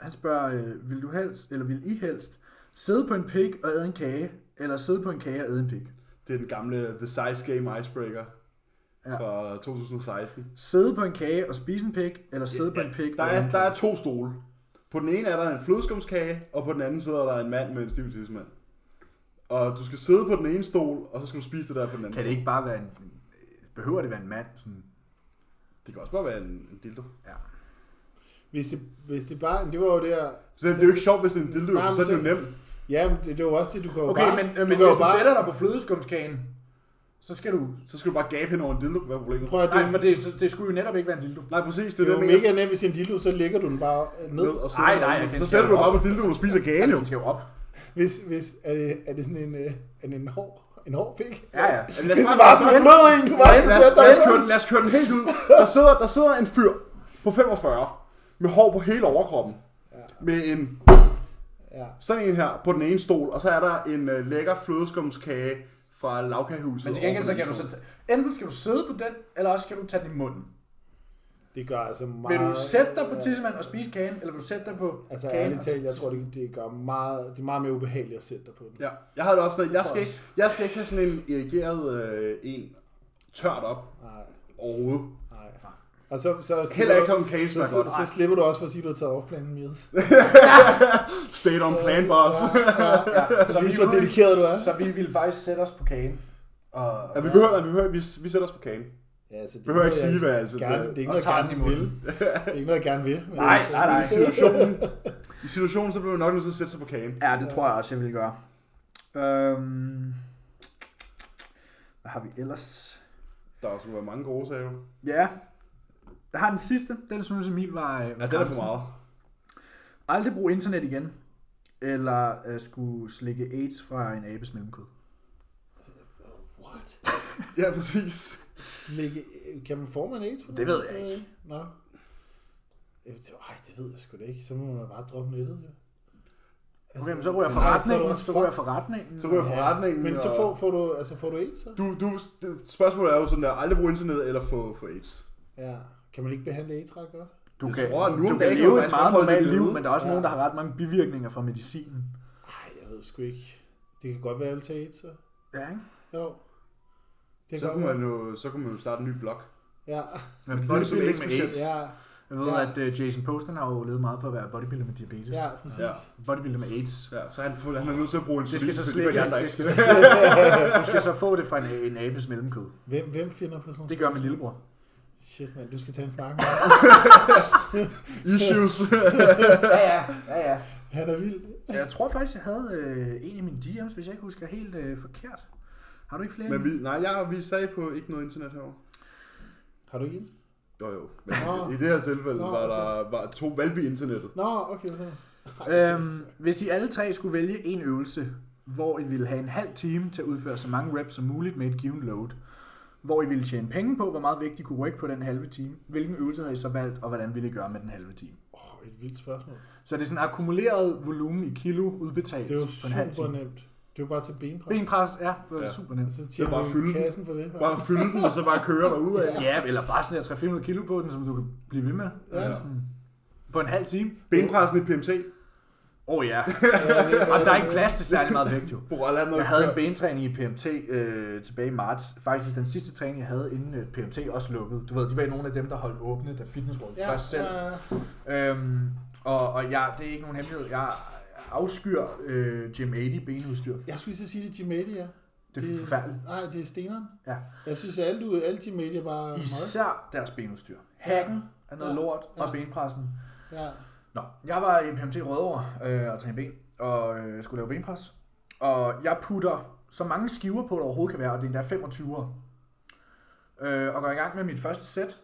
Speaker 1: Han spørger, øh, vil du helst, eller vil I helst, sidde på en pik og æde en kage, eller sidde på en kage og æde en pik?
Speaker 4: Det er den gamle The Size Game Icebreaker
Speaker 1: Ja.
Speaker 4: fra 2016.
Speaker 1: Sidde på en kage og spise en pik, eller sidde på en pik
Speaker 4: Der
Speaker 1: og æde
Speaker 4: er,
Speaker 1: en
Speaker 4: der
Speaker 1: kage?
Speaker 4: er to stole. På den ene er der en flødeskumskage, og på den anden sidder der en mand med en stiv tidsmand. Og du skal sidde på den ene stol, og så skal du spise det der på den anden.
Speaker 1: Kan det ikke bare være en... Behøver det være en mand? Sådan,
Speaker 4: det kan også bare være en, en dildo.
Speaker 1: ja.
Speaker 3: Hvis det, hvis det bare... Det var jo der...
Speaker 4: Så det er jo ikke sjovt, hvis det er en dildo,
Speaker 3: Nej,
Speaker 4: så,
Speaker 3: men
Speaker 4: så er det jo
Speaker 3: så-
Speaker 4: nemt.
Speaker 3: Ja, men det, det var også det, du kan jo
Speaker 1: Okay,
Speaker 3: bare...
Speaker 1: men, øh,
Speaker 3: du
Speaker 1: men
Speaker 3: kan jo
Speaker 1: hvis du sætter dig på flødeskumskagen, så skal du...
Speaker 4: Så skal du bare gabe hen over en dildo. Hvad er problemet?
Speaker 3: Prøv at
Speaker 1: Nej,
Speaker 3: du,
Speaker 1: for det, så- det skulle jo netop ikke være en dildo.
Speaker 4: Nej, præcis. Det
Speaker 3: det
Speaker 4: er
Speaker 3: er
Speaker 4: det,
Speaker 3: jo
Speaker 4: jeg mener.
Speaker 3: mega nemt, hvis en dildo, så lægger du den bare øh, ned.
Speaker 4: Ned og sidder
Speaker 1: Nej,
Speaker 4: der.
Speaker 1: nej, jeg kan
Speaker 4: Så
Speaker 1: ikke
Speaker 4: sætter du
Speaker 1: se
Speaker 4: bare
Speaker 1: det.
Speaker 4: på dildoen og spiser kagen jo.
Speaker 1: Den skal jo op.
Speaker 3: Hvis, hvis, er, det, er det sådan en, øh, er det en hård, en hård pik?
Speaker 1: Ja, ja. Lad
Speaker 3: Hvis det bare er sådan en blød en, du bare skal
Speaker 4: Lad
Speaker 3: sætte
Speaker 4: os,
Speaker 3: dig
Speaker 4: lad, os
Speaker 3: ned.
Speaker 4: køre den, lad os køre den helt ud. Der sidder, der sidder en fyr på 45 med hår på hele overkroppen. Med en
Speaker 3: Ja.
Speaker 4: sådan en her på den ene stol, og så er der en øh, lækker flødeskumskage fra Laukahuset.
Speaker 1: Men til gengæld så kan du så... t- Enten skal du sidde på den, eller også skal du tage den i munden.
Speaker 3: Det gør altså meget...
Speaker 1: Vil du sætte dig på tissemand og spise kagen, eller vil du sætte dig på
Speaker 3: Altså
Speaker 1: kagen?
Speaker 3: ærligt talt, jeg tror, det, det gør meget, det er meget mere ubehageligt at sætte dig på den.
Speaker 4: Ja, jeg havde det også sådan, jeg skal, ikke, jeg skal ikke have sådan en irrigeret øh, en tørt op
Speaker 3: Nej,
Speaker 4: overhovedet.
Speaker 3: nej. Og så, så, så
Speaker 4: Heller ikke klokken kage
Speaker 3: så,
Speaker 4: smager
Speaker 3: så,
Speaker 4: godt.
Speaker 3: så, slipper du også for at sige, at du har taget off-plan meals.
Speaker 4: State on plan, boss.
Speaker 1: Ja, så, vi,
Speaker 3: Lige så dedikeret du er.
Speaker 1: så vi ville faktisk sætte os på kagen. Og,
Speaker 4: Ja, vi behøver, vi, behøver, vi, vi sætter os på kagen.
Speaker 3: Ja, så det
Speaker 4: Behøver
Speaker 3: er
Speaker 4: ikke
Speaker 3: noget,
Speaker 4: sige, hvad altså,
Speaker 3: jeg
Speaker 4: altid
Speaker 3: gerne,
Speaker 4: bliver.
Speaker 3: det er ikke
Speaker 1: Og tager
Speaker 3: noget, jeg
Speaker 1: den i
Speaker 3: gerne vil. Det er ikke noget, jeg gerne vil. men
Speaker 1: Nej,
Speaker 3: altså,
Speaker 1: nej, nej.
Speaker 4: I situationen, I situationen, så bliver vi nok nødt til at sætte sig på kagen.
Speaker 1: Ja, det tror jeg også, jeg ville gøre. Øhm, hvad har vi ellers?
Speaker 4: Der er sgu være mange gode sager.
Speaker 1: Ja, jeg har den sidste. Den synes Emil var... øh,
Speaker 4: Ja, det er for meget.
Speaker 1: Aldrig bruge internet igen. Eller øh, skulle slikke AIDS fra en abes mellemkød.
Speaker 4: Altså,
Speaker 3: What?
Speaker 4: Ja, præcis.
Speaker 3: Ligge, kan man få man AIDS på
Speaker 1: Det ved jeg
Speaker 3: måde?
Speaker 1: ikke.
Speaker 3: Nå. Jeg ved- Ej, det ved jeg sgu da ikke. Så må man bare droppe nettet, jo. Altså,
Speaker 1: Okay, men så ryger jeg
Speaker 3: nej, så er du
Speaker 1: forretningen.
Speaker 3: også
Speaker 1: Så ryger jeg
Speaker 3: fucked.
Speaker 1: forretningen.
Speaker 4: Så ryger forretningen.
Speaker 3: Men så
Speaker 4: og-
Speaker 3: får, får, du, altså, får du AIDS, så?
Speaker 4: Du, du, spørgsmålet er jo sådan der, aldrig bruge internet eller få, få AIDS.
Speaker 3: Ja. Kan man ikke behandle AIDS ret godt?
Speaker 1: Du
Speaker 4: Jeg
Speaker 1: kan,
Speaker 4: tror, at nu om
Speaker 1: du
Speaker 4: dagen
Speaker 1: kan
Speaker 4: kan
Speaker 1: leve
Speaker 4: man
Speaker 1: et
Speaker 4: faktisk
Speaker 1: meget
Speaker 4: godt holde
Speaker 1: normalt
Speaker 4: det
Speaker 1: liv,
Speaker 4: nede.
Speaker 1: men der er også
Speaker 3: Ja.
Speaker 1: nogen, der har ret mange bivirkninger fra medicinen.
Speaker 3: Ej, jeg ved sgu ikke. Det kan godt være, at jeg vil tage AIDS, så.
Speaker 1: Ja, ikke?
Speaker 3: Jo. Det kan
Speaker 4: Så
Speaker 3: godt
Speaker 4: kunne
Speaker 3: være.
Speaker 4: man jo, så kunne man jo starte en ny blog.
Speaker 3: Ja.
Speaker 1: Men
Speaker 4: bodybuilding
Speaker 1: bodybuilding
Speaker 4: med
Speaker 1: med AIDS.
Speaker 3: Ja,
Speaker 1: Jeg ved,
Speaker 3: Ja.
Speaker 1: at øh, Jason Poston har jo levet meget på at være bodybuilder med diabetes.
Speaker 3: ja, præcis.
Speaker 4: Ja.
Speaker 3: Ja.
Speaker 1: Bodybuilder med AIDS.
Speaker 4: Ja, så han, får- han er nødt til at bruge en
Speaker 1: Det skal så
Speaker 4: fordi
Speaker 1: slet
Speaker 4: de andre
Speaker 1: det
Speaker 4: ikke.
Speaker 1: skal så slet- Du skal så få det fra en, en abes mellemkød.
Speaker 3: Hvem, hvem finder på sådan noget?
Speaker 1: Det gør min lillebror.
Speaker 3: Shit, mand, du skal tage en snak med ham.
Speaker 4: Issues.
Speaker 1: Ja, ja, ja, ja.
Speaker 3: Han er vild.
Speaker 1: Jeg tror faktisk, jeg havde øh, en i mine DM's, hvis jeg ikke husker helt øh, forkert. Har du ikke flere?
Speaker 4: men vi, nej, jeg, vi er stadig på ikke noget internet herovre.
Speaker 3: Har du ikke AIDS?
Speaker 4: Jo jo, men
Speaker 3: Nå.
Speaker 4: i det her tilfælde
Speaker 3: Nå,
Speaker 4: var der var to valg i internettet.
Speaker 3: Nå, okay. okay. altså-
Speaker 1: øhm, hvis I alle tre skulle vælge en øvelse, hvor I ville have en halv time til at udføre så mange reps som muligt med et given load, hvor I ville tjene penge på, hvor meget vægt I kunne rykke på den halve time, hvilken øvelse havde I så valgt, og hvordan ville I gøre med den halve time?
Speaker 3: Åh, et vildt spørgsmål.
Speaker 1: Så det er sådan akkumuleret volumen i kilo udbetalt
Speaker 3: Det er jo
Speaker 1: på en halv
Speaker 3: super
Speaker 1: time.
Speaker 3: nemt. Det er jo bare at tage benpres.
Speaker 1: Benpres, ja, det var
Speaker 4: Ja.
Speaker 1: ja. super nemt.
Speaker 3: Så
Speaker 4: Det er bare
Speaker 3: tjener
Speaker 4: at
Speaker 3: du
Speaker 4: fylde den.
Speaker 3: kassen på det. hva'?
Speaker 4: Bare fylde den, og så bare køre derud af.
Speaker 1: Ja, eller bare sådan der 300-400 kilo på den, som du kan blive ved med. Ja. Altså sådan, på en halv time.
Speaker 4: Benpressen i PMT.
Speaker 1: Åh oh, ja. Og der er ikke plads til særlig meget vægt jo.
Speaker 4: Boral er noget.
Speaker 1: Jeg havde en bentræning i PMT øh, tilbage i marts. Faktisk den sidste træning, jeg havde inden øh, PMT også lukkede. Du ved, de var nogle af dem, der holdt åbne, da fitnessrådet
Speaker 3: Ja,
Speaker 1: ja, først selv.
Speaker 3: ja, ja.
Speaker 1: Øhm, og, og jeg, det er ikke nogen hemmelighed. Jeg afskyr øh, Gym 80 benudstyr.
Speaker 3: Jeg skulle lige så sige, det er Jim Media.
Speaker 1: Det er forfærdeligt.
Speaker 3: Nej, det er steneren.
Speaker 1: Ja.
Speaker 3: Jeg synes, at alle, du, alle Jim Media bare er meget.
Speaker 1: Især deres benudstyr. Hacken er noget
Speaker 3: Ja,
Speaker 1: lort,
Speaker 3: ja.
Speaker 1: og benpressen.
Speaker 3: Ja.
Speaker 1: Nå, jeg var i PMT Rødovre øh, og trænede ben, og øh, skulle lave benpres. Og jeg putter så mange skiver på, der overhovedet kan være, og det er endda 25'er. øh, og går i gang med mit første sæt.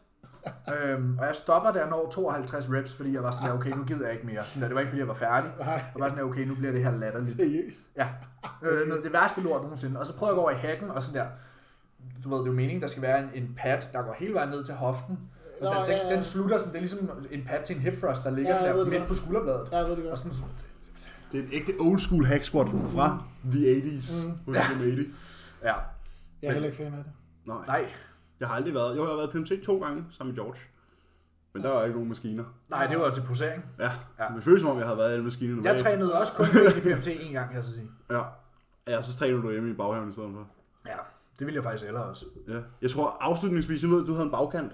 Speaker 1: øhm, og jeg stopper der når 52 reps, fordi jeg var sådan der, okay, nu gider jeg ikke mere. Sådan der, det var ikke, fordi jeg var færdig.
Speaker 3: Nej,
Speaker 1: Jeg var sådan der, okay, nu bliver det her latterligt.
Speaker 3: seriøst.
Speaker 1: Ja, det var noget, det værste lort nogensinde. Og så prøver jeg at gå over i hacken og sådan der. Du ved, det er jo meningen, der skal være en, en pat, der går hele vejen ned til hoften. Og
Speaker 3: Nå,
Speaker 1: den,
Speaker 3: ja,
Speaker 1: den,
Speaker 3: ja.
Speaker 1: den, slutter sådan, det er ligesom en pat til en hip thrust, der ligger
Speaker 3: Ja,
Speaker 1: ja,
Speaker 3: jeg ved
Speaker 1: sådan der midt
Speaker 3: det godt.
Speaker 1: på skulderbladet.
Speaker 3: Ja, jeg ved det
Speaker 1: Og
Speaker 3: godt.
Speaker 1: sådan,
Speaker 4: Det er en ægte old school hack squat fra the 80's. Mm.
Speaker 1: ja,
Speaker 3: Jeg er heller ikke fan af det.
Speaker 4: Nej.
Speaker 1: nej,
Speaker 4: Jeg har aldrig været... Jo, jeg har været i PMT to gange sammen med George. Men der var ikke nogen maskiner.
Speaker 1: nej, det var til posering.
Speaker 4: Ja,
Speaker 1: Ja.
Speaker 4: ja. men det føles som om, jeg havde været i alle maskinerne.
Speaker 1: Jeg trænede også kun BMT en gang, kan jeg så sige.
Speaker 4: Ja. Ja, så træner du hjemme i baghaven i stedet for.
Speaker 1: Ja, det ville jeg faktisk ellers også.
Speaker 4: Ja. Jeg tror afslutningsvis, jeg ved, at du havde en bagkant.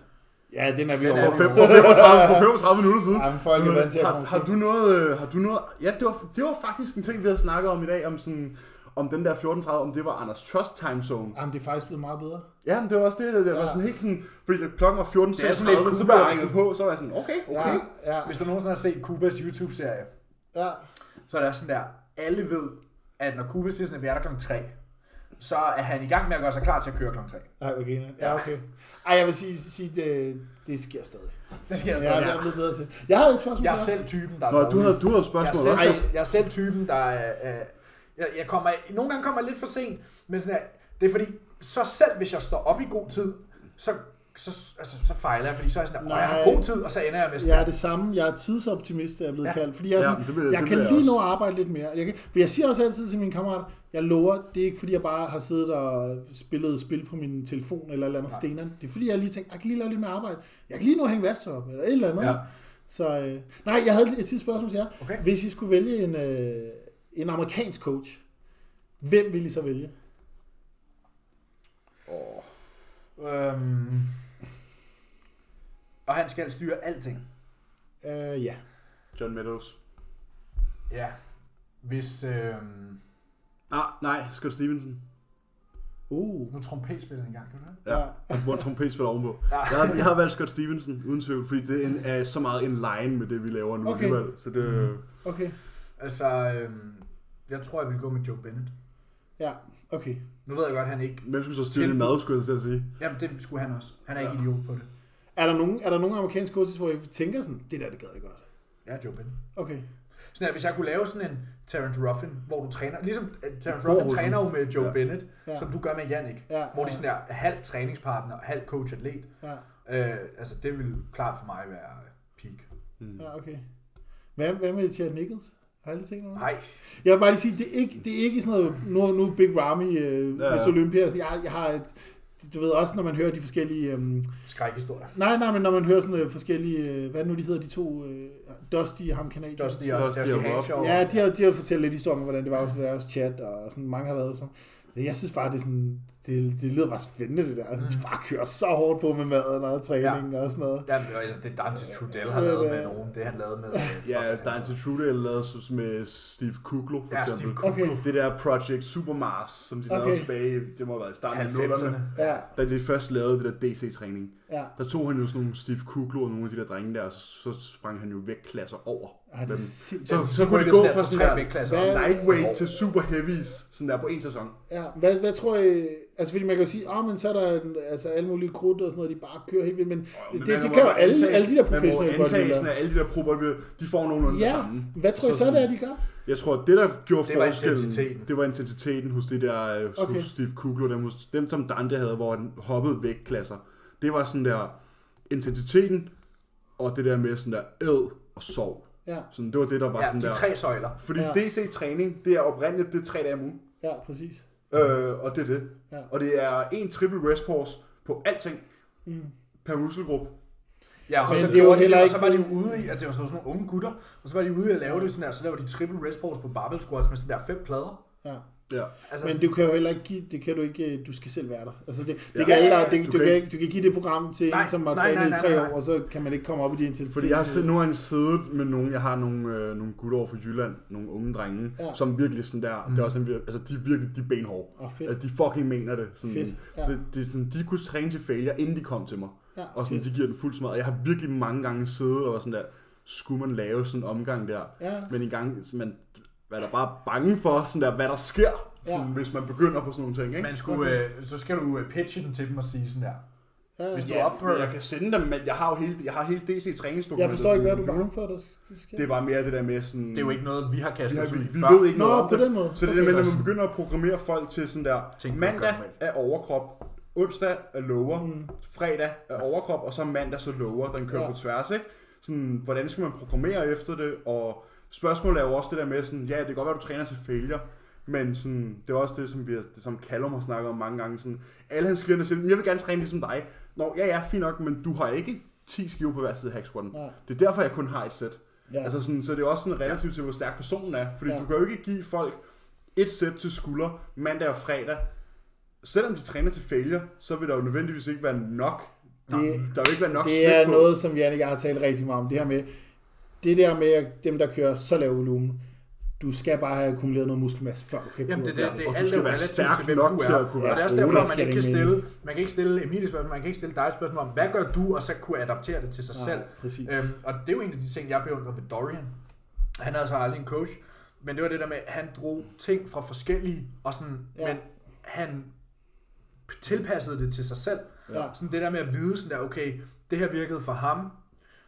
Speaker 3: Ja, den er vi
Speaker 1: Den er
Speaker 3: over.
Speaker 1: vi
Speaker 4: For,
Speaker 1: over.
Speaker 4: for, 35, for 35 minutter siden.
Speaker 3: Ja, men folk er vant til at
Speaker 4: øh, har,
Speaker 3: komme
Speaker 4: har, du noget, øh, har du noget... Ja, det var, det var faktisk en ting, vi havde snakket om i dag, om sådan om den der 14.30, om det var Anders Trust time zone.
Speaker 3: Jamen, det er faktisk blevet meget bedre.
Speaker 4: Ja, men det var også det, det var
Speaker 3: Ja.
Speaker 4: sådan helt sådan, fordi klokken var 14.30,
Speaker 1: Det er sådan lidt
Speaker 4: så blev jeg
Speaker 1: Cuba-agtigt.
Speaker 4: ringet på, så var jeg sådan, okay, okay.
Speaker 3: Ja, ja,
Speaker 1: Hvis du nogensinde har set Kubas YouTube-serie,
Speaker 3: ja.
Speaker 1: så er der sådan der, alle ved, at når Kuba siger sådan, at vi er der kl. 3, så er han i gang med at gøre sig klar til at køre kl. 3.
Speaker 3: Ej, okay. nej. Ja, okay. Ej, jeg vil sige, sige det, det sker stadig.
Speaker 1: Det sker
Speaker 3: Ja,
Speaker 1: altså.
Speaker 3: jeg
Speaker 1: Ja,
Speaker 3: er blevet bedre til. Jeg havde et spørgsmål
Speaker 1: jeg er
Speaker 3: til dig.
Speaker 1: selv typen, der er
Speaker 4: Nå, du
Speaker 1: dårlig.
Speaker 4: havde, du havde
Speaker 1: jeg, er
Speaker 4: spørgsmål.
Speaker 1: selv,
Speaker 4: også.
Speaker 1: jeg, jeg er selv typen, der er... Øh, jeg, jeg kommer, nogle gange kommer jeg lidt for sent, men sådan her, det er fordi, så selv hvis jeg står op i god tid, så, så, altså, så fejler jeg, fordi så er jeg sådan, der, "Åh, jeg har
Speaker 3: Nej.
Speaker 1: god tid, og så ender jeg med sådan
Speaker 3: Jeg er
Speaker 1: der.
Speaker 3: det samme. Jeg er tidsoptimist, er jeg er blevet
Speaker 1: Ja.
Speaker 3: ja. kaldt. Fordi jeg, er
Speaker 4: Ja,
Speaker 3: sådan,
Speaker 4: men
Speaker 3: ja,
Speaker 4: det bliver-
Speaker 3: jeg
Speaker 4: det
Speaker 3: kan
Speaker 4: bliver jeg
Speaker 3: lige
Speaker 4: også.
Speaker 3: nå at arbejde lidt mere. Jeg, kan, for jeg siger også altid til mine kammerater, jeg lover, det er ikke fordi, jeg bare har siddet og spillet spil på min telefon eller et eller andet stener. Det er fordi, jeg lige tænkte, jeg kan lige lave lidt mere arbejde. Jeg kan lige nå at hænge vasktøj op eller et eller andet.
Speaker 4: Ja.
Speaker 3: Så øh, nej, jeg havde et sidste spørgsmål til jer.
Speaker 1: Okay.
Speaker 3: Hvis I skulle vælge en, øh, en amerikansk coach, hvem ville I så vælge?
Speaker 1: Øhm, og han skal styre alting.
Speaker 3: Øh, ja.
Speaker 4: John Meadows.
Speaker 1: Ja. Hvis, øhm,
Speaker 4: Ah, nej, Scott Stevenson.
Speaker 3: Uh.
Speaker 1: nu trompetspiller han engang, kan du høre?
Speaker 4: Ja, og hvor en trompet spiller ovenpå.
Speaker 1: Ja.
Speaker 4: Jeg havde, jeg havde valgt Scott Stevenson, uden tvivl, fordi det er, en, er så meget en line med det, vi laver nu.
Speaker 3: Okay.
Speaker 4: alligevel. Så det,
Speaker 1: Mm.
Speaker 3: Okay.
Speaker 1: Altså, øhm, jeg tror, jeg vil gå med Joe Bennett.
Speaker 3: Ja, okay.
Speaker 1: Nu ved jeg godt, han ikke...
Speaker 4: hvem skulle så styre din mad, skulle jeg til at sige.
Speaker 1: Jamen, det skulle han også. Han er ikke idiot på det.
Speaker 3: Er der nogen, er der nogen amerikanske coaches, hvor I tænker sådan, det der, det gad jeg godt?
Speaker 1: Ja, Joe Bennett.
Speaker 3: Okay.
Speaker 1: Sådan her, hvis jeg kunne lave sådan en Terence Ruffin, hvor du træner, ligesom øh, Terence
Speaker 4: Hvor
Speaker 1: Ruffin
Speaker 4: hun-
Speaker 1: træner jo med Joe
Speaker 4: Ja.
Speaker 1: Bennett,
Speaker 3: Ja.
Speaker 1: som du gør med Jannik,
Speaker 3: Ja,
Speaker 1: hvor
Speaker 3: ja.
Speaker 1: de sådan er halv træningspartner og halv coach-atlet.
Speaker 3: Ja,
Speaker 1: Øh, altså, det ville klart for mig være peak.
Speaker 3: ja okay. Hvad, hvad med Chad Nichols? Har jeg aldrig tænkt over det?
Speaker 1: Nej,
Speaker 3: Jeg vil bare lige sige, det er ikke, det er ikke sådan noget, nu, nu er Big Ramy, øh,
Speaker 4: Ja, ja.
Speaker 3: ja, ja. Olympia, sådan, jeg, jeg har et, du ved også, når man hører de forskellige, øhm,
Speaker 1: skrækhistorie.
Speaker 3: nej, nej, men når man hører sådan øh, forskellige, øh, hvad er det nu de hedder, de to, øh, Dusty og ham kanadier.
Speaker 1: Dusty
Speaker 4: Så
Speaker 1: og
Speaker 4: også
Speaker 1: Dusty
Speaker 4: de har
Speaker 1: Hanshaw.
Speaker 3: Ja, de har, de har fortalt lidt historier om, hvordan det var også være hos chat, og sådan, mange har været sådan. Men jeg synes bare, det, er sådan, det, det lyder bare spændende, det der. Altså, de bare kører så hårdt på med maden og træning ja. og sådan noget.
Speaker 1: Ja, men, eller det Dante Trudel har
Speaker 3: Ja,
Speaker 1: lavet
Speaker 3: ja.
Speaker 1: med nogen. Det han lavede med... øh,
Speaker 4: Ja, Dante Trudel lavede så- med Steve Kuklo, for
Speaker 1: Ja,
Speaker 4: eksempel.
Speaker 1: Steve
Speaker 3: Okay.
Speaker 1: Kuglo.
Speaker 4: Det der Project Supermars, som de okay. lavede
Speaker 3: Okay.
Speaker 4: tilbage, i- det må have været i starten af
Speaker 1: 90'erne.
Speaker 4: 90'erne.
Speaker 3: Ja,
Speaker 4: Da de først lavede det der DC-træning,
Speaker 3: ja.
Speaker 4: der tog han jo sådan nogle Steve Kuklo og nogle af de der drenge der, og så sprang han jo vægtklasser over.
Speaker 3: Ej, det
Speaker 4: dem.
Speaker 3: er
Speaker 4: så,
Speaker 3: sindssygt.
Speaker 4: så kunne det gå fra sådan der
Speaker 1: vægtklasser.
Speaker 3: Hvad-
Speaker 4: lightweight til super heavies, sådan der på en sæson.
Speaker 3: Ja, hvad, hvad tror I, altså fordi man kan jo sige, oh, men så er der en, altså, alle mulige krudt og sådan noget, de bare kører helt vildt, men, det, det, kan jo alle, alle de der professionelle
Speaker 4: godt
Speaker 3: godt lide.
Speaker 4: antagelsen af alle de der pro bodybuilder, de får nogenlunde det
Speaker 3: Ja,
Speaker 4: samme.
Speaker 3: hvad tror I så,
Speaker 4: sådan-
Speaker 3: det er, de gør?
Speaker 4: Jeg tror, det der gjorde
Speaker 1: Det var
Speaker 4: forskellen,
Speaker 1: intensiteten.
Speaker 4: det var intensiteten hos det der øh,
Speaker 3: Okay.
Speaker 4: hos Steve Kugler, dem, hos- dem som Dante havde, hvor han hoppede vægtklasser. Det var sådan der intensiteten, og det der med sådan der æd og sov.
Speaker 3: Ja,
Speaker 4: Sådan, det var det, der var
Speaker 1: Ja,
Speaker 4: sådan
Speaker 1: de
Speaker 4: der.
Speaker 1: tre søjler.
Speaker 4: Fordi
Speaker 3: Ja.
Speaker 4: DC-træning, det er oprindeligt, det er tre dage om ugen.
Speaker 3: ja, præcis.
Speaker 4: Øh, og det er det.
Speaker 3: Ja.
Speaker 4: Og det er en triple rest pause på alting
Speaker 3: Mm.
Speaker 4: per muskelgruppe.
Speaker 1: Ja, og
Speaker 3: Men
Speaker 1: så,
Speaker 3: det er jo
Speaker 1: gjorde de
Speaker 3: heller
Speaker 1: det, og
Speaker 3: ikke-
Speaker 1: så var de jo ude i, at det var sådan nogle unge gutter, og så var de ude i at lave det sådan der, så laver de triple rest pause på barbell squats med sådan der fem plader.
Speaker 3: Ja.
Speaker 4: Ja.
Speaker 1: Altså,
Speaker 3: Men
Speaker 1: sådan-
Speaker 3: du kan jo heller ikke give, det kan du ikke, øh, du skal selv være der. Altså det, det
Speaker 4: Ja.
Speaker 3: ja, kan alle, der,
Speaker 1: Du
Speaker 3: det, du,
Speaker 4: kan
Speaker 3: kan,
Speaker 4: ikke-
Speaker 3: ikke, du kan give det program til
Speaker 1: Nej,
Speaker 3: en, som har
Speaker 1: nej, nej,
Speaker 3: trænet i
Speaker 1: nej,
Speaker 3: tre
Speaker 1: nej.
Speaker 3: år, og så kan man ikke komme op i de intensitet.
Speaker 4: Fordi jeg har siddet, nu har jeg siddet med nogle, jeg har nogle, øh, nogle gutter over fra Jylland, nogle unge drenge, ja.
Speaker 3: Ja.
Speaker 4: som virkelig sådan der, mm. det er også en, vir- altså de er virkelig, de er benhårde.
Speaker 3: Åh, fedt.
Speaker 4: Altså, de fucking mener det. Sådan,
Speaker 3: Fedt,
Speaker 4: Ja.
Speaker 3: ja.
Speaker 4: Det, det, er sådan, de kunne træne til failure, inden de kom til mig.
Speaker 3: Ja,
Speaker 4: og sådan, de giver den fuld smad. Og jeg har virkelig mange gange siddet og var sådan der, skulle man lave sådan en omgang der?
Speaker 3: Ja.
Speaker 4: Men en gang, så man er der bare bange for, sådan der, hvad der sker, sådan,
Speaker 3: Ja.
Speaker 4: hvis man begynder på sådan nogle ting. Ikke?
Speaker 1: man skulle, øh, så skal du øh, pitche den til dem og sige sådan der,
Speaker 3: Ja,
Speaker 1: Hvis du
Speaker 4: Ja,
Speaker 1: opfører
Speaker 4: men jeg kan sende dem, men jeg har jo hele, jeg har hele DC træningsdokumentet.
Speaker 3: jeg forstår ikke, hvad du er
Speaker 4: var.
Speaker 3: bange for, der sker.
Speaker 4: Det var mere det der med sådan...
Speaker 1: Det er jo ikke noget, vi har kastet
Speaker 4: Ja,
Speaker 1: os
Speaker 4: vi,
Speaker 1: ud i
Speaker 4: vi
Speaker 1: før.
Speaker 4: ved ikke
Speaker 3: Nå,
Speaker 4: noget om
Speaker 3: på
Speaker 4: det.
Speaker 3: den måde.
Speaker 4: Så det er det med, når
Speaker 1: Okay.
Speaker 4: man begynder at programmere folk til sådan der,
Speaker 1: Tænk, man
Speaker 4: mandag
Speaker 1: gør normalt.
Speaker 4: er overkrop, onsdag er lower, fredag er overkrop, og så mandag så lower, den kører
Speaker 3: Mm. Ja.
Speaker 4: på tværs, ikke? Sådan, hvordan skal man programmere efter det, og spørgsmålet er jo også det der med sådan, ja, det kan godt være, du træner til failure, men sådan, det er også det, som, vi, har- det, som Callum har snakket om mange gange. Sådan, alle hans klienter siger, "Men jeg vil gerne træne ligesom dig. Nå, ja, ja, fint nok, men du har ikke 10 skiver på hver side af hacksquatten.
Speaker 3: Nej.
Speaker 4: Det er derfor, jeg kun har et sæt.
Speaker 3: Ja.
Speaker 4: Ja. Altså sådan, så det er også sådan relativt til, hvor stærk personen er. Fordi
Speaker 3: Ja.
Speaker 4: ja. du kan jo ikke give folk et sæt til skulder mandag og fredag. Selvom de træner til failure, så vil der jo nødvendigvis ikke være nok.
Speaker 3: Det-
Speaker 4: der vil ikke være nok
Speaker 3: det
Speaker 4: smidt
Speaker 3: er
Speaker 4: på.
Speaker 3: noget, som Janne og jeg har talt rigtig meget om. Det her med, det der med at dem, der kører så lav volumen, du skal bare have akkumuleret noget muskelmasse, før du kan
Speaker 1: Jamen det, det,
Speaker 3: gå
Speaker 1: det,
Speaker 3: op
Speaker 1: det er
Speaker 4: og du
Speaker 1: alt
Speaker 4: skal
Speaker 1: er jo
Speaker 4: være
Speaker 1: relativt
Speaker 4: stærk
Speaker 1: til, hvem
Speaker 4: nok
Speaker 1: du
Speaker 4: til
Speaker 1: er.
Speaker 4: at
Speaker 1: Og
Speaker 4: kunne
Speaker 1: det er
Speaker 4: være
Speaker 1: også
Speaker 3: gode,
Speaker 1: derfor,
Speaker 3: der
Speaker 1: man
Speaker 3: skal
Speaker 1: ikke
Speaker 3: det
Speaker 1: kan
Speaker 3: ikke
Speaker 1: stille, man kan ikke stille Emilie spørgsmål, man kan ikke stille dig spørgsmål om, hvad gør du, og så kunne adaptere det til sig
Speaker 3: Nej,
Speaker 1: selv.
Speaker 3: præcis.
Speaker 1: Øhm, og det er jo en af de ting, jeg beundrer ved Dorian. Han havde så aldrig en coach, men det var det der med, at han drog ting fra forskellige, og sådan, ja.
Speaker 3: Ja.
Speaker 1: men han tilpassede det til sig selv.
Speaker 3: Ja.
Speaker 1: Sådan det der med at vide, sådan der, okay, det her virkede for ham,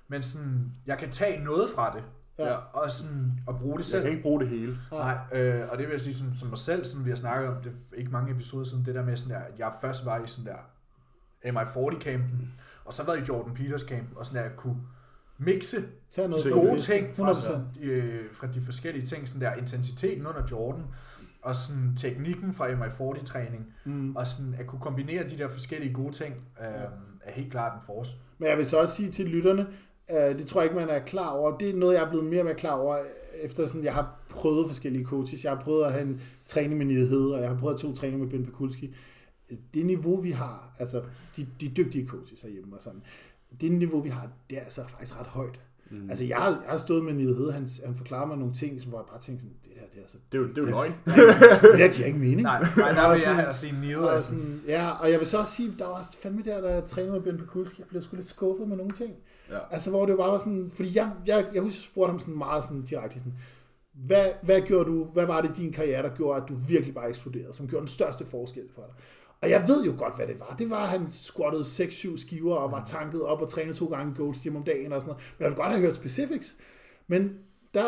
Speaker 1: men sådan, jeg kan tage noget fra det,
Speaker 3: Ja.
Speaker 1: og, sådan, og bruge det
Speaker 4: Jeg
Speaker 1: selv.
Speaker 4: kan ikke bruge det hele.
Speaker 1: Nej, øh, og det vil jeg sige sådan, som mig selv, sådan, vi har snakket om det ikke mange episoder siden, det der med sådan der, at jeg først var i sådan der MI40-campen, og så var jeg i Jordan Peters camp, og sådan der, kunne mixe
Speaker 3: Tag noget
Speaker 1: de
Speaker 3: fra
Speaker 1: gode
Speaker 3: det.
Speaker 1: ting fra,
Speaker 3: 100%.
Speaker 1: sådan, øh, fra de forskellige ting, sådan der intensiteten under Jordan, og sådan teknikken fra MI40-træning, mm. og sådan at kunne kombinere de der forskellige gode ting, øh, er helt klart en force.
Speaker 3: Men jeg vil så også sige til lytterne, øh, det tror jeg ikke, man er klar over. Det er noget, jeg er blevet mere og mere klar over, øh, efter sådan, jeg har prøvet forskellige coaches. Jeg har prøvet at have en træning med Nide Hede, og jeg har prøvet to træninger med Ben Pekulski. Det niveau, vi har, altså de, de dygtige coaches herhjemme og sådan, det niveau, vi har, det er altså faktisk ret højt. Mm. Altså, jeg har, jeg har stået med Nide Hede, han, han forklarer mig nogle ting, som, hvor jeg bare tænkte sådan, det der, det er så,
Speaker 4: Det er jo, det er jo løgn.
Speaker 3: det der giver ikke mening.
Speaker 1: Nej, nej der
Speaker 3: Og
Speaker 1: vil jeg
Speaker 3: sådan-
Speaker 1: have sige Neil,
Speaker 3: Og
Speaker 1: altså.
Speaker 3: sådan, ja, og jeg vil så også sige, der var også fandme der, der jeg trænede med Bjørn Pekulski, jeg blev sgu lidt skuffet med nogle ting.
Speaker 4: Ja.
Speaker 3: Altså, hvor det bare var sådan, fordi jeg, jeg, jeg husker, jeg spurgte ham sådan meget sådan direkte, sådan, hvad, hvad gjorde du, hvad var det i din karriere, der gjorde, at du virkelig bare eksploderede, som gjorde den største forskel for dig? Og jeg ved jo godt, hvad det var. Det var, at han squattede 6-7 skiver og var tanket op og trænede to gange gold steam om dagen og sådan noget. Men jeg vil godt have hørt specifics. Men, der,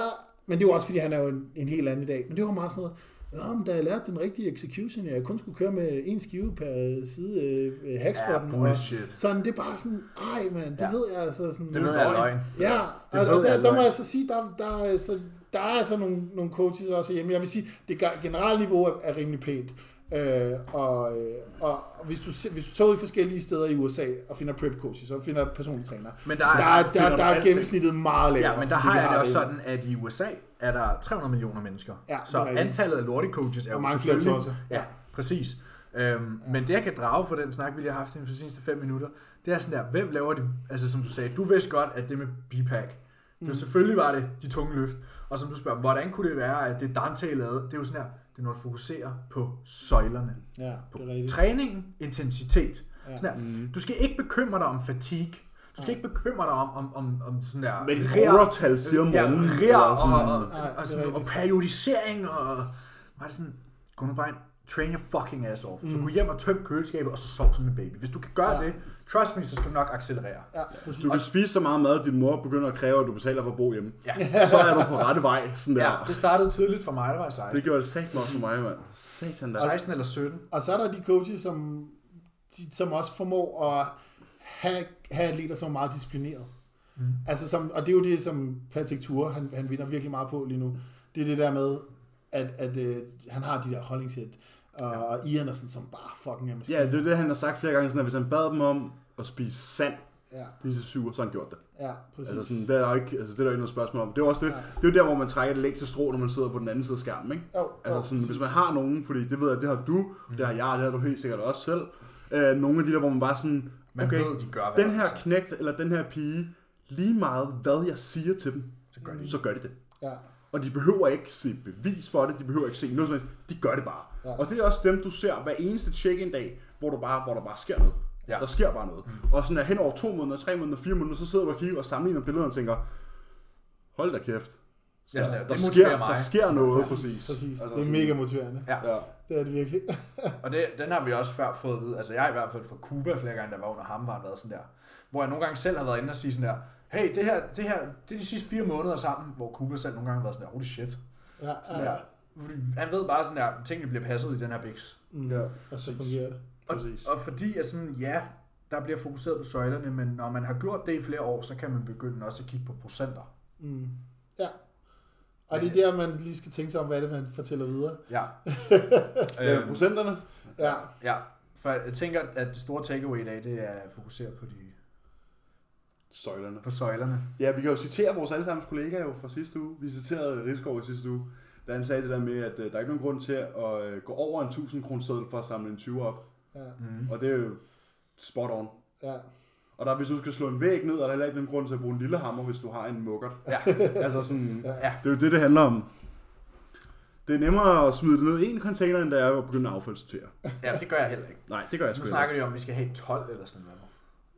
Speaker 3: men det var også, fordi han er jo en, en helt anden i dag. Men det var meget sådan noget, Ja, men da jeg lærte den rigtige execution, jeg kun skulle køre med en skive per side øh, hackspotten.
Speaker 1: Ja, bullshit.
Speaker 3: sådan, det er bare sådan, ej mand, det ja.
Speaker 1: Ja.
Speaker 3: ved jeg altså sådan.
Speaker 1: Det ved jeg er løgn.
Speaker 3: Ja,
Speaker 1: Det
Speaker 3: og,
Speaker 1: ved
Speaker 3: og der,
Speaker 1: jeg
Speaker 3: der må
Speaker 1: godt.
Speaker 3: jeg så sige, der, der, er så, der er altså nogle, nogle coaches også hjemme. Jeg vil sige, det ge- generelle niveau er, er rimelig pænt. Øh, og, øh, og hvis du, se- hvis du tager ud i forskellige steder i USA og finder prep coaches og finder personlige trænere,
Speaker 1: Men der
Speaker 3: så
Speaker 1: er-
Speaker 3: der, er,
Speaker 1: finder
Speaker 3: der,
Speaker 1: du
Speaker 3: der er
Speaker 1: alting.
Speaker 3: gennemsnittet meget lavere.
Speaker 1: Ja, men der
Speaker 3: end vi
Speaker 1: har jeg det
Speaker 3: har
Speaker 1: også
Speaker 3: derhjemme.
Speaker 1: sådan, at i USA er der 300 millioner mennesker.
Speaker 3: Ja, det
Speaker 1: så
Speaker 3: er rigtigt.
Speaker 1: antallet af lortecoaches er jo
Speaker 3: Og mange flere
Speaker 1: selvfølgelig-
Speaker 3: tosser. Ja.
Speaker 1: Ja, præcis. Øhm, ja. Men det, jeg kan drage for den snak, vi lige har haft i de seneste 5 minutter, det er sådan der, hvem laver det? Altså som du sagde, du vidste godt, at det med BPAC, det var
Speaker 3: Mm.
Speaker 1: selvfølgelig var det de tunge løft. Og som du spørger, hvordan kunne det være, at det Dante lavede, det er jo sådan her, det er når du fokuserer på søjlerne.
Speaker 3: Ja,
Speaker 1: På
Speaker 3: det er rigtigt.
Speaker 1: træningen, intensitet. Ja. Sådan der. Du skal ikke bekymre dig om fatigue. Du skal ikke bekymre dig om, om, om, om sådan der...
Speaker 4: Men
Speaker 1: rær-
Speaker 4: overtal siger morgenen,
Speaker 1: Ja,
Speaker 4: eller
Speaker 1: rær og,
Speaker 4: sådan.
Speaker 1: og,
Speaker 3: Ja, det er
Speaker 1: og, sådan,
Speaker 3: rigtigt.
Speaker 1: og periodisering og... Var det sådan, gå nu bare ind, train your fucking ass off. Mm. Så gå hjem og tøm køleskabet, og så sov som en baby. Hvis du kan gøre
Speaker 3: Ja.
Speaker 1: ja. det, trust me, så skal du nok accelerere.
Speaker 3: Ja, præcis.
Speaker 4: Du kan spise så meget mad, at din mor begynder at kræve, at du betaler for at bo hjemme.
Speaker 1: Ja.
Speaker 4: Så er du på rette vej. Sådan der.
Speaker 1: Ja, det startede tidligt for mig, der var jeg 16.
Speaker 4: Det altså- gjorde det sagt også for mig, mand. Satan der.
Speaker 1: 16 eller 17.
Speaker 3: Og så er der de coaches, som, de, som også formår at have, have atleter, som er meget disciplineret. Mm. Altså som, og det er jo det, som Patrick Ture, han, han vinder virkelig meget på lige nu. Det er det der med, at, at øh, han har de der holdningshæt, og, og Ian er sådan, som bare fucking er maskine.
Speaker 4: Ja, det er det, han har sagt flere gange, sådan at hvis han bad dem om at spise sand,
Speaker 3: Ja,
Speaker 4: lige til syv, så har han gjort det.
Speaker 3: ja, præcis.
Speaker 4: Altså, sådan, det er der jo ikke, altså, det er der jo ikke noget spørgsmål om. Det er jo også det, det er jo der, hvor man trækker det læg til strå, når man sidder på den anden side af skærmen, ikke?
Speaker 3: Jo, jo,
Speaker 4: altså, sådan,
Speaker 3: præcis.
Speaker 4: hvis man har nogen, fordi det ved jeg, det har du, det har jeg, og det har du helt sikkert også selv. Øh, nogle af de der, hvor man bare sådan,
Speaker 1: Man
Speaker 4: okay,
Speaker 1: ved, de gør, hvad
Speaker 4: den
Speaker 1: der
Speaker 4: her
Speaker 1: er sagt.
Speaker 4: knægt eller den her pige, lige meget hvad jeg siger til dem, så gør de, så gør de det.
Speaker 3: Ja,
Speaker 4: Og de behøver ikke se bevis for det, de behøver ikke se noget som helst. De gør det bare. Ja. Og det er også dem, du ser hver eneste check-in dag, hvor, du bare, hvor der bare sker noget.
Speaker 1: Ja. Mm.
Speaker 4: Der sker bare noget. Og sådan er hen over to måneder, tre måneder, fire måneder, så sidder du og kigger og sammenligner billederne og tænker, hold da kæft,
Speaker 1: Ja, sådan der.
Speaker 4: Der
Speaker 1: det
Speaker 4: sker,
Speaker 1: motiverer mig.
Speaker 4: der sker noget, præcis.
Speaker 3: Præcis.
Speaker 4: Altså,
Speaker 3: Det er
Speaker 4: sådan-
Speaker 3: mega motiverende.
Speaker 1: Ja.
Speaker 4: Ja.
Speaker 3: Det er det virkelig.
Speaker 1: Og det, den har vi også før fået at vide. Altså jeg har i hvert fald fra Cuba flere gange, der var under ham, har været sådan der. Hvor jeg nogle gange selv har været inde og sige sådan der, hey, det her, det her, det er de sidste fire måneder sammen, hvor Cuba selv nogle gange har været sådan der, holy shit.
Speaker 3: Ja, ja,
Speaker 1: Ja.
Speaker 3: ja.
Speaker 1: Fordi Han ved bare sådan der, tingene bliver passet i den her biks.
Speaker 3: Mm.
Speaker 4: Ja.
Speaker 3: Og så fungerer det.
Speaker 1: Og,
Speaker 4: Præcis.
Speaker 1: og fordi at sådan, ja, der bliver fokuseret på søjlerne, men når man har gjort det i flere år, så kan man begynde også at kigge på procenter.
Speaker 3: Mm. Ja. Og det er der, man lige skal tænke sig om, hvad det er, man fortæller videre.
Speaker 1: Ja.
Speaker 4: Ja,
Speaker 1: øhm,
Speaker 4: Øh, procenterne.
Speaker 3: Ja,
Speaker 1: ja. For jeg tænker, at det store takeaway i dag, det er at fokusere på, de,
Speaker 4: Søjlerne.
Speaker 1: på søjlerne.
Speaker 4: Ja, vi kan jo citere vores allesammens kollega jo fra sidste uge. Vi citerede Rigsgaard i sidste uge, da han sagde det der med, at øh, der er ikke nogen grund til at øh, gå over en 1000 kroner seddel for at samle en 20 op.
Speaker 3: ja,
Speaker 1: Mm.
Speaker 4: Og det er jo spot on.
Speaker 3: ja.
Speaker 4: Og der, hvis du skal slå en væg ned, er der heller ikke nogen grund til at bruge en lille hammer, hvis du har en mukkert.
Speaker 1: Ja.
Speaker 4: Altså sådan,
Speaker 3: Ja.
Speaker 4: det er jo det, det handler om. Det er nemmere at smide det ned i en container, end det er at begynde at affaldssortere.
Speaker 1: ja, det gør jeg heller ikke.
Speaker 4: Nej, det gør jeg sgu
Speaker 1: Nu
Speaker 4: ikke.
Speaker 1: snakker vi om, at vi skal have 12 eller sådan noget.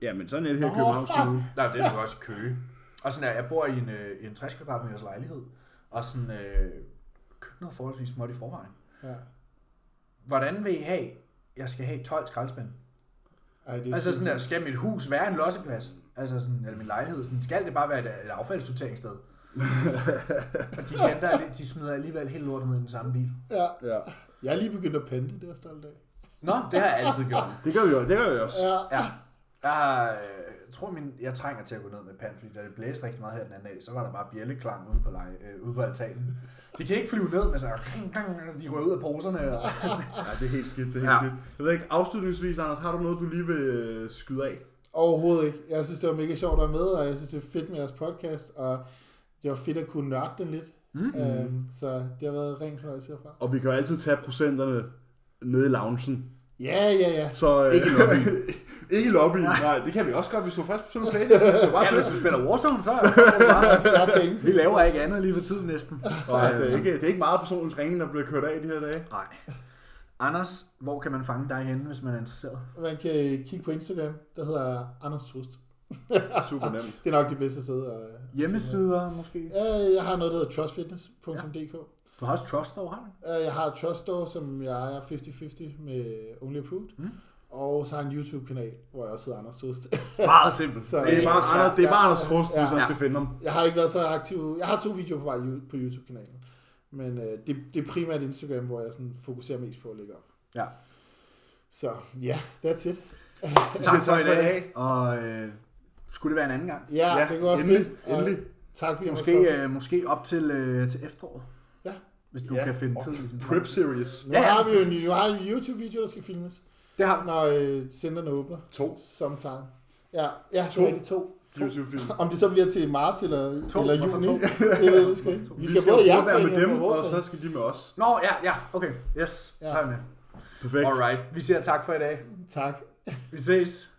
Speaker 4: Ja, men sådan er det her i Københavns Kommune.
Speaker 1: Nej, det er jo også i Køge. Og sådan er, jeg bor i en, øh, i en 60 kvadratmeters lejlighed, og sådan, øh, køkkenet er forholdsvis småt i forvejen.
Speaker 3: ja.
Speaker 1: Hvordan vil I have, jeg skal have 12 skraldespande?
Speaker 3: Ej, det er
Speaker 1: Altså sådan der, skal mit hus være en losseplads? Altså sådan, eller min lejlighed, sådan, skal det bare være et, et affaldssorteringssted? og de, henter, alli- de smider alligevel helt lortet med i den samme bil.
Speaker 3: Ja.
Speaker 4: Ja.
Speaker 3: Jeg er lige begyndt at pande, det er jeg stolt af.
Speaker 1: Nå, det har jeg altid gjort.
Speaker 4: Det gør vi jo, det gør vi også.
Speaker 3: Ja,
Speaker 1: Ja. Jeg, har, øh, jeg tror, min, jeg trænger til at gå ned med pand, fordi da det blæste rigtig meget her den anden dag, så var der bare bjælleklang ude på, lege, øh, ude på altanen. De kan ikke flyve ned, men så de røg ud af poserne. Og,
Speaker 4: Ja, det er helt skidt, det er helt
Speaker 1: Ja.
Speaker 4: ja. skidt. Jeg ved ikke, afslutningsvis, Anders, har du noget, du lige vil øh, skyde af?
Speaker 3: overhovedet ikke. Jeg synes, det var mega sjovt at være med, og jeg synes, det er fedt med jeres podcast, og det var fedt at kunne nørde den lidt.
Speaker 1: Mm.
Speaker 3: Øhm, så det har været ren fornøjelse herfra.
Speaker 4: Og vi kan jo altid tage procenterne nede i loungen.
Speaker 3: Ja, ja, ja.
Speaker 4: Så, øh,
Speaker 1: Ikke i lobbyen.
Speaker 4: ikke i lobbyen, nej. Det kan vi også godt, hvis du er først på sådan en place. Så bare
Speaker 1: ja,
Speaker 4: til.
Speaker 1: hvis du spiller Warzone, så er det bare-
Speaker 3: Jeg kan
Speaker 1: Vi
Speaker 3: ingenting.
Speaker 1: laver ikke andet lige for tiden næsten.
Speaker 4: Nej, øh, det, er ikke, det er ikke meget personens ringen, der bliver kørt af de her dage.
Speaker 1: Nej. Anders, hvor kan man fange dig henne, hvis man er interesseret?
Speaker 3: Man kan kigge på Instagram, der hedder Anders Trust.
Speaker 4: Super nemt.
Speaker 3: Det er nok det bedste sted. Og,
Speaker 1: Hjemmesider måske?
Speaker 3: Øh, jeg har noget, der hedder trustfitness.dk.
Speaker 1: Du har også Trust over, har du? ikke?
Speaker 3: Øh, Jeg har Trust Store, som jeg ejer 50-50 med Only Approved.
Speaker 1: Mm.
Speaker 3: Og så har jeg en YouTube-kanal, hvor jeg også hedder Anders Trust.
Speaker 1: Meget simpelt.
Speaker 3: Så-
Speaker 4: Det er bare,
Speaker 1: så svært.
Speaker 4: Anders, det er bare
Speaker 3: Ja.
Speaker 4: Anders Trost, hvis man
Speaker 1: Ja.
Speaker 4: skal finde ham.
Speaker 3: Jeg har ikke været så aktiv. Jeg har to videoer på vej ju- på YouTube-kanalen. Men øh, det, det er primært Instagram, hvor jeg sådan fokuserer mest på at lægge op.
Speaker 1: Ja.
Speaker 3: Så ja, that's it.
Speaker 1: Tak for i dag. Og øh, skulle det være en anden gang?
Speaker 3: Ja, ja det går
Speaker 4: endelig,
Speaker 3: fedt. Og
Speaker 4: endelig.
Speaker 3: Tak fordi jeg måtte komme.
Speaker 1: Måske, øh, måske op til, øh, til efteråret.
Speaker 3: Ja.
Speaker 1: Hvis du
Speaker 4: Ja,
Speaker 1: kan finde
Speaker 4: og
Speaker 1: tid. i din
Speaker 4: Prep Series.
Speaker 3: Nu
Speaker 1: Ja, ja,
Speaker 3: har vi jo en, nu har vi en YouTube-video, der skal filmes,
Speaker 1: Det har vi.
Speaker 3: når øh, centerne åbner.
Speaker 4: To.
Speaker 3: Sometime. Ja, ja
Speaker 4: To.
Speaker 3: to. rigtig to.
Speaker 4: YouTube-film.
Speaker 3: Om det så bliver til marts eller,
Speaker 1: To.
Speaker 3: eller
Speaker 1: Hvorfor
Speaker 3: juni,
Speaker 1: to?
Speaker 3: det ved vi sgu ikke. Vi skal både
Speaker 4: jo
Speaker 3: jer
Speaker 4: være
Speaker 3: tre
Speaker 4: med
Speaker 3: og
Speaker 4: dem,
Speaker 3: med
Speaker 4: og
Speaker 3: vores
Speaker 4: så
Speaker 3: tre.
Speaker 4: skal de med os.
Speaker 1: Nå, ja, ja. Okay. Yes.
Speaker 3: Ja.
Speaker 1: Ja. Har jeg med.
Speaker 4: Perfekt.
Speaker 1: Alright. Vi siger tak for i dag.
Speaker 3: Tak.
Speaker 1: Vi ses.